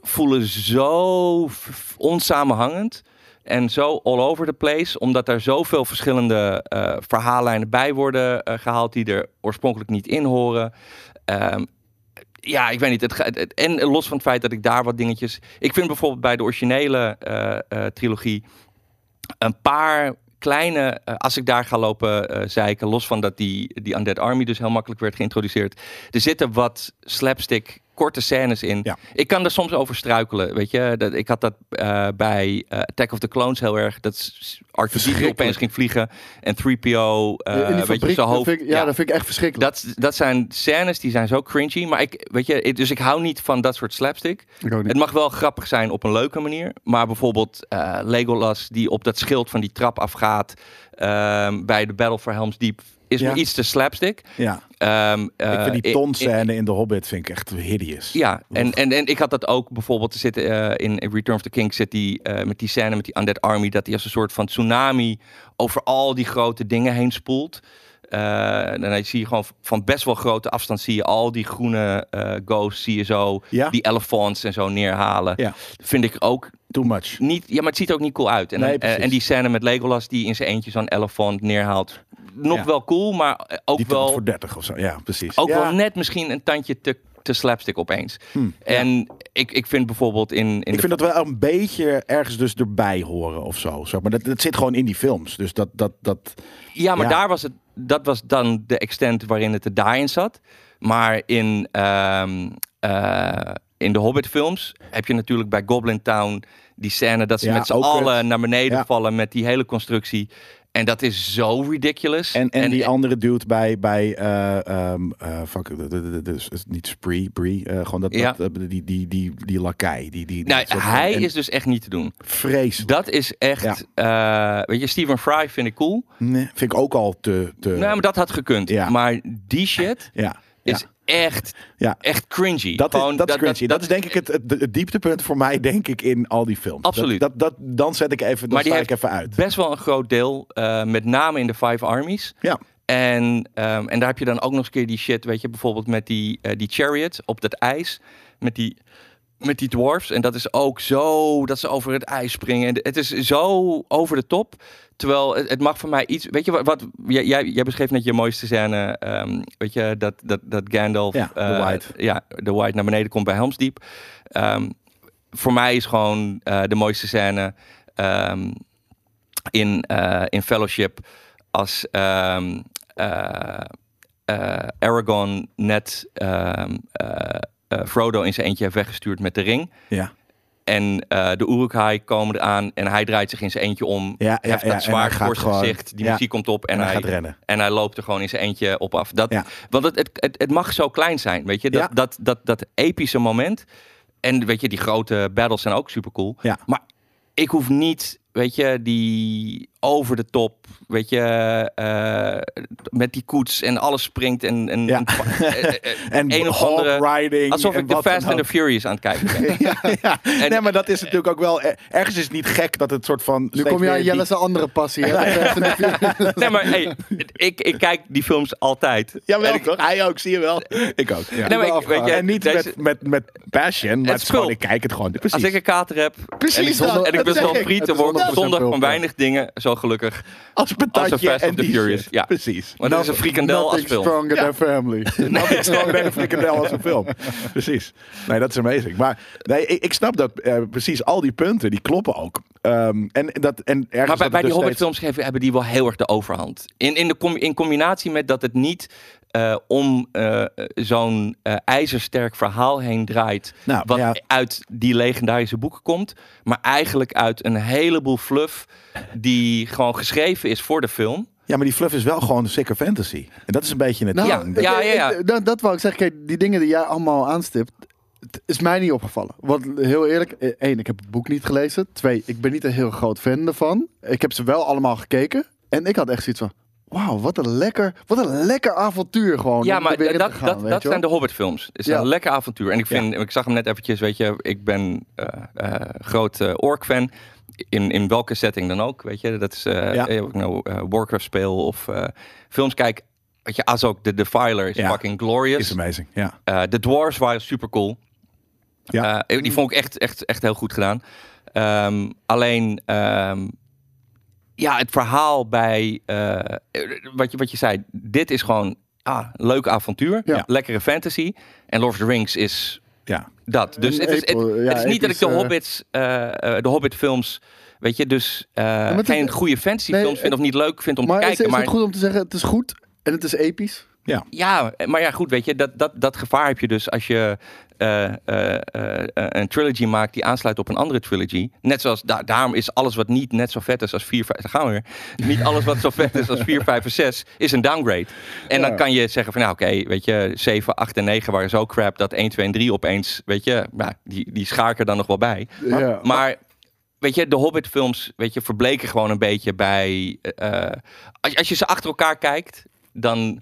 [SPEAKER 4] voelen zo v- v- onsamenhangend en zo all over the place, omdat er zoveel verschillende eh, verhaallijnen bij worden eh, gehaald die er oorspronkelijk niet in horen. Ehm, ja, ik weet niet. Het, ga- het- het- en los van het feit dat ik daar wat dingetjes. Ik vind bijvoorbeeld bij de originele eh, eh, trilogie een paar kleine, eh, als ik daar ga lopen eh zeiken, los van dat die, die Undead Army dus heel makkelijk werd geïntroduceerd. Er zitten wat slapstick korte scènes in.
[SPEAKER 2] Ja.
[SPEAKER 4] Ik kan er soms over struikelen, weet je. Dat, ik had dat eh, bij eh, Attack of the Clones heel erg. Dat s- Arthur Dietrich
[SPEAKER 3] Verschrikkelijk.
[SPEAKER 4] opeens ging vliegen en 3PO, eh
[SPEAKER 3] In die
[SPEAKER 4] weet je,
[SPEAKER 3] fabriek,
[SPEAKER 4] zijn
[SPEAKER 3] dat
[SPEAKER 4] hoofd.
[SPEAKER 3] vind ik, ja,
[SPEAKER 4] ja.
[SPEAKER 3] dat vind ik echt verschrikkelijk.
[SPEAKER 4] Dat, dat zijn scènes die zijn zo cringy. Maar ik, weet je, ik- dus ik hou niet van dat soort slapstick.
[SPEAKER 3] Ik ook niet.
[SPEAKER 4] Het mag wel grappig zijn op een leuke manier. Maar bijvoorbeeld eh, Legolas die op dat schild van die trap afgaat ehm, bij de Battle for Helm's Deep is
[SPEAKER 2] Ja.
[SPEAKER 4] me iets te slapstick.
[SPEAKER 2] ja.
[SPEAKER 4] Ehm,
[SPEAKER 2] ik
[SPEAKER 4] eh,
[SPEAKER 2] vind die
[SPEAKER 4] i- i-
[SPEAKER 2] tonscène in The Hobbit vind ik echt hideous.
[SPEAKER 4] ja, en, en, en ik had dat ook bijvoorbeeld zitten eh, in Return of the King zit die eh, met die scène met die Undead Army, dat hij als een soort van tsunami over al die grote dingen heen spoelt. Eh, en dan zie je gewoon van best wel grote afstand zie je al die groene eh, ghosts, zie je zo,
[SPEAKER 2] Ja.
[SPEAKER 4] die elephants en zo neerhalen.
[SPEAKER 2] Ja.
[SPEAKER 4] Vind ik ook
[SPEAKER 2] Too much.
[SPEAKER 4] niet, ja, maar het ziet er ook niet cool uit. En, dan-
[SPEAKER 2] Nee, precies.
[SPEAKER 4] eh, en die scène met Legolas die in zijn eentje zo'n elefant neerhaalt, nog
[SPEAKER 2] Ja.
[SPEAKER 4] wel cool, maar eh, ook
[SPEAKER 2] Die telt
[SPEAKER 4] wel
[SPEAKER 2] voor 30 of zo. Ja, precies.
[SPEAKER 4] ook
[SPEAKER 2] ja. Hmm.
[SPEAKER 4] wel net misschien een tandje te, te slapstick opeens. En ik, ik vind bijvoorbeeld in... in de-
[SPEAKER 2] Ik vind dat wel een beetje ergens dus erbij horen of zo. Zeg maar dat, dat zit gewoon in die films. Dus dat, dat, dat
[SPEAKER 4] ja, maar
[SPEAKER 2] ja.
[SPEAKER 4] daar was het... Dat was dan de extent waarin het er daarin zat. Maar in, ehm, eh, in de Hobbit-films heb je natuurlijk bij Goblin Town die scène dat ze
[SPEAKER 2] Ja,
[SPEAKER 4] met z'n
[SPEAKER 2] ook
[SPEAKER 4] allen naar beneden
[SPEAKER 2] Ja.
[SPEAKER 4] vallen met die hele constructie. En dat is zo ridiculous.
[SPEAKER 2] En, en, die andere dude bij, bij eh, ehm, eh, fuck, de- de- de- de- de- is eh, niet Spree, Bree, eh, gewoon dat,
[SPEAKER 4] Ja.
[SPEAKER 2] dat, eh, die, die, die, die lakai. Die, die,
[SPEAKER 4] Nou,
[SPEAKER 2] dat soort-
[SPEAKER 4] hij
[SPEAKER 2] en
[SPEAKER 4] is dus echt niet te doen.
[SPEAKER 2] Vreselijk.
[SPEAKER 4] Dat is echt. eh, weet je, Stephen Fry vind ik cool.
[SPEAKER 2] Nee, vind ik ook al te... te
[SPEAKER 4] nou, maar dat had gekund.
[SPEAKER 2] ja.
[SPEAKER 4] Maar die shit
[SPEAKER 2] ja,
[SPEAKER 4] is
[SPEAKER 2] ja,
[SPEAKER 4] echt,
[SPEAKER 2] ja.
[SPEAKER 4] echt cringy.
[SPEAKER 2] Dat,
[SPEAKER 4] Gewoon
[SPEAKER 2] is, dat is cringy. Dat, is denk ik het, het, het dieptepunt voor mij, denk ik, in al die films.
[SPEAKER 4] Absoluut.
[SPEAKER 2] Dat, dat, dat- dan zet ik even, dan
[SPEAKER 4] Maar die
[SPEAKER 2] sta ik
[SPEAKER 4] heeft
[SPEAKER 2] even uit.
[SPEAKER 4] best wel een groot deel, eh, met name in de Five Armies.
[SPEAKER 2] Ja.
[SPEAKER 4] En, ehm, en daar heb je dan ook nog eens een keer die shit, weet je, bijvoorbeeld met die, eh, die chariot op dat ijs, met die, met die dwarfs. En dat is ook zo, dat ze over het ijs springen. En het is zo over de top. Terwijl het, het mag voor mij iets, weet je wat, wat jij, jij, jij beschreef net je mooiste scène, ehm, weet je, dat, dat, dat Gandalf,
[SPEAKER 2] Ja, de
[SPEAKER 4] eh,
[SPEAKER 2] White.
[SPEAKER 4] ja, de White naar beneden komt bij Helm's Diep. Ehm, voor mij is gewoon eh, de mooiste scène ehm, in, eh, in Fellowship als ehm, eh, eh, Aragorn net ehm, eh, eh, Frodo in zijn eentje heeft weggestuurd met de ring.
[SPEAKER 2] Ja.
[SPEAKER 4] En eh, de Uruk-hai komen eraan en hij draait zich in zijn eentje om.
[SPEAKER 2] Ja, ja,
[SPEAKER 4] heeft
[SPEAKER 2] ja,
[SPEAKER 4] dat
[SPEAKER 2] en hij
[SPEAKER 4] zwaard
[SPEAKER 2] gaat
[SPEAKER 4] voor zijn
[SPEAKER 2] gewoon-
[SPEAKER 4] gezicht. Die
[SPEAKER 2] ja.
[SPEAKER 4] muziek komt op en,
[SPEAKER 2] En hij
[SPEAKER 4] hij,
[SPEAKER 2] gaat rennen.
[SPEAKER 4] En hij loopt er gewoon in zijn eentje op af. Dat,
[SPEAKER 2] Ja.
[SPEAKER 4] Want het, het, het, het mag zo klein zijn, weet je. Dat,
[SPEAKER 2] Ja.
[SPEAKER 4] dat, dat, dat epische moment. En weet je, die grote battles zijn ook super cool.
[SPEAKER 2] Ja.
[SPEAKER 4] Maar ik hoef niet, weet je, die over de top, weet je, eh, met die koets en alles springt en, en,
[SPEAKER 2] Ja.
[SPEAKER 4] en, eh, eh, eh,
[SPEAKER 2] En
[SPEAKER 4] een of
[SPEAKER 2] hog
[SPEAKER 4] andere...
[SPEAKER 2] riding.
[SPEAKER 4] Alsof
[SPEAKER 2] en
[SPEAKER 4] ik de
[SPEAKER 2] wat dan
[SPEAKER 4] Fast and
[SPEAKER 2] ook.
[SPEAKER 4] the Furious aan het kijken ben.
[SPEAKER 2] ja,
[SPEAKER 4] En-
[SPEAKER 2] nee, maar dat is natuurlijk ook wel. er- Ergens is het niet gek dat het soort van.
[SPEAKER 3] Nu kom je aan Jelle's andere passie. hè?
[SPEAKER 4] Nee, maar hey, ik, ik kijk die films altijd.
[SPEAKER 2] Ja,
[SPEAKER 4] En
[SPEAKER 2] wel
[SPEAKER 4] ik-
[SPEAKER 2] toch? Hij ook, zie je wel. Ik ook. Ja.
[SPEAKER 4] Nee, maar ik, weet je,
[SPEAKER 2] en niet
[SPEAKER 4] deze-
[SPEAKER 2] met, met, met passion, maar het is
[SPEAKER 4] spul.
[SPEAKER 2] gewoon, ik kijk het gewoon. Precies.
[SPEAKER 4] Als ik een kater heb en ik,
[SPEAKER 2] Precies
[SPEAKER 4] zonder,
[SPEAKER 3] dat,
[SPEAKER 4] en ik
[SPEAKER 3] dat
[SPEAKER 4] ben
[SPEAKER 3] zeg
[SPEAKER 4] zo'n
[SPEAKER 3] ik.
[SPEAKER 4] friet,
[SPEAKER 3] Het
[SPEAKER 4] dan
[SPEAKER 3] is
[SPEAKER 4] word ik op
[SPEAKER 3] 100%
[SPEAKER 4] zondag van
[SPEAKER 3] pulp, ja.
[SPEAKER 4] weinig dingen zo gelukkig.
[SPEAKER 2] als
[SPEAKER 4] Als een
[SPEAKER 2] patatje
[SPEAKER 4] Fast
[SPEAKER 2] en
[SPEAKER 4] and the
[SPEAKER 2] die
[SPEAKER 4] Furious.
[SPEAKER 2] shit.
[SPEAKER 4] Ja.
[SPEAKER 2] Precies.
[SPEAKER 4] Maar dat is een frikandel als
[SPEAKER 3] Nothing
[SPEAKER 4] film.
[SPEAKER 3] stronger than family.
[SPEAKER 2] Nou, het is gewoon ben een frikandel als een film. Precies. Nee, dat is amazing. Maar nee, ik, ik snap dat eh, precies al die punten, die kloppen ook. Ehm, en, dat, en ergens
[SPEAKER 4] Maar bij,
[SPEAKER 2] dat
[SPEAKER 4] bij
[SPEAKER 2] het
[SPEAKER 4] die
[SPEAKER 2] dus steeds-
[SPEAKER 4] Hobbit-films geven- hebben die wel heel erg de overhand. In, in, de com- in combinatie met dat het niet eh, om eh, zo'n eh, ijzersterk verhaal heen draait.
[SPEAKER 2] Nou,
[SPEAKER 4] wat
[SPEAKER 2] ja.
[SPEAKER 4] uit die legendarische boeken komt. Maar eigenlijk uit een heleboel fluff die gewoon geschreven is voor de film.
[SPEAKER 2] Ja, maar die fluff is wel gewoon sicker fantasy. En dat is een beetje het
[SPEAKER 3] Nou,
[SPEAKER 4] Ja,
[SPEAKER 2] ding.
[SPEAKER 3] dat-
[SPEAKER 4] ja, ja, ja.
[SPEAKER 3] ik- Dat, dat wou ik zeggen. Kijk, die dingen die jij allemaal aanstipt, het is mij niet opgevallen. Want heel eerlijk, eh, één, ik heb het boek niet gelezen. Twee, ik ben niet een heel groot fan ervan. Ik heb ze wel allemaal gekeken. En ik had echt zoiets van, wauw, wat een lekker, wat een lekker avontuur gewoon.
[SPEAKER 4] Ja,
[SPEAKER 3] om er
[SPEAKER 4] maar
[SPEAKER 3] weer in te
[SPEAKER 4] dat,
[SPEAKER 3] gaan,
[SPEAKER 4] dat,
[SPEAKER 3] weet
[SPEAKER 4] dat
[SPEAKER 3] je wel.
[SPEAKER 4] zijn de Hobbit-films. Het is
[SPEAKER 3] Ja.
[SPEAKER 4] een lekker avontuur. En ik vind, ik zag hem net eventjes, weet je, ik ben eh, eh, groot eh, ork-fan. In, in welke setting dan ook, weet je. Dat is, eh,
[SPEAKER 2] Ja.
[SPEAKER 4] eh, of ik nou eh, Warcraft speel of eh, films kijk. Weet je, Azok, de Defiler is
[SPEAKER 2] Ja.
[SPEAKER 4] fucking glorious.
[SPEAKER 2] Is amazing, ja.
[SPEAKER 4] Eh, de Dwarves waren super cool.
[SPEAKER 2] Ja.
[SPEAKER 4] Eh,
[SPEAKER 3] Mm.
[SPEAKER 4] die vond ik echt, echt, echt heel goed gedaan. Ehm, alleen, ehm, ja, het verhaal bij, eh, wat, je, wat je zei, dit is gewoon, ah, leuk avontuur,
[SPEAKER 3] Ja.
[SPEAKER 4] lekkere fantasy. En Lord of the Rings is
[SPEAKER 2] ja.
[SPEAKER 4] dat. Dus
[SPEAKER 3] Een
[SPEAKER 4] het is, het,
[SPEAKER 3] epo- ja,
[SPEAKER 4] het is niet dat ik de
[SPEAKER 3] episch, eh,
[SPEAKER 4] Hobbits, eh, eh, de Hobbit films, weet je, dus eh,
[SPEAKER 3] het is-
[SPEAKER 4] geen goede fantasy
[SPEAKER 3] Nee, eh,
[SPEAKER 4] films vind of niet leuk vind om
[SPEAKER 3] Maar
[SPEAKER 4] te
[SPEAKER 3] is,
[SPEAKER 4] kijken.
[SPEAKER 3] is
[SPEAKER 4] maar
[SPEAKER 3] het goed om te zeggen, het is goed en het is episch?
[SPEAKER 4] ja, maar ja, goed, weet je, dat, dat, dat gevaar heb je dus als je eh, eh, eh, eh, een trilogy maakt die aansluit op een andere trilogy. Net zoals, da- daarom is alles wat niet net zo vet is als 4, 5, daar gaan we weer. Niet alles wat zo vet is als 4, 5 en 6 is een downgrade. En dan kan je zeggen van, nou oké, weet je, 7, 8 en 9 waren zo crap dat 1, 2 en 3 opeens, weet je, nou, die, die schaken dan nog wel bij.
[SPEAKER 3] ja.
[SPEAKER 4] Eh, Maar weet je, de Hobbit-films, weet je, verbleken gewoon een beetje bij. eh, als, je- als je ze achter elkaar kijkt, dan.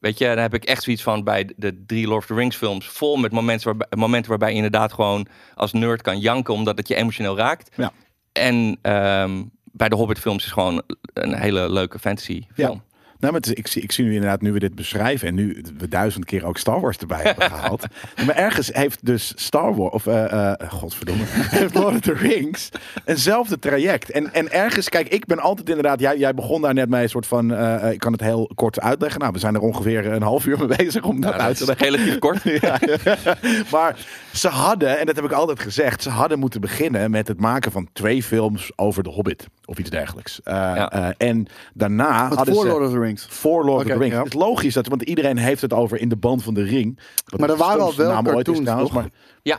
[SPEAKER 4] Weet je, dan heb ik echt zoiets van bij de drie Lord of the Rings films. Vol met momenten waarbij, momenten waarbij je inderdaad gewoon als nerd kan janken. Omdat het je emotioneel raakt.
[SPEAKER 2] Ja.
[SPEAKER 4] En ehm, bij de Hobbit films is gewoon een hele leuke fantasy
[SPEAKER 2] Ja.
[SPEAKER 4] film.
[SPEAKER 2] Nou, maar het is- ik, zie, ik zie nu inderdaad, nu we dit beschrijven en nu we duizend keer ook Star Wars erbij hebben gehaald. Maar ergens heeft dus Star Wars, of eh, eh, godverdomme, heeft Lord of the Rings eenzelfde traject. En, en ergens, kijk, ik ben altijd inderdaad, jij, jij begon daar net mee een soort van, eh, ik kan het heel kort uitleggen. Nou, we zijn er ongeveer een half uur mee bezig om dat
[SPEAKER 4] Nou,
[SPEAKER 2] uit
[SPEAKER 4] dat
[SPEAKER 2] te
[SPEAKER 4] is
[SPEAKER 2] leggen.
[SPEAKER 4] relatief kort.
[SPEAKER 2] Ja. maar ze hadden, en dat heb ik altijd gezegd, ze hadden moeten beginnen met het maken van twee films over de Hobbit of iets dergelijks. Eh,
[SPEAKER 4] Ja.
[SPEAKER 2] eh, en daarna
[SPEAKER 3] Wat
[SPEAKER 2] hadden
[SPEAKER 3] voor
[SPEAKER 2] ze
[SPEAKER 3] Lord of the Rings.
[SPEAKER 2] voor Lord of
[SPEAKER 3] Oké,
[SPEAKER 2] the Rings.
[SPEAKER 3] ja.
[SPEAKER 2] Het is logisch dat, want iedereen heeft het over in de band van de ring. Wat
[SPEAKER 3] Maar er
[SPEAKER 2] de
[SPEAKER 3] waren al
[SPEAKER 2] stomste
[SPEAKER 3] wel
[SPEAKER 2] naam ooit is
[SPEAKER 3] cartoons, toch?
[SPEAKER 4] Ja,
[SPEAKER 2] Oh
[SPEAKER 4] Ja,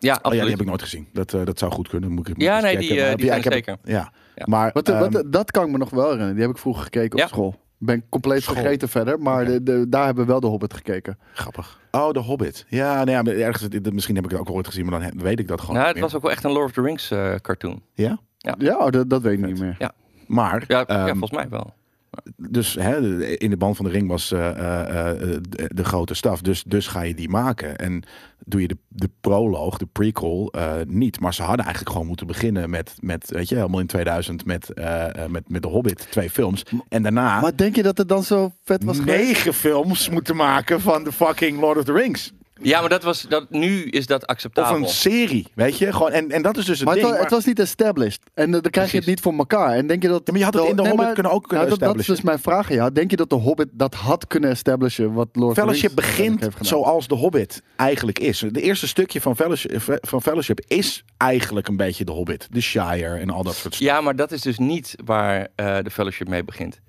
[SPEAKER 2] ja,
[SPEAKER 4] absoluut.
[SPEAKER 2] die heb ik nooit gezien. Dat, eh, dat zou goed kunnen. Moet ik, moet ik
[SPEAKER 4] Ja,
[SPEAKER 2] eens
[SPEAKER 4] nee,
[SPEAKER 2] checken.
[SPEAKER 4] die, eh,
[SPEAKER 2] Maar-
[SPEAKER 4] die
[SPEAKER 2] ja,
[SPEAKER 4] zijn
[SPEAKER 2] ik
[SPEAKER 4] zeker.
[SPEAKER 2] heb- Ja,
[SPEAKER 4] Ja.
[SPEAKER 2] maar
[SPEAKER 3] Wat, wat-
[SPEAKER 2] ehm,
[SPEAKER 3] dat kan ik me nog wel herinneren. Die heb ik vroeger gekeken op
[SPEAKER 4] Ja.
[SPEAKER 3] school. Ben ik compleet
[SPEAKER 2] School.
[SPEAKER 3] vergeten verder. Maar de, de- daar hebben we wel de Hobbit gekeken.
[SPEAKER 2] grappig. Oh, de Hobbit. Ja, nou ja, maar ergens, dit- misschien heb ik het ook al ooit gezien, maar dan he- weet ik dat gewoon.
[SPEAKER 4] Nou,
[SPEAKER 2] niet
[SPEAKER 4] het was ook wel echt een Lord of the Rings eh, cartoon.
[SPEAKER 2] meer. Ja,
[SPEAKER 3] Ja, oh, dat, dat weet ik niet meer.
[SPEAKER 2] maar
[SPEAKER 4] Ja, ja,
[SPEAKER 2] ehm,
[SPEAKER 4] volgens mij wel.
[SPEAKER 2] dus hè, de- in de band van de ring was eh, eh, eh, de, de grote staf. Dus, dus ga je die maken. En doe je de, de proloog, de prequel, eh, niet. Maar ze hadden eigenlijk gewoon moeten beginnen met, met weet je, helemaal in 2000 met, eh, eh, met, met The Hobbit, twee films. En daarna
[SPEAKER 3] Maar denk je dat het dan zo vet was geweest?
[SPEAKER 2] negen films moeten maken van de fucking Lord of the Rings.
[SPEAKER 4] Ja, maar dat was, dat, nu is dat
[SPEAKER 2] Of
[SPEAKER 4] acceptabel.
[SPEAKER 2] een serie, weet je. Gewoon, en, en dat is dus het
[SPEAKER 3] Maar het,
[SPEAKER 2] ding.
[SPEAKER 3] wa- het
[SPEAKER 2] maar-
[SPEAKER 3] was niet established. En eh, dan krijg je het
[SPEAKER 4] Precies.
[SPEAKER 3] niet voor elkaar. En denk je dat...
[SPEAKER 2] Ja, maar je had het
[SPEAKER 3] dat-
[SPEAKER 2] in de
[SPEAKER 3] nee,
[SPEAKER 2] Hobbit
[SPEAKER 3] maar-
[SPEAKER 2] kunnen ook kunnen
[SPEAKER 3] nou, dat, dat is
[SPEAKER 2] establishen.
[SPEAKER 3] dus mijn vraag. Ja. Denk je dat de Hobbit dat had kunnen establishen? Wat Lord of the
[SPEAKER 2] Fellowship
[SPEAKER 3] Rings
[SPEAKER 2] begint
[SPEAKER 3] heeft gedaan?
[SPEAKER 2] zoals The Hobbit eigenlijk is. Het eerste stukje van Fellowship, eh, van Fellowship is eigenlijk een beetje The Hobbit. The Shire en al dat soort stuff.
[SPEAKER 4] Ja, maar dat is dus niet waar eh, de fellowship mee begint.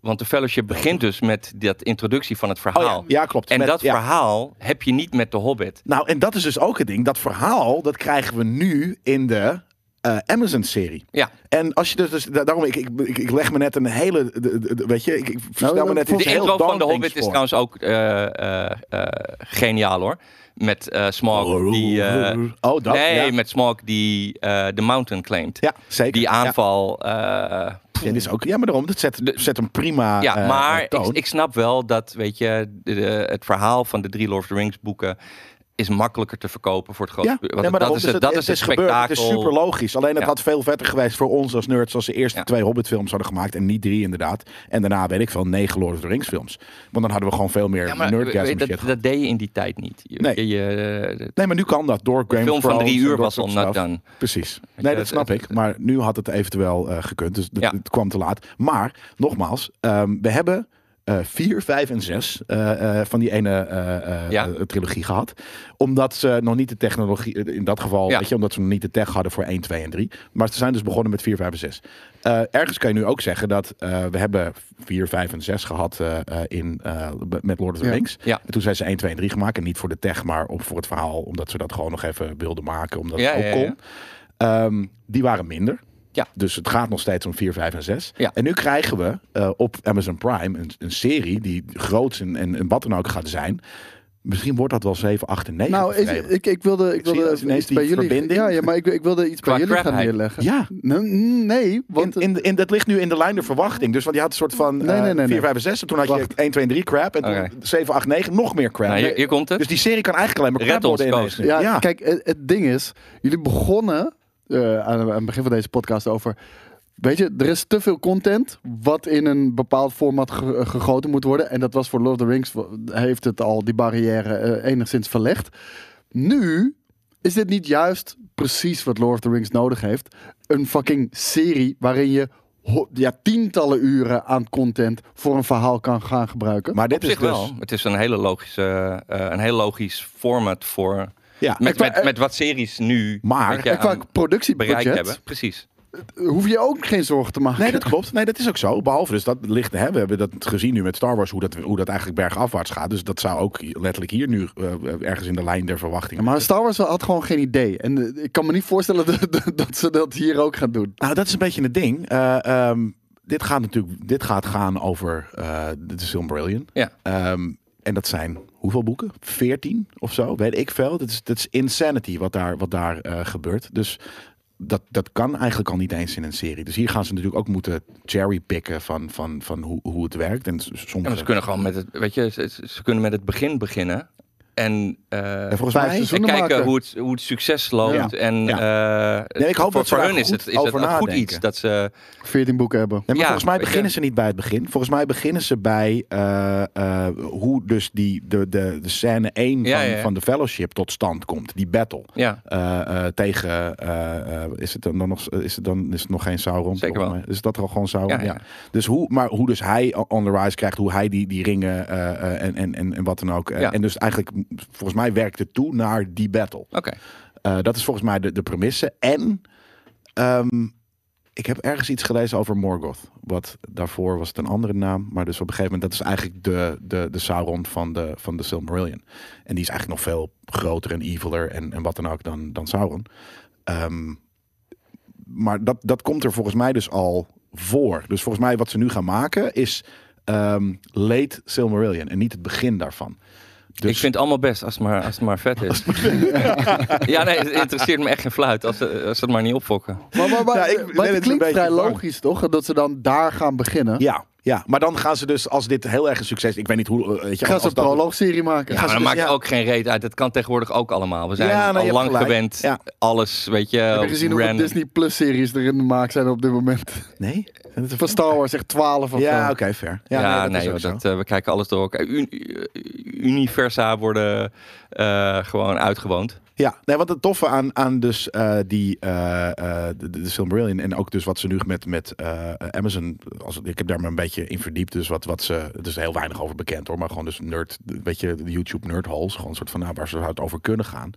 [SPEAKER 4] Want de fellowship begint dus met dat introductie van het
[SPEAKER 2] Oh ja,
[SPEAKER 4] verhaal.
[SPEAKER 2] ja, klopt.
[SPEAKER 4] En
[SPEAKER 2] Met-
[SPEAKER 4] dat
[SPEAKER 2] ja.
[SPEAKER 4] verhaal heb je niet met de Hobbit.
[SPEAKER 2] Nou, en dat is dus ook het ding. Dat verhaal, dat krijgen we nu in de eh, Amazon-serie.
[SPEAKER 4] Ja.
[SPEAKER 2] En als je dus, dus da- daarom, ik, ik, ik, ik leg me net een hele, de- de- de- weet je, ik,
[SPEAKER 4] Nou,
[SPEAKER 2] ik verstel
[SPEAKER 3] dat-
[SPEAKER 2] me net
[SPEAKER 3] de
[SPEAKER 2] iets
[SPEAKER 4] De
[SPEAKER 2] heel
[SPEAKER 4] intro van de
[SPEAKER 2] daunting
[SPEAKER 4] Hobbit is
[SPEAKER 2] voor.
[SPEAKER 4] trouwens ook eh, eh, eh, geniaal hoor. Met eh Smog die... eh,
[SPEAKER 2] oh, dat?
[SPEAKER 4] nee,
[SPEAKER 2] ja.
[SPEAKER 4] met Smog die eh, de mountain claimt.
[SPEAKER 2] ja, zeker.
[SPEAKER 4] Die
[SPEAKER 2] Ja.
[SPEAKER 4] aanval. eh,
[SPEAKER 2] Ja, dit is ook, ja, maar daarom, dat zet, zet een prima
[SPEAKER 4] Ja,
[SPEAKER 2] eh,
[SPEAKER 4] maar ik,
[SPEAKER 2] toon.
[SPEAKER 4] ik snap wel dat, weet je, de- de- het verhaal van de drie Lord of the Rings boeken is makkelijker te verkopen voor het grote
[SPEAKER 2] Ja,
[SPEAKER 4] publiek.
[SPEAKER 2] nee, maar
[SPEAKER 4] Want dat
[SPEAKER 2] daarom, dus
[SPEAKER 4] is het, dat is
[SPEAKER 2] het
[SPEAKER 4] het
[SPEAKER 2] gebeurd.
[SPEAKER 4] spektakel.
[SPEAKER 2] Het is super logisch. Alleen het
[SPEAKER 4] Ja.
[SPEAKER 2] had veel vetter geweest voor ons als nerds als de eerste
[SPEAKER 4] Ja.
[SPEAKER 2] twee Hobbit-films hadden gemaakt en niet drie inderdaad. En daarna weet ik veel negen Lord of the Rings-films. Want dan hadden we gewoon veel meer
[SPEAKER 4] Ja, maar
[SPEAKER 2] nerdgasm
[SPEAKER 4] weet je,
[SPEAKER 2] shit
[SPEAKER 4] dat,
[SPEAKER 2] gehad.
[SPEAKER 4] dat deed je in die tijd niet. Je-
[SPEAKER 2] Nee.
[SPEAKER 4] je- je- de-
[SPEAKER 2] Nee, maar nu kan dat door Game of
[SPEAKER 4] film van
[SPEAKER 2] Thrones
[SPEAKER 4] drie
[SPEAKER 2] en
[SPEAKER 4] uur
[SPEAKER 2] door
[SPEAKER 4] was
[SPEAKER 2] dat
[SPEAKER 4] al
[SPEAKER 2] soort
[SPEAKER 4] nat
[SPEAKER 2] stuff.
[SPEAKER 4] dan.
[SPEAKER 2] Preef. Precies.
[SPEAKER 4] je,
[SPEAKER 2] Nee, dat
[SPEAKER 4] het-
[SPEAKER 2] snap
[SPEAKER 4] het-
[SPEAKER 2] ik. Maar nu had het eventueel eh, gekund. Dus dat-
[SPEAKER 4] Ja.
[SPEAKER 2] het kwam te laat. Maar, nogmaals, ehm, we hebben eh, vier, vijf en zes eh, eh, van die ene eh, eh,
[SPEAKER 4] Ja.
[SPEAKER 2] eh, trilogie gehad. Omdat ze nog niet de technologie, eh, in dat geval,
[SPEAKER 4] Ja.
[SPEAKER 2] weet je, omdat ze nog niet de tech hadden voor 1, 2 en 3. Maar ze zijn dus begonnen met 4, 5 en 6. Eh, ergens kan je nu ook zeggen dat eh, we hebben 4, 5 en 6 gehad eh, eh, in, eh, be- met Lord of the
[SPEAKER 3] Ja.
[SPEAKER 2] Rings.
[SPEAKER 4] Ja.
[SPEAKER 2] En toen zijn ze 1, 2 en 3 gemaakt. En niet voor de tech, maar om, voor het verhaal. Omdat ze dat gewoon nog even wilden maken. Omdat
[SPEAKER 4] Ja,
[SPEAKER 2] het ook
[SPEAKER 4] ja, ja.
[SPEAKER 2] kon. Ehm, die waren minder.
[SPEAKER 4] Ja.
[SPEAKER 2] Dus het gaat nog steeds om 4, 5 en 6.
[SPEAKER 4] Ja.
[SPEAKER 2] En nu krijgen we eh, op Amazon Prime een, een serie die groots en, en, en wat dan ook gaat zijn. Misschien wordt dat wel 7, 8 en 9.
[SPEAKER 3] Nou, ik, ik, ik wilde, ik
[SPEAKER 2] zie
[SPEAKER 3] wilde
[SPEAKER 2] als ineens
[SPEAKER 3] iets
[SPEAKER 2] die
[SPEAKER 3] bij jullie.
[SPEAKER 2] verbinding.
[SPEAKER 3] Ja, ja, maar ik, ik wilde iets
[SPEAKER 4] Qua
[SPEAKER 3] bij jullie gaan
[SPEAKER 4] crapheid.
[SPEAKER 3] neerleggen.
[SPEAKER 2] Ja.
[SPEAKER 3] Nee, Nee, want
[SPEAKER 2] want in, in, in- dat ligt nu in de lijn der verwachting. Dus want je had een soort van eh
[SPEAKER 3] Nee, nee, nee, nee.
[SPEAKER 2] 4, 5 en 6. En toen had je
[SPEAKER 3] Wacht.
[SPEAKER 2] 1, 2 en 3 crap. En toen
[SPEAKER 4] Oké.
[SPEAKER 2] 7, 8, 9 nog meer crap.
[SPEAKER 4] Nou, hier, hier komt het.
[SPEAKER 2] dus die serie kan eigenlijk alleen maar crap
[SPEAKER 4] Red ons,
[SPEAKER 2] worden ineens
[SPEAKER 4] coach.
[SPEAKER 2] nu.
[SPEAKER 3] Ja, kijk, het, het ding is, jullie begonnen eh, aan, aan het begin van deze podcast over. Weet je, er is te veel content wat in een bepaald format ge- eh, gegoten moet worden. En dat was voor Lord of the Rings, wa- heeft het al die barrière eh, enigszins verlegd. Nu is dit niet juist precies wat Lord of the Rings nodig heeft. Een fucking serie waarin je ho- ja, tientallen uren aan content voor een verhaal kan gaan gebruiken.
[SPEAKER 2] Maar dit
[SPEAKER 4] op
[SPEAKER 2] is
[SPEAKER 4] zich
[SPEAKER 2] dus...
[SPEAKER 4] wel. Het is een hele logische, eh, een heel logisch format voor.
[SPEAKER 2] Ja,
[SPEAKER 4] Met,
[SPEAKER 3] wou-
[SPEAKER 4] met, met wat series nu
[SPEAKER 2] Maar-
[SPEAKER 4] weet je,
[SPEAKER 3] en qua
[SPEAKER 4] aan bereikt hebben.
[SPEAKER 3] productiebudget
[SPEAKER 4] Precies.
[SPEAKER 3] hoef je ook geen zorgen te maken.
[SPEAKER 2] eh, Nee, dat klopt. Nee, dat is ook zo. Behalve dus dat ligt. Hè, we hebben dat gezien nu met Star Wars, hoe dat, hoe dat eigenlijk bergafwaarts gaat. Dus dat zou ook letterlijk hier nu eh, ergens in de lijn der verwachtingen.
[SPEAKER 3] Ja, maar Star Wars had gewoon geen idee. En eh, ik kan me niet voorstellen dat, dat- dat ze dat hier ook gaan doen.
[SPEAKER 2] Nou, dat is een beetje het ding. Eh, ehm, dit gaat natuurlijk dit gaat gaan over eh, de film Brilliant.
[SPEAKER 4] Ja.
[SPEAKER 2] Ehm, en dat zijn hoeveel boeken? Veertien of zo, weet ik veel. Dat is, dat is insanity wat daar, wat daar eh, gebeurt. Dus dat, dat kan eigenlijk al niet eens in een serie. Dus hier gaan ze natuurlijk ook moeten cherrypicken van, van, van hoe, hoe het werkt. En s- eh,
[SPEAKER 4] Ja,
[SPEAKER 2] sommige...
[SPEAKER 4] maar ze kunnen gewoon met het, weet je, ze, ze- ze kunnen met het begin beginnen. En, eh,
[SPEAKER 2] en volgens
[SPEAKER 3] Vijf
[SPEAKER 2] mij...
[SPEAKER 3] seizoenen
[SPEAKER 4] en kijken
[SPEAKER 3] maken.
[SPEAKER 4] hoe het, hoe het succes loopt. En eh,
[SPEAKER 2] Nee, ik hoop
[SPEAKER 4] voor,
[SPEAKER 2] dat ze
[SPEAKER 4] voor
[SPEAKER 2] daar
[SPEAKER 4] hun is
[SPEAKER 2] goed
[SPEAKER 4] het, is het
[SPEAKER 2] over
[SPEAKER 4] een goed
[SPEAKER 2] nadenken.
[SPEAKER 4] iets dat ze.
[SPEAKER 3] 14 boeken hebben.
[SPEAKER 2] Nee, maar
[SPEAKER 4] Ja,
[SPEAKER 2] volgens mij
[SPEAKER 4] weet
[SPEAKER 2] beginnen
[SPEAKER 4] je.
[SPEAKER 2] ze niet bij het begin. Volgens mij beginnen ze bij eh, eh, hoe dus die, de, de, de scène 1
[SPEAKER 4] Ja,
[SPEAKER 2] van,
[SPEAKER 4] ja, ja.
[SPEAKER 2] van de Fellowship tot stand komt. Die battle.
[SPEAKER 4] Ja,
[SPEAKER 2] Eh, eh, tegen, eh, eh, is het dan nog, is het dan is het nog geen Sauron?
[SPEAKER 4] Zeker
[SPEAKER 2] volgens
[SPEAKER 4] wel.
[SPEAKER 2] mij? Is dat al gewoon Sauron? Ja,
[SPEAKER 4] Ja, ja.
[SPEAKER 2] Dus hoe, maar hoe dus hij on the rise krijgt, hoe hij die, die ringen eh, eh, en, en, en, en wat dan ook. Eh,
[SPEAKER 4] Ja.
[SPEAKER 2] En dus eigenlijk, m, volgens mij werkt het toe naar die battle.
[SPEAKER 4] oké.
[SPEAKER 2] Eh, dat is volgens mij de, de premisse. En ehm, ik heb ergens iets gelezen over Morgoth. Wat daarvoor was het een andere naam. Maar dus op een gegeven moment, dat is eigenlijk de, de, de Sauron van de, van de Silmarillion. En die is eigenlijk nog veel groter en eviler en, en wat dan ook dan, dan Sauron. Ehm, maar dat, dat komt er volgens mij dus al voor. Dus volgens mij wat ze nu gaan maken is ehm, late Silmarillion. En niet het begin daarvan. Dus,
[SPEAKER 4] Ik vind het allemaal best als het maar, als het maar vet is. ja, nee, het interesseert me echt geen fluit als ze, als ze het maar niet opfokken.
[SPEAKER 3] Maar, maar, maar,
[SPEAKER 2] Ja, ik
[SPEAKER 3] maar
[SPEAKER 2] ben het een
[SPEAKER 3] het klinkt
[SPEAKER 2] beetje
[SPEAKER 3] vrij
[SPEAKER 2] bang.
[SPEAKER 3] logisch, toch? Dat ze dan daar gaan beginnen.
[SPEAKER 2] Ja, ja, maar dan gaan ze dus, als dit heel erg een succes Ik weet niet hoe... eh, Weet je,
[SPEAKER 3] Gaan
[SPEAKER 2] als
[SPEAKER 3] ze een
[SPEAKER 2] dat-
[SPEAKER 3] proloogserie maken.
[SPEAKER 4] Ja, maar dat
[SPEAKER 2] dus-
[SPEAKER 4] maakt
[SPEAKER 2] ja.
[SPEAKER 4] ook geen reet uit. Dat kan tegenwoordig ook allemaal. We zijn
[SPEAKER 2] Ja, nou, je
[SPEAKER 4] al
[SPEAKER 2] hebt
[SPEAKER 4] lang
[SPEAKER 2] gelijk.
[SPEAKER 4] gewend.
[SPEAKER 2] Ja.
[SPEAKER 4] Alles, weet je.
[SPEAKER 3] Heb je gezien hoeveel
[SPEAKER 4] random.
[SPEAKER 3] Disney Plus series er in de maak zijn op dit moment?
[SPEAKER 2] Nee?
[SPEAKER 3] Van Star Wars echt 12 of
[SPEAKER 2] Ja,
[SPEAKER 3] zo.
[SPEAKER 2] oké, fair.
[SPEAKER 4] eh, Ja,
[SPEAKER 2] dat
[SPEAKER 4] nee,
[SPEAKER 2] is ook
[SPEAKER 4] joh,
[SPEAKER 2] zo.
[SPEAKER 4] dat, eh, we kijken alles door elkaar. Un- universa worden eh, gewoon uitgewoond.
[SPEAKER 2] Ja, nee, want het toffe aan, aan dus eh, die eh, eh, de, de Silmarillion en ook dus wat ze nu met, met eh, Amazon, als, ik heb daar maar een beetje in verdiept, dus wat, wat ze, het is heel weinig over bekend hoor, maar gewoon dus nerd, weet je, de YouTube nerd holes, gewoon een soort van nou, waar ze het over kunnen gaan.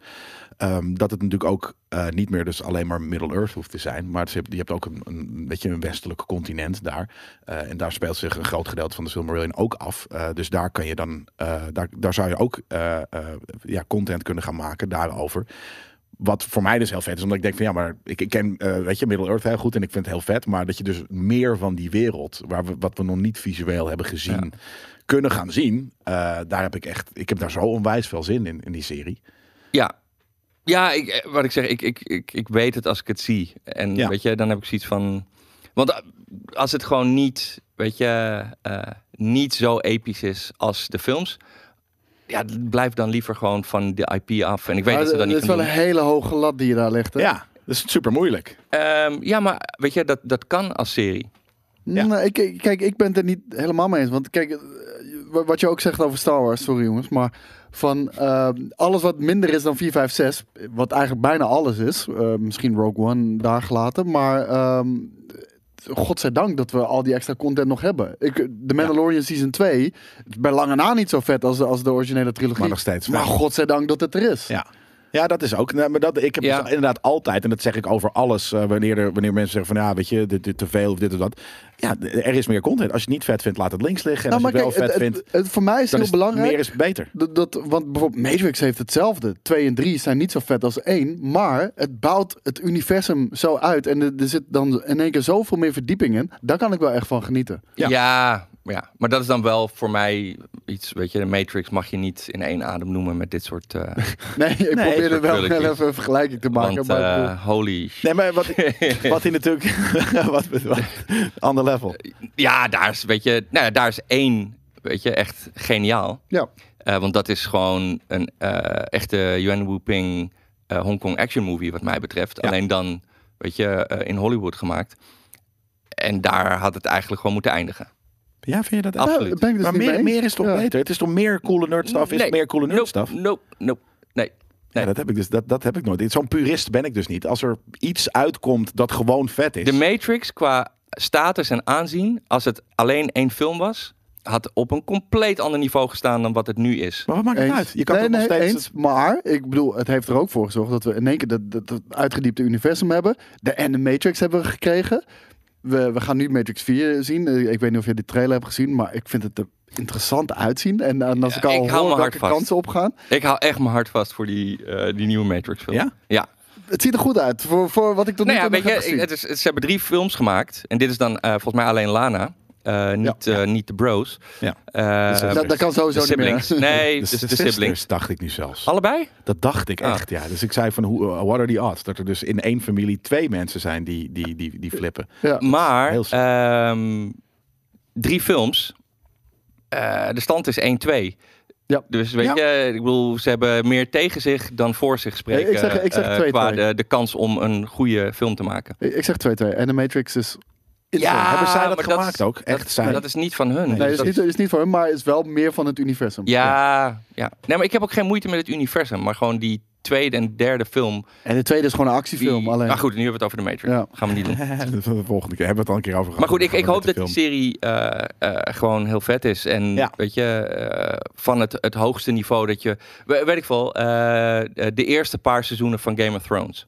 [SPEAKER 2] Ehm, dat het natuurlijk ook eh, niet meer dus alleen maar Middle Earth hoeft te zijn, maar ze, hebben- je hebt ook een, een beetje een westelijk continent daar Eh, en daar speelt zich een groot gedeelte van de Silmarillion ook af. Eh, dus daar kan je dan, eh, daar, daar zou je ook eh, eh, ja, content kunnen gaan maken daarover. Wat voor mij dus heel vet is, omdat ik denk van ja, maar ik, ik ken, eh, weet je, Middle-earth heel goed en ik vind het heel vet. Maar dat je dus meer van die wereld, waar we, wat we nog niet visueel hebben gezien, kunnen gaan zien. eh, daar heb ik echt, ik heb daar zo onwijs veel zin in, in die serie.
[SPEAKER 4] Ja. Ja, ik, eh, wat ik zeg, ik, ik, ik, ik weet het als ik het zie. En
[SPEAKER 2] Ja.
[SPEAKER 4] weet je, dan heb ik zoiets van... Want eh, als het gewoon niet, weet je, eh, niet zo episch is als de films... Ja, blijf dan liever gewoon van de IP af. En ik
[SPEAKER 3] Maar
[SPEAKER 4] weet
[SPEAKER 3] eh,
[SPEAKER 4] dat ze dat
[SPEAKER 3] het
[SPEAKER 4] niet
[SPEAKER 3] is
[SPEAKER 4] gaan
[SPEAKER 3] wel een
[SPEAKER 4] doen.
[SPEAKER 3] hele hoge lat die je daar legt. Hè?
[SPEAKER 2] Ja, dat is super moeilijk.
[SPEAKER 4] Ehm, ja, maar weet je, dat, dat kan als serie.
[SPEAKER 2] Ja.
[SPEAKER 3] Nou, ik- ik, kijk, ik ben het er niet helemaal mee eens. Want kijk, eh, wa- wat je ook zegt over Star Wars, sorry jongens, maar van eh, alles wat minder is dan 4, 5, 6, wat eigenlijk bijna alles is, eh, misschien Rogue One daar gelaten, maar ehm godzijdank dat we al die extra content nog hebben. Ik, de Mandalorian Season 2 is bij lange na niet zo vet als de, als de originele trilogie.
[SPEAKER 2] Maar nog steeds
[SPEAKER 3] Maar
[SPEAKER 2] vet.
[SPEAKER 3] godzijdank dat het er is.
[SPEAKER 2] Ja. Ja, dat is ook. Nee, maar dat, ik heb
[SPEAKER 4] Ja.
[SPEAKER 2] dus inderdaad altijd, en dat zeg ik over alles, eh, wanneer, er, wanneer mensen zeggen van ja, weet je, dit, dit te veel of dit of dat. Ja, d- er is meer content. Als je het niet vet vindt, laat het links liggen. En
[SPEAKER 3] Nou,
[SPEAKER 2] als
[SPEAKER 3] maar
[SPEAKER 2] je het wel
[SPEAKER 3] kijk,
[SPEAKER 2] vet
[SPEAKER 3] het,
[SPEAKER 2] vindt,
[SPEAKER 3] het- het- voor mij is
[SPEAKER 2] dan
[SPEAKER 3] heel
[SPEAKER 2] is
[SPEAKER 3] belangrijk.
[SPEAKER 2] meer is beter.
[SPEAKER 3] Dat, dat, want bijvoorbeeld Matrix heeft hetzelfde. 2 en 3 zijn niet zo vet als 1. Maar het bouwt het universum zo uit. En er, er zit dan in één keer zoveel meer verdieping in. Daar kan ik wel echt van genieten.
[SPEAKER 2] Ja.
[SPEAKER 4] Ja. ja, maar dat is dan wel voor mij iets, weet je, de Matrix mag je niet in één adem noemen met dit soort... eh,
[SPEAKER 3] Nee, ik
[SPEAKER 2] Nee,
[SPEAKER 3] probeer er wel
[SPEAKER 4] natuurlijk
[SPEAKER 3] even
[SPEAKER 4] niet.
[SPEAKER 3] een vergelijking te maken.
[SPEAKER 4] want
[SPEAKER 3] maar ik bedoel-
[SPEAKER 4] eh, holy shit.
[SPEAKER 2] Nee, maar wat, wat hij natuurlijk. wat, wat, ander level.
[SPEAKER 4] Ja, daar is, weet je, nou, ja, daar is één, weet je, echt geniaal.
[SPEAKER 3] ja.
[SPEAKER 4] Eh, want dat is gewoon een eh, echte Yuan Wu Ping eh, Hong Kong action movie, wat mij betreft. Alleen dan, weet je, eh, in Hollywood gemaakt. En daar had het eigenlijk gewoon moeten eindigen.
[SPEAKER 2] Ja, vind je dat
[SPEAKER 4] Absoluut.
[SPEAKER 3] Nou, ben ik dus
[SPEAKER 2] Maar
[SPEAKER 3] niet mee
[SPEAKER 2] meer,
[SPEAKER 3] eens.
[SPEAKER 2] meer is toch
[SPEAKER 3] Ja.
[SPEAKER 2] beter? Het is toch meer coole nerd stuff? Is
[SPEAKER 4] Nee.
[SPEAKER 2] het meer coole nerd
[SPEAKER 4] Nope,
[SPEAKER 2] stuff?
[SPEAKER 4] nope, nope. Nee.
[SPEAKER 2] Ja, dat heb ik dus. Dat, dat heb ik nooit. Zo'n purist ben ik dus niet. Als er iets uitkomt dat gewoon vet is.
[SPEAKER 4] De Matrix qua status en aanzien, als het alleen één film was, had op een compleet ander niveau gestaan dan wat het nu is.
[SPEAKER 2] maar wat maakt het
[SPEAKER 3] Eens.
[SPEAKER 2] uit? Je kan
[SPEAKER 3] nee,
[SPEAKER 2] toch
[SPEAKER 3] nee,
[SPEAKER 2] nog steeds.
[SPEAKER 3] eens, maar ik bedoel, het heeft er ook voor gezorgd dat we in één keer dat, dat, dat uitgediepte universum hebben. De en de Matrix hebben we gekregen. We, we gaan nu Matrix 4 zien. Eh, Ik weet niet of je die trailer hebt gezien, maar ik vind het er interessant uitzien. En, en als ik al
[SPEAKER 4] ik hou mijn
[SPEAKER 3] hoor
[SPEAKER 4] hart
[SPEAKER 3] welke
[SPEAKER 4] vast.
[SPEAKER 3] kansen opgaan.
[SPEAKER 4] Ik hou echt mijn hart vast voor die, eh, die nieuwe Matrix film.
[SPEAKER 2] Ja?
[SPEAKER 4] Ja.
[SPEAKER 3] Het ziet er goed uit voor, voor wat ik tot
[SPEAKER 4] Nou
[SPEAKER 3] nu
[SPEAKER 4] ja,
[SPEAKER 3] toe
[SPEAKER 4] weet
[SPEAKER 3] nog heb
[SPEAKER 4] je,
[SPEAKER 3] gezien.
[SPEAKER 4] het is, het- ze hebben drie films gemaakt. En dit is dan eh, volgens mij alleen Lana. Eh, niet, eh, niet de bros.
[SPEAKER 2] Ja.
[SPEAKER 4] Eh,
[SPEAKER 2] Dus, eh,
[SPEAKER 3] dat, dat kan
[SPEAKER 4] de
[SPEAKER 3] sowieso niet
[SPEAKER 4] siblings.
[SPEAKER 3] meer.
[SPEAKER 4] Nee,
[SPEAKER 2] de
[SPEAKER 4] dus de,
[SPEAKER 2] sisters
[SPEAKER 4] siblings.
[SPEAKER 2] dacht ik nu zelfs.
[SPEAKER 4] Allebei?
[SPEAKER 2] Dat dacht ik
[SPEAKER 4] Ah.
[SPEAKER 2] echt, ja. Dus ik zei van, hoe, uh, what are the odds? Dat er dus in één familie twee mensen zijn die, die, die, die flippen.
[SPEAKER 3] Ja.
[SPEAKER 4] Maar
[SPEAKER 2] heel
[SPEAKER 4] ehm, drie films. Eh, de stand is 1-2.
[SPEAKER 3] Ja.
[SPEAKER 4] Dus weet
[SPEAKER 2] Ja.
[SPEAKER 4] je, ik bedoel, ze hebben meer tegen zich dan voor zich spreken.
[SPEAKER 3] Nee, ik zeg- ik zeg
[SPEAKER 4] eh,
[SPEAKER 3] 2-2.
[SPEAKER 4] qua de, de kans om een goede film te maken.
[SPEAKER 3] Ik ik zeg 2-2. En de Matrix is...
[SPEAKER 4] Ja,
[SPEAKER 2] Hebben zij dat
[SPEAKER 4] maar
[SPEAKER 2] gemaakt
[SPEAKER 4] dat-
[SPEAKER 2] ook? Echt zij?
[SPEAKER 4] Maar dat is niet van hun.
[SPEAKER 3] Nee,
[SPEAKER 4] Dus
[SPEAKER 3] is
[SPEAKER 4] dat-
[SPEAKER 3] niet, is niet voor hem, maar is wel meer van het universum.
[SPEAKER 4] Ja, ja. Nee, maar ik heb ook geen moeite met het universum. Maar gewoon die tweede en derde film.
[SPEAKER 3] En de tweede is gewoon een
[SPEAKER 4] Die...
[SPEAKER 3] actiefilm alleen.
[SPEAKER 4] Maar goed, nu hebben we het over de Matrix.
[SPEAKER 3] Ja.
[SPEAKER 4] Gaan we niet doen.
[SPEAKER 2] de volgende keer hebben we het al een keer over gehad.
[SPEAKER 4] Maar goed, ik, ik
[SPEAKER 2] Met
[SPEAKER 4] hoop
[SPEAKER 2] de
[SPEAKER 4] dat die
[SPEAKER 2] film.
[SPEAKER 4] serie eh, eh, gewoon heel vet is. En
[SPEAKER 2] Ja.
[SPEAKER 4] weet je, eh, van het, het hoogste niveau dat je... we- Weet ik veel, eh, de eerste paar seizoenen van Game of Thrones.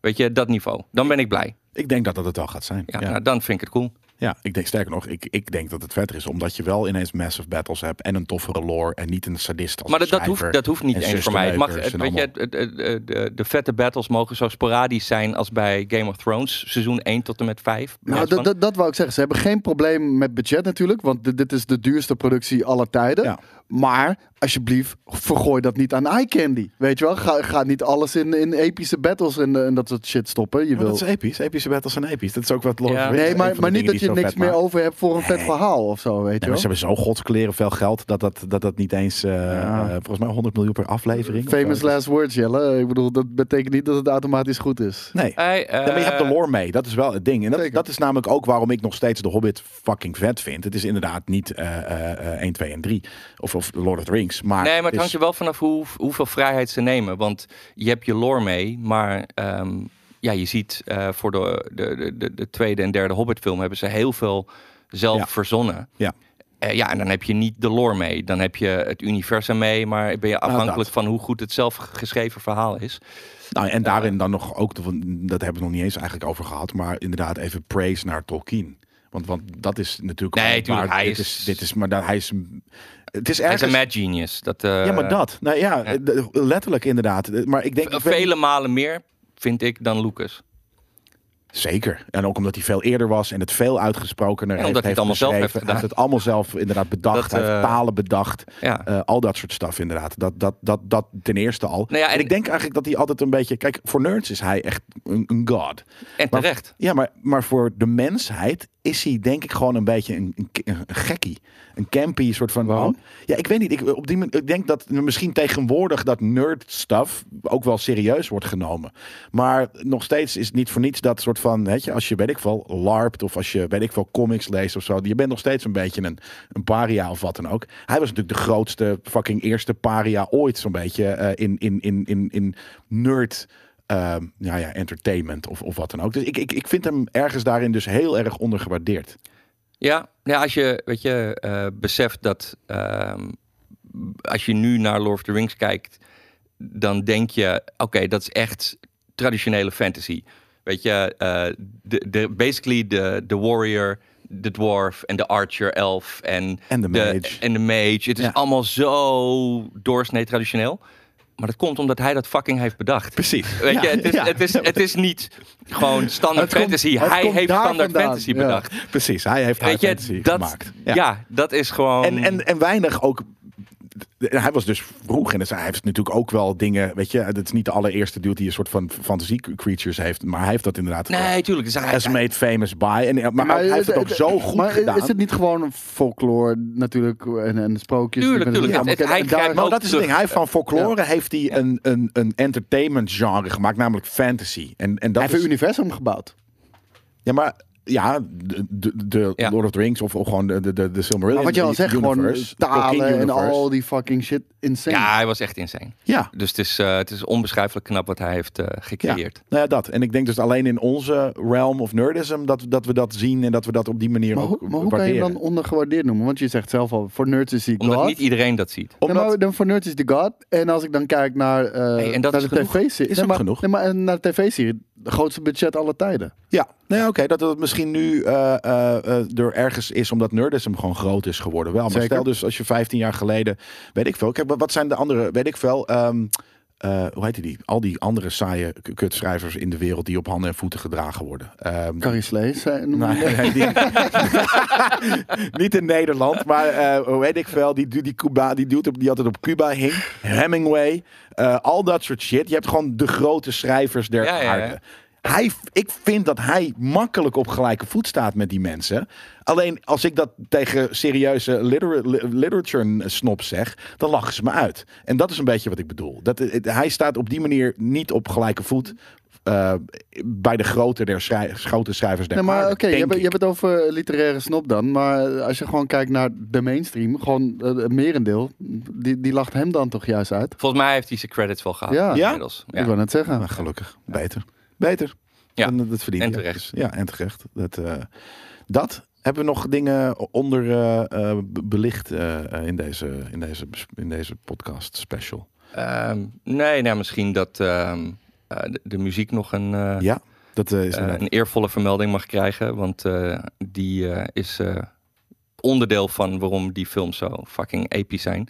[SPEAKER 4] Weet je, dat niveau. Dan ben ik blij.
[SPEAKER 2] Ik denk dat dat het wel gaat zijn.
[SPEAKER 4] Ja, nou, dan vind ik het cool.
[SPEAKER 2] Ja, ik denk sterker nog, ik, ik denk dat het vetter is. Omdat je wel ineens massive battles hebt en een toffere lore en niet een sadist als
[SPEAKER 4] Maar dat, dat,
[SPEAKER 2] schrijver
[SPEAKER 4] hoeft, dat hoeft niet
[SPEAKER 2] en
[SPEAKER 4] eens voor mij. Het mag,
[SPEAKER 2] zusterneukers
[SPEAKER 4] het-
[SPEAKER 2] en
[SPEAKER 4] weet je,
[SPEAKER 2] allemaal.
[SPEAKER 4] het- het- het- de, de vette battles mogen zo sporadisch zijn als bij Game of Thrones, seizoen 1 tot en met 5.
[SPEAKER 3] Nou, dat, dat, dat wou ik zeggen. Ze hebben geen probleem met budget natuurlijk. Want dit, dit is de duurste productie aller tijden.
[SPEAKER 2] Ja.
[SPEAKER 3] Maar alsjeblieft, vergooi dat niet aan eye candy. Weet je wel? Ga, ga niet alles in, in epische battles en, eh, en dat soort shit stoppen. Je
[SPEAKER 2] Maar
[SPEAKER 3] wil...
[SPEAKER 2] dat is episch. Epische battles zijn episch. Dat is ook wat Lord
[SPEAKER 4] Ja.
[SPEAKER 2] of the Rings
[SPEAKER 3] Nee,
[SPEAKER 2] is, een
[SPEAKER 3] maar,
[SPEAKER 2] van
[SPEAKER 3] maar
[SPEAKER 2] de
[SPEAKER 3] niet
[SPEAKER 2] dingen die
[SPEAKER 3] dat je
[SPEAKER 2] zo
[SPEAKER 3] niks
[SPEAKER 2] vet maakt.
[SPEAKER 3] meer over hebt voor een vet
[SPEAKER 2] Nee.
[SPEAKER 3] verhaal of zo. Weet je
[SPEAKER 2] Nee, maar
[SPEAKER 3] wel?
[SPEAKER 2] ze hebben zo godskleren veel geld dat dat, dat, dat niet eens, eh, eh, volgens mij 100 miljoen per aflevering. of
[SPEAKER 3] Famous
[SPEAKER 2] zo.
[SPEAKER 3] last words, Jelle. Ik bedoel, dat betekent niet dat het automatisch goed is.
[SPEAKER 2] Nee.
[SPEAKER 4] Eh,
[SPEAKER 2] Ja, maar je hebt de lore mee. Dat is wel het ding. En dat,
[SPEAKER 3] Zeker.
[SPEAKER 2] dat is namelijk ook waarom ik nog steeds de Hobbit fucking vet vind. Het is inderdaad niet eh, eh, eh, 1, 2 en 3. Of, of Lord of the Rings. Maar
[SPEAKER 4] eh, Nee, maar het
[SPEAKER 2] is-
[SPEAKER 4] hangt er wel vanaf hoe, hoeveel vrijheid ze nemen. Want je hebt je lore mee, maar ehm, ja, je ziet eh, voor de, de, de- de, de tweede en derde Hobbit-film hebben ze heel veel zelf
[SPEAKER 2] Ja.
[SPEAKER 4] verzonnen.
[SPEAKER 2] Ja.
[SPEAKER 4] Eh, ja, en dan heb je niet de lore mee. Dan heb je het universum mee, maar ben je afhankelijk
[SPEAKER 2] Nou, dat.
[SPEAKER 4] van hoe goed het zelf geschreven verhaal is.
[SPEAKER 2] Nou, en daarin dan nog ook, de- van- dat hebben we nog niet eens eigenlijk over gehad, maar inderdaad even praise naar Tolkien. Want, want dat is natuurlijk.
[SPEAKER 4] Nee,
[SPEAKER 2] waar-
[SPEAKER 4] tuurlijk, hij
[SPEAKER 2] dit
[SPEAKER 4] is-
[SPEAKER 2] Dit is, maar dat, hij is. Het is
[SPEAKER 4] Hij is
[SPEAKER 2] ergens.
[SPEAKER 4] een mad genius. Dat, eh,
[SPEAKER 2] ja, maar dat. Nou ja,
[SPEAKER 4] ja.
[SPEAKER 2] d- letterlijk inderdaad. Maar ik denk.
[SPEAKER 4] ve-
[SPEAKER 2] ik weet
[SPEAKER 4] Vele malen meer, vind ik, dan Lucas.
[SPEAKER 2] Zeker. En ook omdat hij veel eerder was en het veel uitgesprokener
[SPEAKER 4] En
[SPEAKER 2] heeft,
[SPEAKER 4] omdat hij het allemaal zelf heeft
[SPEAKER 2] geschreven. Hij heeft het allemaal zelf inderdaad bedacht.
[SPEAKER 4] Dat,
[SPEAKER 2] hij heeft
[SPEAKER 4] eh,
[SPEAKER 2] talen bedacht.
[SPEAKER 4] Ja.
[SPEAKER 2] Eh, al dat soort stuff inderdaad. Dat, dat, dat, dat ten eerste al.
[SPEAKER 4] Nou ja, en
[SPEAKER 2] en ik
[SPEAKER 4] ik-
[SPEAKER 2] denk eigenlijk dat hij altijd een beetje... Kijk, voor nerds is hij echt een, een god.
[SPEAKER 4] En
[SPEAKER 2] Maar-
[SPEAKER 4] terecht.
[SPEAKER 2] Ja, maar, maar voor de mensheid is hij denk ik gewoon een beetje een, een, een gekkie. Een campy soort van...
[SPEAKER 3] Waarom?
[SPEAKER 2] Ja, ik weet niet. Ik, op die, manier- ik denk dat misschien tegenwoordig dat nerd stuff ook wel serieus wordt genomen. Maar nog steeds is het niet voor niets dat soort van... Weet je, als je, weet ik veel, larpt of als je, weet ik veel, comics leest of zo. Je bent nog steeds een beetje een, een paria of wat dan ook. Hij was natuurlijk de grootste fucking eerste paria ooit zo'n beetje eh, in, in, in, in, in nerd ehm nou ja, entertainment of, of wat dan ook. Dus ik, ik, ik vind hem ergens daarin dus heel erg ondergewaardeerd.
[SPEAKER 4] Ja, ja als je, weet je eh, beseft dat ehm, als je nu naar Lord of the Rings kijkt, dan denk je, oké, dat is echt traditionele fantasy. Weet je, eh, de, de, basically de, de warrior, de dwarf en de archer elf en
[SPEAKER 2] En de mage.
[SPEAKER 4] En de mage. Het is
[SPEAKER 2] Ja.
[SPEAKER 4] allemaal zo doorsnee traditioneel. Maar dat komt omdat hij dat fucking heeft bedacht.
[SPEAKER 2] Precies.
[SPEAKER 4] Weet
[SPEAKER 2] Ja,
[SPEAKER 4] je, het is,
[SPEAKER 2] ja.
[SPEAKER 4] het is, het is niet gewoon standaard
[SPEAKER 3] Het komt-
[SPEAKER 4] fantasy.
[SPEAKER 3] het
[SPEAKER 4] hij
[SPEAKER 3] komt
[SPEAKER 4] heeft
[SPEAKER 3] daar
[SPEAKER 4] standaard
[SPEAKER 3] vandaan,
[SPEAKER 4] fantasy
[SPEAKER 3] ja.
[SPEAKER 4] bedacht.
[SPEAKER 2] Precies, hij heeft haar
[SPEAKER 4] Weet je,
[SPEAKER 2] fantasy
[SPEAKER 4] dat,
[SPEAKER 2] gemaakt.
[SPEAKER 4] Ja. dat is gewoon.
[SPEAKER 2] En, en, en weinig ook. Hij was dus vroeg en dus hij heeft natuurlijk ook wel dingen. Weet je, het is niet de allereerste dude die een soort van fantasie creatures heeft, maar hij heeft dat inderdaad.
[SPEAKER 4] nee, tuurlijk. Dus hij-
[SPEAKER 2] As made famous by. En, eh, maar, ook- hij heeft het ook zo goed
[SPEAKER 3] maar
[SPEAKER 2] gedaan.
[SPEAKER 3] is het niet gewoon folklore natuurlijk en, en sprookjes?
[SPEAKER 4] Tuurlijk,
[SPEAKER 3] die mensen-
[SPEAKER 4] tuurlijk.
[SPEAKER 3] maar
[SPEAKER 4] Het-
[SPEAKER 3] kijk,
[SPEAKER 4] hij
[SPEAKER 3] en daar-
[SPEAKER 4] grijpt
[SPEAKER 2] Maar
[SPEAKER 4] ook
[SPEAKER 2] dat is het
[SPEAKER 4] terug.
[SPEAKER 2] ding. Hij heeft van folklore heeft hij een, een, een entertainment genre gemaakt, namelijk fantasy. En, en dat
[SPEAKER 3] hij heeft
[SPEAKER 2] is,
[SPEAKER 3] een universum gebouwd.
[SPEAKER 2] Ja, maar ja, de, de, de
[SPEAKER 4] Ja.
[SPEAKER 2] Lord of the Rings of, of gewoon de, de- de, de Silmarillion.
[SPEAKER 3] Maar wat je al
[SPEAKER 2] de
[SPEAKER 3] zegt,
[SPEAKER 2] universe, de
[SPEAKER 3] gewoon
[SPEAKER 2] Tolkien
[SPEAKER 3] talen en
[SPEAKER 2] universe.
[SPEAKER 3] al die fucking shit. Insane.
[SPEAKER 4] ja, hij was echt insane.
[SPEAKER 2] Ja,
[SPEAKER 4] Dus het is, eh, het is onbeschrijfelijk knap wat hij heeft eh,
[SPEAKER 2] ja.
[SPEAKER 4] gecreëerd.
[SPEAKER 2] Nou ja, dat. En ik denk dus alleen in onze realm of nerdism dat, dat we dat zien en dat we dat op die manier
[SPEAKER 3] Maar hoe,
[SPEAKER 2] ook
[SPEAKER 3] maar hoe kan je
[SPEAKER 2] waarderen.
[SPEAKER 3] hem dan ondergewaardeerd noemen? Want je zegt zelf al, voor nerds is hij
[SPEAKER 4] Omdat
[SPEAKER 3] god.
[SPEAKER 4] niet iedereen dat ziet.
[SPEAKER 3] Nee,
[SPEAKER 2] Omdat-
[SPEAKER 3] maar dan voor nerds is de god. En als ik dan kijk naar, eh,
[SPEAKER 4] Hey, en dat
[SPEAKER 3] naar
[SPEAKER 4] is
[SPEAKER 3] de
[SPEAKER 4] genoeg.
[SPEAKER 3] tv-serie.
[SPEAKER 2] Is
[SPEAKER 3] nee,
[SPEAKER 2] ook
[SPEAKER 3] maar-
[SPEAKER 2] genoeg.
[SPEAKER 3] nee, maar en naar de tv-serie. De grootste budget alle tijden.
[SPEAKER 2] Ja, nou ja, oké, dat het misschien nu eh, eh, eh, er ergens is omdat nerdism gewoon groot is geworden. Wel, maar
[SPEAKER 3] Zeker.
[SPEAKER 2] stel dus als je 15 jaar geleden, weet ik veel. Kijk, wat- wat zijn de andere, weet ik veel. ehm, eh, hoe heet die? Al die andere saaie k- kutschrijvers in de wereld die op handen en voeten gedragen worden. Ehm,
[SPEAKER 3] Carrie Slees. zijn.
[SPEAKER 2] Nee, Nou, nee, die- niet in Nederland, maar eh, hoe weet ik veel. Die, du- die, Cuba, die dude op- die altijd op Cuba hing. Hemingway. eh, al dat soort shit. Je hebt gewoon de grote schrijvers der
[SPEAKER 4] Ja, ja, ja.
[SPEAKER 2] aarde. Hij, ik vind dat hij makkelijk op gelijke voet staat met die mensen. Alleen als ik dat tegen serieuze litera- li- literature snop zeg, dan lachen ze me uit. En dat is een beetje wat ik bedoel. Dat, eh, hij staat op die manier niet op gelijke voet eh, bij de grote, der schrij- grote schrijvers der
[SPEAKER 3] Nee, maar
[SPEAKER 2] aarde,
[SPEAKER 3] oké, je,
[SPEAKER 2] denk
[SPEAKER 3] hebt- je
[SPEAKER 2] ik.
[SPEAKER 3] hebt het over literaire snop dan. Maar als je gewoon kijkt naar de mainstream, gewoon eh, het merendeel, die, die lacht hem dan toch juist uit?
[SPEAKER 4] Volgens mij heeft hij zijn credits wel gehad.
[SPEAKER 3] Ja.
[SPEAKER 2] Ja?
[SPEAKER 4] inmiddels. Ja.
[SPEAKER 3] Ik wil net zeggen.
[SPEAKER 2] Maar Ah, gelukkig, beter. Beter.
[SPEAKER 4] Ja,
[SPEAKER 2] En dat verdient
[SPEAKER 4] en
[SPEAKER 2] hij ook.
[SPEAKER 4] terecht.
[SPEAKER 2] Dus ja, en terecht. Dat, eh, dat. Hebben we nog dingen onder eh, eh, be- belicht eh, eh, in, deze, in, deze, bes- in deze podcast special?
[SPEAKER 4] Ehm, nee, nou, misschien dat ehm, eh, de, de muziek nog een, eh,
[SPEAKER 2] Ja, Dat eh, is
[SPEAKER 4] eh,
[SPEAKER 2] inderdaad-
[SPEAKER 4] een eervolle vermelding mag krijgen. Want eh, die eh, is eh, onderdeel van waarom die films zo fucking episch zijn.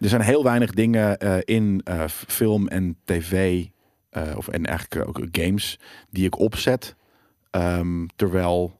[SPEAKER 2] Er zijn heel weinig dingen eh, in eh, f- film en tv eh, of, en eigenlijk ook games die ik opzet. ehm, terwijl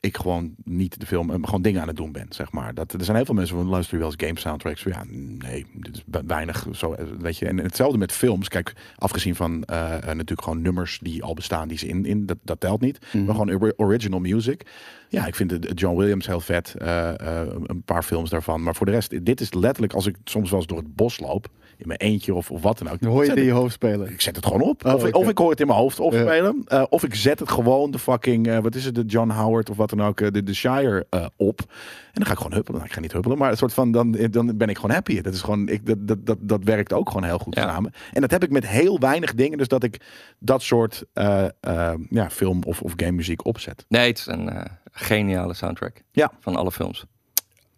[SPEAKER 2] ik gewoon niet de film, eh, gewoon dingen aan het doen ben, zeg maar. Dat, er zijn heel veel mensen van luisteren wel eens game soundtracks. Ja, nee, dit is be- weinig zo, eh, weet je. En hetzelfde met films. Kijk, afgezien van eh, eh, natuurlijk gewoon nummers die al bestaan, die ze in, in dat, dat telt niet.
[SPEAKER 3] Mhm.
[SPEAKER 2] Maar gewoon ori- original music. Ja, ik vind de- de John Williams heel vet. eh, eh, een paar films daarvan. Maar voor de rest, dit is letterlijk als ik soms wel eens door het bos loop. In mijn eentje of, of wat dan ook.
[SPEAKER 3] Dan hoor je
[SPEAKER 2] zet
[SPEAKER 3] die
[SPEAKER 2] ik-
[SPEAKER 3] in je hoofd spelen.
[SPEAKER 2] ik zet het gewoon op.
[SPEAKER 3] Oh,
[SPEAKER 2] of, ik,
[SPEAKER 3] oké.
[SPEAKER 2] of ik hoor het in mijn hoofd
[SPEAKER 3] Ja.
[SPEAKER 2] opspelen. eh, of ik zet het gewoon de fucking, eh, wat is het, de John Howard of wat dan ook, eh, de, de Shire eh, op. En dan ga ik gewoon huppelen. Nou, Ik ga niet huppelen, maar een soort van, dan, eh, dan ben ik gewoon happy. Dat, is gewoon, ik, dat, dat, dat, dat werkt ook gewoon heel goed
[SPEAKER 4] Ja.
[SPEAKER 2] samen. En dat heb ik met heel weinig dingen. Dus dat ik dat soort eh, eh, ja, film of, of game muziek opzet.
[SPEAKER 4] Nee, het is een eh, geniale soundtrack
[SPEAKER 2] Ja.
[SPEAKER 4] van alle films.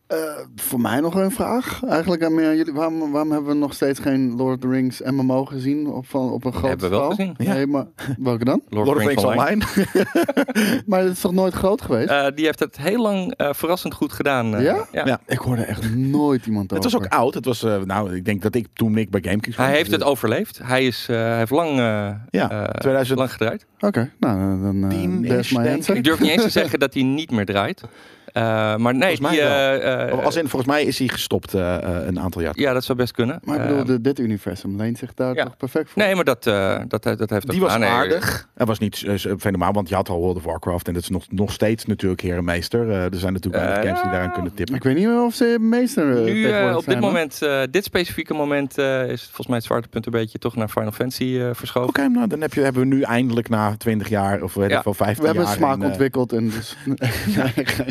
[SPEAKER 3] Eh, voor mij nog een vraag. Eigenlijk aan meer aan jullie. Waarom, waarom hebben we nog steeds geen Lord of the Rings MMO gezien op, van, op een groot
[SPEAKER 4] Hebben we wel
[SPEAKER 3] schaal?
[SPEAKER 4] gezien.
[SPEAKER 3] Nee, maar welke dan?
[SPEAKER 4] Lord,
[SPEAKER 2] Lord of the Rings Online.
[SPEAKER 3] Maar dat is toch nooit groot geweest?
[SPEAKER 4] Eh, die heeft het heel lang eh, verrassend goed gedaan. eh,
[SPEAKER 3] Ja?
[SPEAKER 4] ja.
[SPEAKER 2] Ja.
[SPEAKER 3] ik hoorde echt Oh, nooit iemand
[SPEAKER 2] Het was ook oud. Het was, eh, nou, ik denk dat ik toen ik bij GameKings kwam,
[SPEAKER 4] Hij heeft
[SPEAKER 2] dus,
[SPEAKER 4] het
[SPEAKER 2] eh,
[SPEAKER 4] overleefd. Hij, is, eh, hij heeft lang, eh
[SPEAKER 2] Ja,
[SPEAKER 4] eh,
[SPEAKER 2] 2000
[SPEAKER 4] lang gedraaid.
[SPEAKER 3] Oké, nou dan... eh,
[SPEAKER 2] Tien is,
[SPEAKER 3] there's my
[SPEAKER 2] denk
[SPEAKER 3] answer.
[SPEAKER 4] Ik durf niet eens te zeggen dat hij niet meer draait. Eh, maar nee,
[SPEAKER 2] Volgens mij
[SPEAKER 4] die,
[SPEAKER 2] wel.
[SPEAKER 4] eh, eh,
[SPEAKER 2] Als in, volgens mij is hij gestopt eh, eh, een aantal jaar
[SPEAKER 4] ja, dat zou best kunnen.
[SPEAKER 3] Maar ik
[SPEAKER 4] Eh,
[SPEAKER 3] bedoel, de- dit universum leent zich daar
[SPEAKER 4] ja.
[SPEAKER 3] toch perfect voor?
[SPEAKER 4] nee, maar dat, eh dat, dat heeft
[SPEAKER 2] Die
[SPEAKER 4] ook-
[SPEAKER 2] was
[SPEAKER 4] ah, nee,
[SPEAKER 2] aardig. Hij was niet eh, fenomenaal, want je had al World of Warcraft. En dat is nog, nog steeds natuurlijk heer en meester. Eh, er zijn natuurlijk
[SPEAKER 4] Eh,
[SPEAKER 2] weinig games die daaraan
[SPEAKER 4] ja.
[SPEAKER 2] kunnen tippen.
[SPEAKER 3] Ik weet niet meer of ze meester eh,
[SPEAKER 4] Nu eh,
[SPEAKER 3] tegenwoordig
[SPEAKER 4] op dit
[SPEAKER 3] zijn, hoor.
[SPEAKER 4] moment, eh, dit specifieke moment, eh, is volgens mij het zwaartepunt een beetje toch naar Final Fantasy eh,
[SPEAKER 2] Oké,
[SPEAKER 4] verschoven.
[SPEAKER 2] nou dan heb je, hebben we nu eindelijk na 20 jaar of weet
[SPEAKER 4] Ja.
[SPEAKER 2] ik veel, 15
[SPEAKER 3] We hebben
[SPEAKER 2] jaar.
[SPEAKER 3] een smaak
[SPEAKER 2] een, eh,
[SPEAKER 3] ontwikkeld en dus...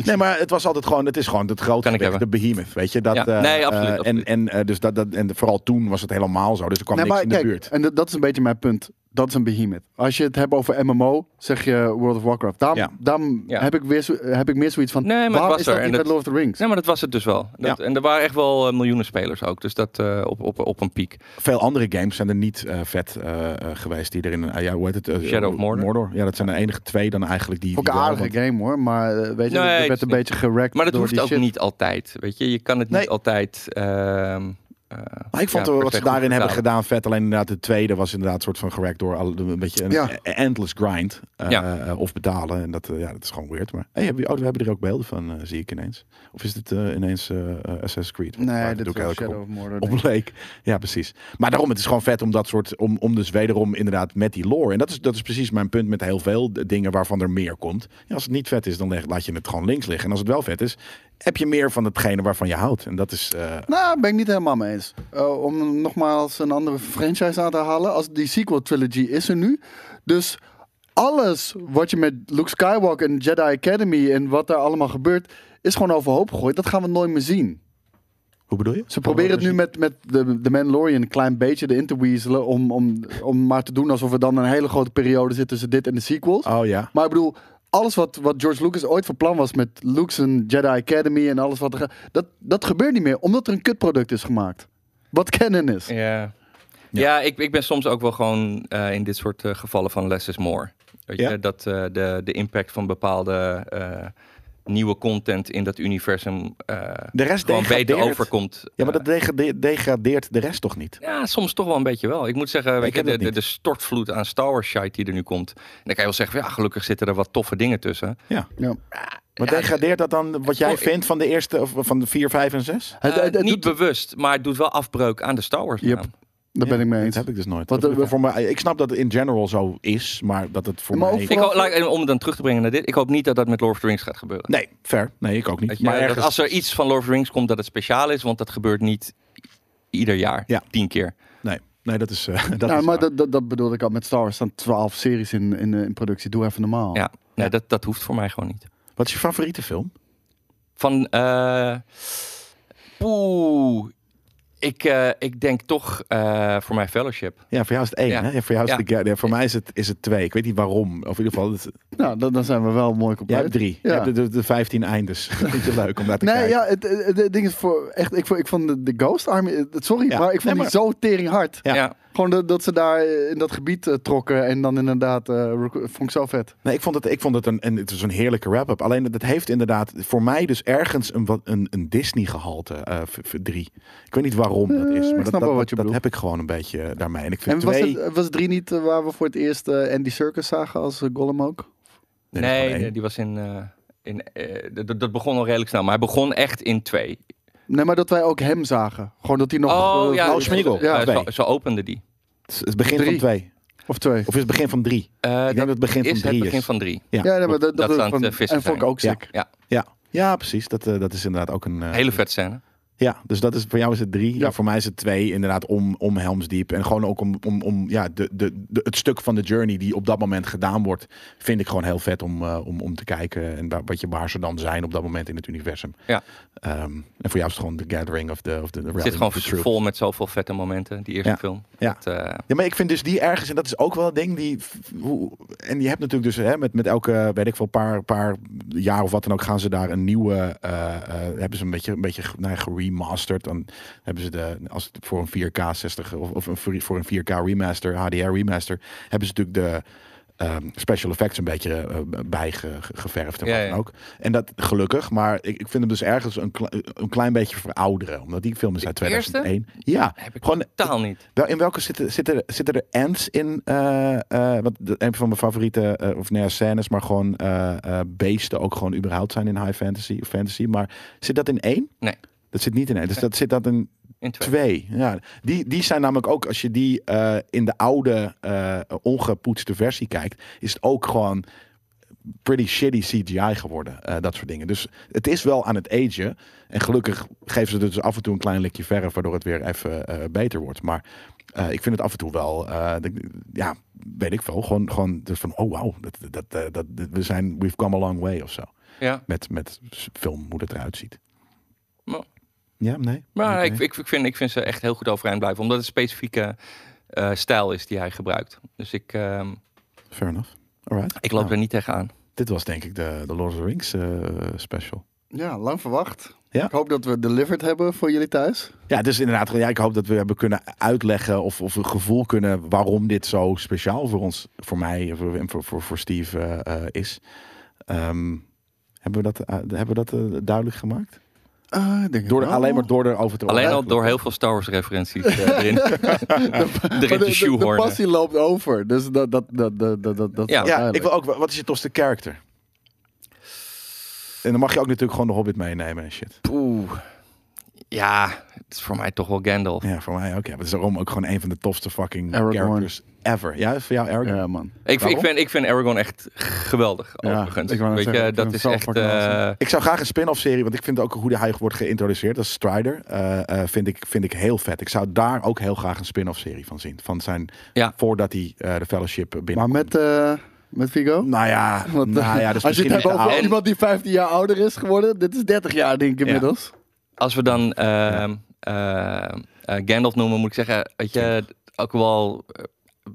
[SPEAKER 2] Nee, maar het was altijd gewoon, het is gewoon het grote
[SPEAKER 4] Kan ik
[SPEAKER 2] gewicht, de
[SPEAKER 4] hebben.
[SPEAKER 2] behemoth, weet je. Dat,
[SPEAKER 4] Ja.
[SPEAKER 2] eh,
[SPEAKER 4] Nee, absoluut,
[SPEAKER 2] eh,
[SPEAKER 4] absoluut.
[SPEAKER 2] En, en, eh, dus dat, dat, en vooral toen was het helemaal zo, dus er kwam niks in de buurt.
[SPEAKER 3] En dat, dat is een beetje mijn punt. Dat is een behemoth. Als je het hebt over MMO, zeg je World of Warcraft. Daarom,
[SPEAKER 2] Ja.
[SPEAKER 3] daarom
[SPEAKER 4] Ja.
[SPEAKER 3] Heb, ik weer, zo- heb ik meer zoiets van,
[SPEAKER 4] Nee, maar het
[SPEAKER 3] waarom
[SPEAKER 4] was
[SPEAKER 3] is
[SPEAKER 4] er
[SPEAKER 3] dat
[SPEAKER 4] en
[SPEAKER 3] niet met
[SPEAKER 4] het-
[SPEAKER 3] Lord of the Rings?
[SPEAKER 4] Nee, maar dat was het dus wel. Dat, En er waren echt wel eh, miljoenen spelers ook. Dus dat eh, op, op, op een piek.
[SPEAKER 2] Veel andere games zijn er niet eh, vet eh, eh, geweest die erin, ah ja, hoe heet het? eh,
[SPEAKER 4] Shadow of Mordor.
[SPEAKER 2] Ja, dat zijn de enige twee dan eigenlijk die...
[SPEAKER 3] Ook
[SPEAKER 2] die
[SPEAKER 3] een
[SPEAKER 2] wel,
[SPEAKER 3] aardige
[SPEAKER 2] want-
[SPEAKER 3] game hoor, maar eh, weet je,
[SPEAKER 4] Nee,
[SPEAKER 3] er
[SPEAKER 4] het
[SPEAKER 3] werd
[SPEAKER 4] is
[SPEAKER 3] een
[SPEAKER 4] niet-
[SPEAKER 3] beetje gerekt
[SPEAKER 4] Maar dat
[SPEAKER 3] door
[SPEAKER 4] hoeft
[SPEAKER 3] die
[SPEAKER 4] ook
[SPEAKER 3] shit.
[SPEAKER 4] niet altijd. Weet je, je kan het niet
[SPEAKER 2] Nee.
[SPEAKER 4] altijd. ehm, eh,
[SPEAKER 2] Maar ik vond
[SPEAKER 4] ja,
[SPEAKER 2] eh, wat
[SPEAKER 4] per se
[SPEAKER 2] ze
[SPEAKER 4] goed
[SPEAKER 2] daarin hebben
[SPEAKER 4] vertalen.
[SPEAKER 2] gedaan vet. Alleen inderdaad de tweede was inderdaad soort van gerekt door al- een beetje een
[SPEAKER 3] Ja.
[SPEAKER 2] e- endless grind. eh,
[SPEAKER 4] Ja.
[SPEAKER 2] eh, of betalen. En dat, eh, ja, dat is gewoon weird. Maar hey, hebben we, oh, we hebben er ook beelden van, eh, zie ik ineens. Of is dit eh, ineens eh, eh, Assassin's Creed? Want
[SPEAKER 3] Nee,
[SPEAKER 2] daar
[SPEAKER 3] dit
[SPEAKER 2] doe
[SPEAKER 3] is
[SPEAKER 2] ik
[SPEAKER 3] wel
[SPEAKER 2] elke keer
[SPEAKER 3] Shadow of Mordor. Nou,
[SPEAKER 2] op
[SPEAKER 3] denk
[SPEAKER 2] leek.
[SPEAKER 3] ik.
[SPEAKER 2] Ja, precies. Maar daarom, het is gewoon vet om dat soort, om, om dus wederom inderdaad met die lore. En dat is, dat is precies mijn punt met heel veel d- dingen waarvan er meer komt. Ja, als het niet vet is, dan leg- laat je het gewoon links liggen. En als het wel vet is, heb je meer van hetgene waarvan je houdt. En dat is, eh,
[SPEAKER 3] Nou, ben ik niet helemaal mee eens. Eh, om nogmaals een andere franchise aan te halen. Als die sequel trilogy is er nu. Dus alles wat je met Luke Skywalker en Jedi Academy en wat daar allemaal gebeurt, is gewoon overhoop gegooid. Dat gaan we nooit meer zien.
[SPEAKER 2] hoe bedoel je?
[SPEAKER 3] Ze proberen het nu met, met de, de Mandalorian een klein beetje erin te weaselen. Om, om, om maar te doen alsof er dan een hele grote periode zit tussen dit en de sequels.
[SPEAKER 2] Oh ja.
[SPEAKER 3] Maar ik bedoel, alles wat, wat George Lucas ooit van plan was met Luke's en Jedi Academy en alles wat er gaat, dat, dat gebeurt niet meer, omdat er een kutproduct is gemaakt. Wat canon is.
[SPEAKER 4] Ja,
[SPEAKER 2] Ja.
[SPEAKER 4] ja. ik, ik ben soms ook wel gewoon eh, in dit soort eh, gevallen van less is more. Weet
[SPEAKER 2] Ja.
[SPEAKER 4] je, dat eh, de, de impact van bepaalde eh, nieuwe content in dat universum eh
[SPEAKER 2] De rest
[SPEAKER 4] gewoon beter
[SPEAKER 2] degradeert.
[SPEAKER 4] overkomt.
[SPEAKER 2] Ja, maar dat degade- degradeert de rest toch niet?
[SPEAKER 4] Eh, ja, soms toch wel een beetje wel. Ik moet zeggen, weet
[SPEAKER 2] ken
[SPEAKER 4] je, de,
[SPEAKER 2] het
[SPEAKER 4] de,
[SPEAKER 2] niet.
[SPEAKER 4] de stortvloed aan Star Wars shite die er nu komt. En dan kan je wel zeggen, van, ja, gelukkig zitten er wat toffe dingen tussen.
[SPEAKER 2] Ja.
[SPEAKER 3] Ja.
[SPEAKER 2] Maar degradeert dat dan wat jij
[SPEAKER 4] Sorry.
[SPEAKER 2] vindt van de eerste, of van de 4, 5 en 6?
[SPEAKER 3] Het-
[SPEAKER 4] Eh,
[SPEAKER 3] het- het
[SPEAKER 4] niet
[SPEAKER 3] doet-
[SPEAKER 4] bewust, maar het doet wel afbreuk aan de Star Wars.
[SPEAKER 3] Yep.
[SPEAKER 4] naam.
[SPEAKER 3] daar ben ik mee
[SPEAKER 2] Dat
[SPEAKER 3] eens.
[SPEAKER 2] heb ik dus nooit.
[SPEAKER 3] Wat,
[SPEAKER 2] Dat-
[SPEAKER 3] eh,
[SPEAKER 2] voor mij, ik snap dat het in general zo is, maar dat het voor
[SPEAKER 3] Maar
[SPEAKER 2] mij...
[SPEAKER 3] ook
[SPEAKER 4] Ik
[SPEAKER 3] Vooral
[SPEAKER 4] hoop, laat ik- om het dan terug te brengen naar dit, ik hoop niet dat dat met Lord of the Rings gaat gebeuren.
[SPEAKER 2] Nee, fair. Nee, ik ook niet.
[SPEAKER 4] Weet je,
[SPEAKER 2] maar
[SPEAKER 4] dat
[SPEAKER 2] ergens...
[SPEAKER 4] als er iets van Lord of the Rings komt, dat het speciaal is, want dat gebeurt niet i- ieder jaar,
[SPEAKER 2] Ja.
[SPEAKER 4] tien keer.
[SPEAKER 2] Nee, nee, dat is... eh, dat
[SPEAKER 3] Nou,
[SPEAKER 2] is waar.
[SPEAKER 3] maar dat, dat, dat bedoelde ik al met Star Wars. Er staan twaalf series in, in, eh, in productie. Doe even normaal.
[SPEAKER 4] Ja, nee, Dat, dat hoeft voor mij gewoon niet.
[SPEAKER 2] Wat is je favoriete film?
[SPEAKER 4] Van, eh poeh, ik, eh, ik denk toch eh, voor mijn fellowship.
[SPEAKER 2] Ja, voor jou is het één.
[SPEAKER 4] Ja.
[SPEAKER 2] Hè? Ja, voor jou is
[SPEAKER 4] Ja.
[SPEAKER 2] het de- ja, voor mij is het, is het twee. Ik weet niet waarom. Of in ieder geval, het,
[SPEAKER 3] Nou, dan, dan zijn we wel mooi compleet.
[SPEAKER 2] jij hebt drie.
[SPEAKER 3] Ja.
[SPEAKER 2] Je hebt de, de, de 15 eindes. Vind je leuk om daar te
[SPEAKER 3] Nee,
[SPEAKER 2] kijken?
[SPEAKER 3] ja, het, het- het ding is voor echt. Ik vond, ik vond de, de Ghost Army. het- Sorry,
[SPEAKER 2] Ja.
[SPEAKER 3] maar ik
[SPEAKER 2] Nee,
[SPEAKER 3] vond
[SPEAKER 2] maar-
[SPEAKER 3] die zo tering hard.
[SPEAKER 2] Ja.
[SPEAKER 4] Ja.
[SPEAKER 3] Gewoon dat- dat ze daar eh, in dat gebied eh, trokken en dan inderdaad, eh, rec- vond ik zo vet.
[SPEAKER 2] Nee, ik vond het, ik vond het een, en het is een heerlijke wrap-up. Alleen dat heeft inderdaad voor mij dus ergens een, wat- een, een Disney-gehalte, eh, v- v- drie. Ik weet niet waarom dat
[SPEAKER 3] Eh,
[SPEAKER 2] is,
[SPEAKER 3] ik
[SPEAKER 2] maar
[SPEAKER 3] snap
[SPEAKER 2] dat,
[SPEAKER 3] wel
[SPEAKER 2] dat,
[SPEAKER 3] wat je
[SPEAKER 2] dat
[SPEAKER 3] bedoelt.
[SPEAKER 2] heb ik gewoon een beetje eh, daarmee. En ik vind
[SPEAKER 3] En was,
[SPEAKER 2] twee...
[SPEAKER 3] het, was drie niet eh, waar we voor het eerst eh, Andy Circus zagen als eh, Gollum ook?
[SPEAKER 2] Nee, dat is
[SPEAKER 4] nee,
[SPEAKER 2] gewoon één.
[SPEAKER 4] nee, die was in. eh, in eh, dat- dat, dat begon al redelijk snel, maar hij begon echt in twee.
[SPEAKER 3] Nee, maar dat wij ook hem zagen. Gewoon dat hij nog... eh,
[SPEAKER 2] oh,
[SPEAKER 4] dus-
[SPEAKER 2] Smeagol.
[SPEAKER 4] eh,
[SPEAKER 2] Ja,
[SPEAKER 4] zo,
[SPEAKER 2] twee.
[SPEAKER 4] zo opende die.
[SPEAKER 2] Het is het begin
[SPEAKER 3] Drie.
[SPEAKER 2] van twee.
[SPEAKER 3] Of twee.
[SPEAKER 2] Of is het begin van drie?
[SPEAKER 4] Eh,
[SPEAKER 2] ik denk dat het begin van
[SPEAKER 4] is
[SPEAKER 2] drie
[SPEAKER 4] het
[SPEAKER 2] is.
[SPEAKER 4] begin van drie.
[SPEAKER 2] Ja,
[SPEAKER 3] Ja, nee, maar dat, dat,
[SPEAKER 4] Dat ze aan
[SPEAKER 3] van,
[SPEAKER 4] het, eh, vissen
[SPEAKER 3] en vond ik
[SPEAKER 4] zijn.
[SPEAKER 3] ook sick.
[SPEAKER 2] Ja, ja precies. Dat, eh, dat is inderdaad ook een... eh,
[SPEAKER 4] Hele vet scène.
[SPEAKER 2] Ja, dus dat is, voor jou is het drie.
[SPEAKER 3] Ja.
[SPEAKER 2] En voor mij is het twee, inderdaad, om, om Helmsdiep. En gewoon ook om, om, om ja, de, de, de- het stuk van de journey die op dat moment gedaan wordt, vind ik gewoon heel vet om, eh, om, om te kijken. En waar, wat je, waar ze dan zijn op dat moment in het universum.
[SPEAKER 4] Ja.
[SPEAKER 2] Ehm, en voor jou is het gewoon de gathering of the, of the, the
[SPEAKER 4] Het
[SPEAKER 2] rally
[SPEAKER 4] zit gewoon
[SPEAKER 2] of the troops.
[SPEAKER 4] vol met zoveel vette momenten, die eerste
[SPEAKER 2] Ja.
[SPEAKER 4] film.
[SPEAKER 2] Ja.
[SPEAKER 4] Dat, eh,
[SPEAKER 2] Ja, maar ik vind dus die ergens, en dat is ook wel een ding, die, hoe- en je hebt natuurlijk dus hè, met, met elke, weet ik veel, paar, paar jaar of wat dan ook, gaan ze daar een nieuwe, eh, eh, hebben ze een beetje, een beetje nou, ja, geremasterd. Dan hebben ze de, als het voor een 4K 60 of, of een, voor- voor een 4K remaster, HDR remaster, hebben ze natuurlijk de ehm, special effects een beetje eh, bijgeverfd en
[SPEAKER 4] Ja,
[SPEAKER 2] wat
[SPEAKER 4] ja.
[SPEAKER 2] dan ook. En dat gelukkig, maar ik, ik vind hem dus ergens een, kle- een klein beetje verouderen, omdat die film is uit
[SPEAKER 4] eerste?
[SPEAKER 2] 2001. Ja,
[SPEAKER 4] heb ik
[SPEAKER 2] gewoon
[SPEAKER 4] totaal niet.
[SPEAKER 2] wel, in welke zitten, zitten, zitten er ends in? eh eh wat de- een van mijn favoriete, eh, of nou ja, scènes, maar gewoon eh, eh, beesten ook gewoon überhaupt zijn in high fantasy of fantasy. Maar zit dat in één?
[SPEAKER 4] Nee.
[SPEAKER 2] Dat zit niet in één. Dus dat zit dat in
[SPEAKER 4] In twee.
[SPEAKER 2] twee. Ja. Die, die zijn namelijk ook, als je die eh, in de oude eh, ongepoetste versie kijkt, is het ook gewoon pretty shitty CGI geworden. eh, dat soort dingen. Dus het is wel aan het agen. En gelukkig geven ze er dus af en toe een klein likje verf, waardoor het weer even eh, beter wordt. Maar eh, ik vind het af en toe wel, eh, dat ik- ja, weet ik veel. Gewoon, gewoon dus van, oh wow, dat, dat, eh, dat, dat- we zijn, we've come a long way of zo.
[SPEAKER 4] Ja.
[SPEAKER 2] Met, met film, hoe dat eruit ziet.
[SPEAKER 4] Nou.
[SPEAKER 2] Ja, nee.
[SPEAKER 4] Maar
[SPEAKER 2] Oké.
[SPEAKER 4] ik, ik, ik, vind, ik vind ze echt heel goed overeind blijven. Omdat het een specifieke eh, stijl is die hij gebruikt. Dus ik, ehm,
[SPEAKER 2] Fair enough. Alright.
[SPEAKER 4] ik loop
[SPEAKER 2] Nou,
[SPEAKER 4] er niet tegenaan.
[SPEAKER 2] Dit was denk ik de, de Lord of the Rings eh, special.
[SPEAKER 3] Ja, lang verwacht.
[SPEAKER 2] Ja.
[SPEAKER 3] Ik hoop dat we delivered hebben voor jullie thuis.
[SPEAKER 2] Ja, dus inderdaad. Ja, ik hoop dat we hebben kunnen uitleggen of, of een gevoel kunnen waarom dit zo speciaal voor ons, voor mij en voor, en voor, voor, voor Steve eh, eh, is. Ehm, hebben we dat, eh, hebben we dat eh, duidelijk gemaakt?
[SPEAKER 3] Eh, ik denk het
[SPEAKER 2] Door er,
[SPEAKER 3] wel.
[SPEAKER 2] alleen maar door erover te
[SPEAKER 4] Alleen al
[SPEAKER 2] overleggen.
[SPEAKER 4] door heel veel Star Wars referenties eh, erin,
[SPEAKER 3] Maar
[SPEAKER 4] erin
[SPEAKER 3] de,
[SPEAKER 4] te
[SPEAKER 3] de- de
[SPEAKER 4] shoehornen.
[SPEAKER 3] passie loopt over. Dus dat, dat, dat, dat, dat, dat, dat
[SPEAKER 4] Ja.
[SPEAKER 3] is
[SPEAKER 2] Ja,
[SPEAKER 3] duidelijk.
[SPEAKER 2] ik wil ook. Wat is je tofste character? En dan mag je ook natuurlijk gewoon de Hobbit meenemen en shit.
[SPEAKER 4] Oeh. Ja, het is voor mij toch wel Gandalf.
[SPEAKER 2] Ja, voor mij ook. Ja, maar het is daarom ook gewoon een van de tofste fucking
[SPEAKER 3] Aragorn.
[SPEAKER 2] characters ever. Ja, voor jou Aragorn?
[SPEAKER 3] Ja, man.
[SPEAKER 4] Ik,
[SPEAKER 2] Waarom?
[SPEAKER 4] ik, vind, ik vind Aragorn echt geweldig,
[SPEAKER 3] Ja,
[SPEAKER 4] overigens.
[SPEAKER 3] ik wou net
[SPEAKER 4] Weet
[SPEAKER 3] zeggen,
[SPEAKER 4] je,
[SPEAKER 3] ik
[SPEAKER 4] dat
[SPEAKER 3] vind
[SPEAKER 4] is
[SPEAKER 3] hem zo
[SPEAKER 4] echt...
[SPEAKER 3] fucking awesome.
[SPEAKER 4] eh,
[SPEAKER 2] Ik zou graag een spin-off serie, want ik vind ook hoe hij wordt geïntroduceerd. Dat is Strider. eh, eh, vind, ik, vind ik heel vet. Ik zou daar ook heel graag een spin-off serie van zien. Van zijn,
[SPEAKER 4] Ja.
[SPEAKER 2] Voordat hij eh, de fellowship binnen.
[SPEAKER 3] Maar met, eh met Vigo?
[SPEAKER 2] nou ja,
[SPEAKER 3] Want, eh,
[SPEAKER 2] nou ja, dus
[SPEAKER 3] als je
[SPEAKER 2] misschien
[SPEAKER 3] het
[SPEAKER 2] niet
[SPEAKER 3] hebt
[SPEAKER 2] de
[SPEAKER 3] over
[SPEAKER 2] oude.
[SPEAKER 3] iemand die 15 jaar ouder is geworden. Dit is 30 jaar, denk ik inmiddels.
[SPEAKER 4] als we dan ehm, ehm, eh, Gandalf noemen, moet ik zeggen, weet je, ook wel eh,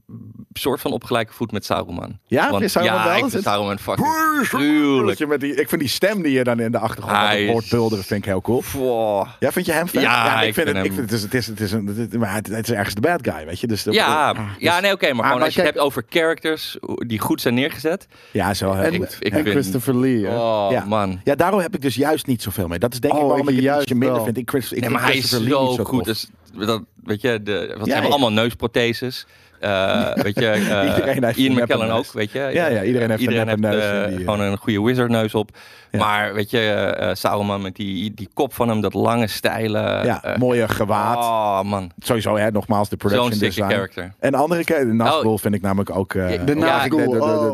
[SPEAKER 4] een soort van opgelijke voet met Saruman.
[SPEAKER 2] Ja,
[SPEAKER 4] Want,
[SPEAKER 2] vind je Saruman
[SPEAKER 4] ja
[SPEAKER 2] wel?
[SPEAKER 4] ik vind
[SPEAKER 2] Zit-
[SPEAKER 4] Saruman fucking gruwelijk.
[SPEAKER 2] Dat je met die, ik vind die stem die je dan in de achtergrond
[SPEAKER 4] Hij
[SPEAKER 2] hoort
[SPEAKER 4] is-
[SPEAKER 2] hoort bulderen, vind ik heel cool.
[SPEAKER 4] Wow.
[SPEAKER 2] Ja, vind je hem vet?
[SPEAKER 4] Ja,
[SPEAKER 2] ik,
[SPEAKER 4] ik
[SPEAKER 2] vind,
[SPEAKER 4] vind
[SPEAKER 2] het. Ik
[SPEAKER 4] hem-
[SPEAKER 2] vind het, is, het, is, het, is een, het, maar het, het is ergens de bad guy, weet je? Dus dat-
[SPEAKER 4] Ja, ja, nee, oké, maar gewoon
[SPEAKER 3] maar kijk-
[SPEAKER 4] als je het hebt over characters die goed zijn neergezet.
[SPEAKER 2] ja, is wel heel
[SPEAKER 3] En,
[SPEAKER 2] goed.
[SPEAKER 4] ik
[SPEAKER 3] en
[SPEAKER 4] vind-
[SPEAKER 3] Christopher Lee. hè.
[SPEAKER 4] Oh,
[SPEAKER 2] Ja.
[SPEAKER 4] man.
[SPEAKER 2] Ja, daarom heb ik dus juist niet zoveel mee. Dat is denk ik
[SPEAKER 3] Oh,
[SPEAKER 2] waarom
[SPEAKER 3] ik
[SPEAKER 2] ik het
[SPEAKER 3] juist
[SPEAKER 2] ietsje minder
[SPEAKER 3] wel.
[SPEAKER 2] vind. Ik, vind- ik
[SPEAKER 4] Nee,
[SPEAKER 2] vind
[SPEAKER 4] maar hij is
[SPEAKER 2] Christopher Lee
[SPEAKER 4] zo
[SPEAKER 2] niet
[SPEAKER 4] goed.
[SPEAKER 2] tof.
[SPEAKER 4] Dus dat, weet je, de, wat
[SPEAKER 2] Ja,
[SPEAKER 4] hebben
[SPEAKER 2] ja.
[SPEAKER 4] allemaal neusprotheses? Eh, weet je, eh,
[SPEAKER 2] Iedereen heeft
[SPEAKER 4] Ian
[SPEAKER 2] een
[SPEAKER 4] McKellen
[SPEAKER 2] neppenneus.
[SPEAKER 4] ook, weet je.
[SPEAKER 2] Ja, ja, iedereen heeft een neppenneus
[SPEAKER 4] heeft,
[SPEAKER 2] en
[SPEAKER 4] eh,
[SPEAKER 2] die, eh,
[SPEAKER 4] gewoon een goede wizardneus op.
[SPEAKER 2] Ja.
[SPEAKER 4] Maar weet je, eh, Saruman met die, die kop van hem, dat lange stijle...
[SPEAKER 2] Ja,
[SPEAKER 4] eh,
[SPEAKER 2] mooie gewaad.
[SPEAKER 4] Oh man,
[SPEAKER 2] Sowieso, hè, nogmaals, de
[SPEAKER 4] zo'n
[SPEAKER 2] production
[SPEAKER 4] dikke
[SPEAKER 2] design.
[SPEAKER 4] character.
[SPEAKER 2] En andere keer, de Nazgul
[SPEAKER 4] Oh.
[SPEAKER 2] vind ik namelijk ook... eh,
[SPEAKER 4] Ja,
[SPEAKER 2] ook-
[SPEAKER 4] de
[SPEAKER 2] de,
[SPEAKER 3] Nazgul,
[SPEAKER 2] de, de,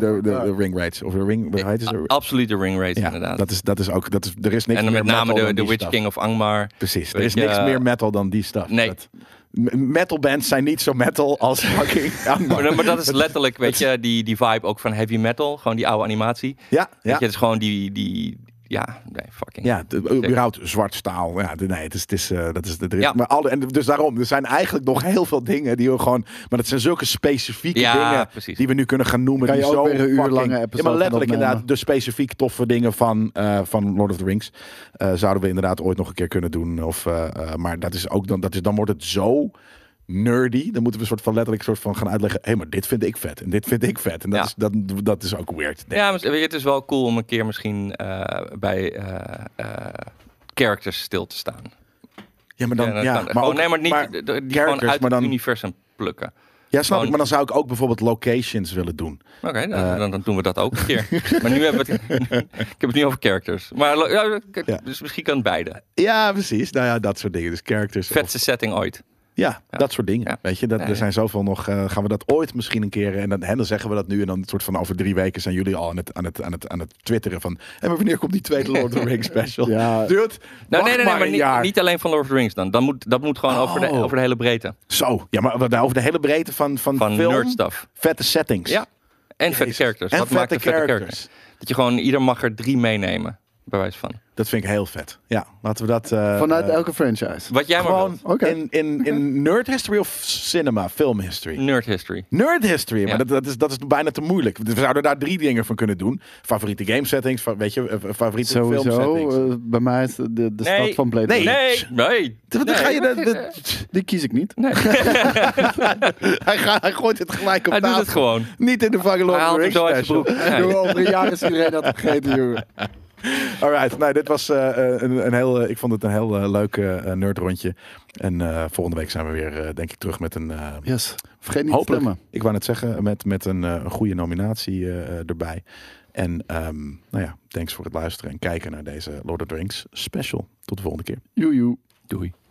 [SPEAKER 2] de, de-
[SPEAKER 3] oh,
[SPEAKER 2] de ring rates. Of de ring, hoe heet het?
[SPEAKER 4] A- Absoluut de ring race,
[SPEAKER 2] Ja,
[SPEAKER 4] inderdaad.
[SPEAKER 2] dat is, dat is ook... Dat is, er is niks
[SPEAKER 4] en
[SPEAKER 2] meer
[SPEAKER 4] met name
[SPEAKER 2] metal
[SPEAKER 4] de,
[SPEAKER 2] dan
[SPEAKER 4] de
[SPEAKER 2] die
[SPEAKER 4] Witch
[SPEAKER 2] stuff.
[SPEAKER 4] King of Angmar.
[SPEAKER 2] Precies, er
[SPEAKER 4] Weet
[SPEAKER 2] is
[SPEAKER 4] je,
[SPEAKER 2] niks
[SPEAKER 4] eh,
[SPEAKER 2] meer metal dan die stuff.
[SPEAKER 4] nee.
[SPEAKER 2] Dat- m- metalbands zijn niet zo metal als fucking... Ja,
[SPEAKER 4] Maar, dat- maar dat is letterlijk, weet je, die, die vibe ook van heavy metal. Gewoon die oude animatie.
[SPEAKER 2] ja,
[SPEAKER 4] Weet je,
[SPEAKER 2] ja.
[SPEAKER 4] het is gewoon die, die ja, nee, fucking.
[SPEAKER 2] Ja, de- überhaupt zwart staal. Ja, de- nee, het is, het is, eh, dat is de
[SPEAKER 4] Ja.
[SPEAKER 2] Maar alle, en dus daarom, er zijn eigenlijk nog heel veel dingen die we gewoon. Maar dat zijn zulke specifieke
[SPEAKER 4] Ja,
[SPEAKER 2] dingen
[SPEAKER 4] precies.
[SPEAKER 2] die we nu kunnen gaan noemen.
[SPEAKER 3] Kan je
[SPEAKER 2] die
[SPEAKER 3] ook
[SPEAKER 2] zo
[SPEAKER 3] weer een uur
[SPEAKER 2] fucking-
[SPEAKER 3] lange
[SPEAKER 2] Ja,
[SPEAKER 3] episode
[SPEAKER 2] maar
[SPEAKER 3] van
[SPEAKER 2] letterlijk
[SPEAKER 3] opnemen.
[SPEAKER 2] inderdaad, de specifiek toffe dingen van, eh, van Lord of the Rings. eh, zouden we inderdaad ooit nog een keer kunnen doen. Of, eh, eh, maar dat is ook dan, dat is, dan wordt het zo nerdy. Dan moeten we een soort van letterlijk soort van gaan uitleggen. Hé, maar dit vind ik vet. En dit vind ik vet. En dat,
[SPEAKER 4] Ja.
[SPEAKER 2] is, dat, dat is ook weird. denk
[SPEAKER 4] Ja, maar weet je, het is wel cool om een keer misschien eh, bij eh, eh, characters stil te staan.
[SPEAKER 2] Ja, maar dan,
[SPEAKER 4] Ja,
[SPEAKER 2] ja,
[SPEAKER 4] dat kan.
[SPEAKER 2] maar
[SPEAKER 4] Gewoon-
[SPEAKER 2] ook,
[SPEAKER 4] nee, maar niet
[SPEAKER 2] maar
[SPEAKER 4] de- de- die gewoon
[SPEAKER 2] characters,
[SPEAKER 4] uit
[SPEAKER 2] maar
[SPEAKER 4] het
[SPEAKER 2] dan,
[SPEAKER 4] universum plukken.
[SPEAKER 2] ja, snap ik.
[SPEAKER 4] gewoon-
[SPEAKER 2] Maar dan zou ik ook bijvoorbeeld locations willen doen.
[SPEAKER 4] Oké, nou,
[SPEAKER 2] Eh.
[SPEAKER 4] dan, dan doen we dat ook een keer. maar nu hebben we het... ik heb het niet over characters. Maar lo- ja,
[SPEAKER 2] Ja.
[SPEAKER 4] dus misschien kan het beide.
[SPEAKER 2] Ja, precies. Nou ja, dat soort dingen. Dus characters. of-
[SPEAKER 4] Vetste setting ooit. Nou,
[SPEAKER 2] ja,
[SPEAKER 4] Ja.
[SPEAKER 2] dat soort dingen.
[SPEAKER 4] Ja.
[SPEAKER 2] Weet je, dat,
[SPEAKER 4] Ja,
[SPEAKER 2] er
[SPEAKER 4] ja.
[SPEAKER 2] zijn zoveel nog. eh, gaan we dat ooit misschien een keer? En dan, hè, dan zeggen we dat nu. En dan een soort van over drie weken zijn jullie al aan het, aan het, aan het, aan het twitteren van. En maar wanneer komt die tweede Lord of the Rings special?
[SPEAKER 3] Ja.
[SPEAKER 2] Dude,
[SPEAKER 4] Nou,
[SPEAKER 2] wacht
[SPEAKER 4] nee, nee, nee,
[SPEAKER 2] maar
[SPEAKER 4] maar
[SPEAKER 2] een
[SPEAKER 4] niet,
[SPEAKER 2] jaar.
[SPEAKER 4] niet alleen van Lord of the Rings dan. dan moet, dat moet gewoon over, de,
[SPEAKER 2] Oh.
[SPEAKER 4] over de hele breedte
[SPEAKER 2] Zo. Ja, maar wat- over de hele breedte van, van,
[SPEAKER 4] van
[SPEAKER 2] film.
[SPEAKER 4] nerd stuff.
[SPEAKER 2] Vette settings.
[SPEAKER 4] Ja. En vette
[SPEAKER 2] Jezus.
[SPEAKER 4] characters.
[SPEAKER 2] En
[SPEAKER 4] Wat maakt
[SPEAKER 2] vette
[SPEAKER 4] een vette character?
[SPEAKER 2] characters.
[SPEAKER 4] Dat je gewoon, ieder mag er drie meenemen. Bij wijze van.
[SPEAKER 2] Dat vind ik heel vet. Ja, laten we dat... eh,
[SPEAKER 3] Vanuit
[SPEAKER 2] eh,
[SPEAKER 3] elke franchise.
[SPEAKER 4] Wat jij maar
[SPEAKER 2] Gewoon
[SPEAKER 4] wilt.
[SPEAKER 3] Oké.
[SPEAKER 2] in, in, in nerd history of cinema, film history?
[SPEAKER 4] Nerd history.
[SPEAKER 2] Nerd history, maar
[SPEAKER 4] Ja.
[SPEAKER 2] dat, dat, is, dat is bijna te moeilijk. We zouden daar drie dingen van kunnen doen. Favoriete game settings, fa- weet je, eh, favoriete film
[SPEAKER 3] Sowieso,
[SPEAKER 2] settings.
[SPEAKER 3] eh, bij mij is de, de
[SPEAKER 4] Nee.
[SPEAKER 3] stad van Blade
[SPEAKER 2] Nee.
[SPEAKER 3] Runner.
[SPEAKER 4] Nee, nee.
[SPEAKER 2] Dan
[SPEAKER 4] nee.
[SPEAKER 2] ga je dat- dat-
[SPEAKER 3] Die kies ik niet.
[SPEAKER 2] hij, ga- hij gooit het gelijk op
[SPEAKER 4] Hij doet
[SPEAKER 2] tafel.
[SPEAKER 4] het gewoon.
[SPEAKER 2] Niet in de fucking Lord
[SPEAKER 4] Hij
[SPEAKER 2] of the
[SPEAKER 4] haalt hem
[SPEAKER 2] Rings
[SPEAKER 4] zo
[SPEAKER 2] special.
[SPEAKER 4] uit zijn broek. Ja.
[SPEAKER 3] Jongen, over een jaar is iedereen dat vergeten, jongen.
[SPEAKER 2] Alright, nou, dit was eh, een, een heel, eh, ik vond het een heel eh, leuk eh, nerdrondje. En eh, volgende week zijn we weer, eh, denk ik, terug met een... eh,
[SPEAKER 3] Yes. Vergeet niet
[SPEAKER 2] Hopelijk.
[SPEAKER 3] te stemmen.
[SPEAKER 2] Ik wou net zeggen, met, met een, eh, een goede nominatie eh, eh, erbij. En ehm, nou ja, thanks voor het luisteren en kijken naar deze Lord of the Rings special. Tot de volgende keer.
[SPEAKER 3] Joe, joe.
[SPEAKER 4] Doei.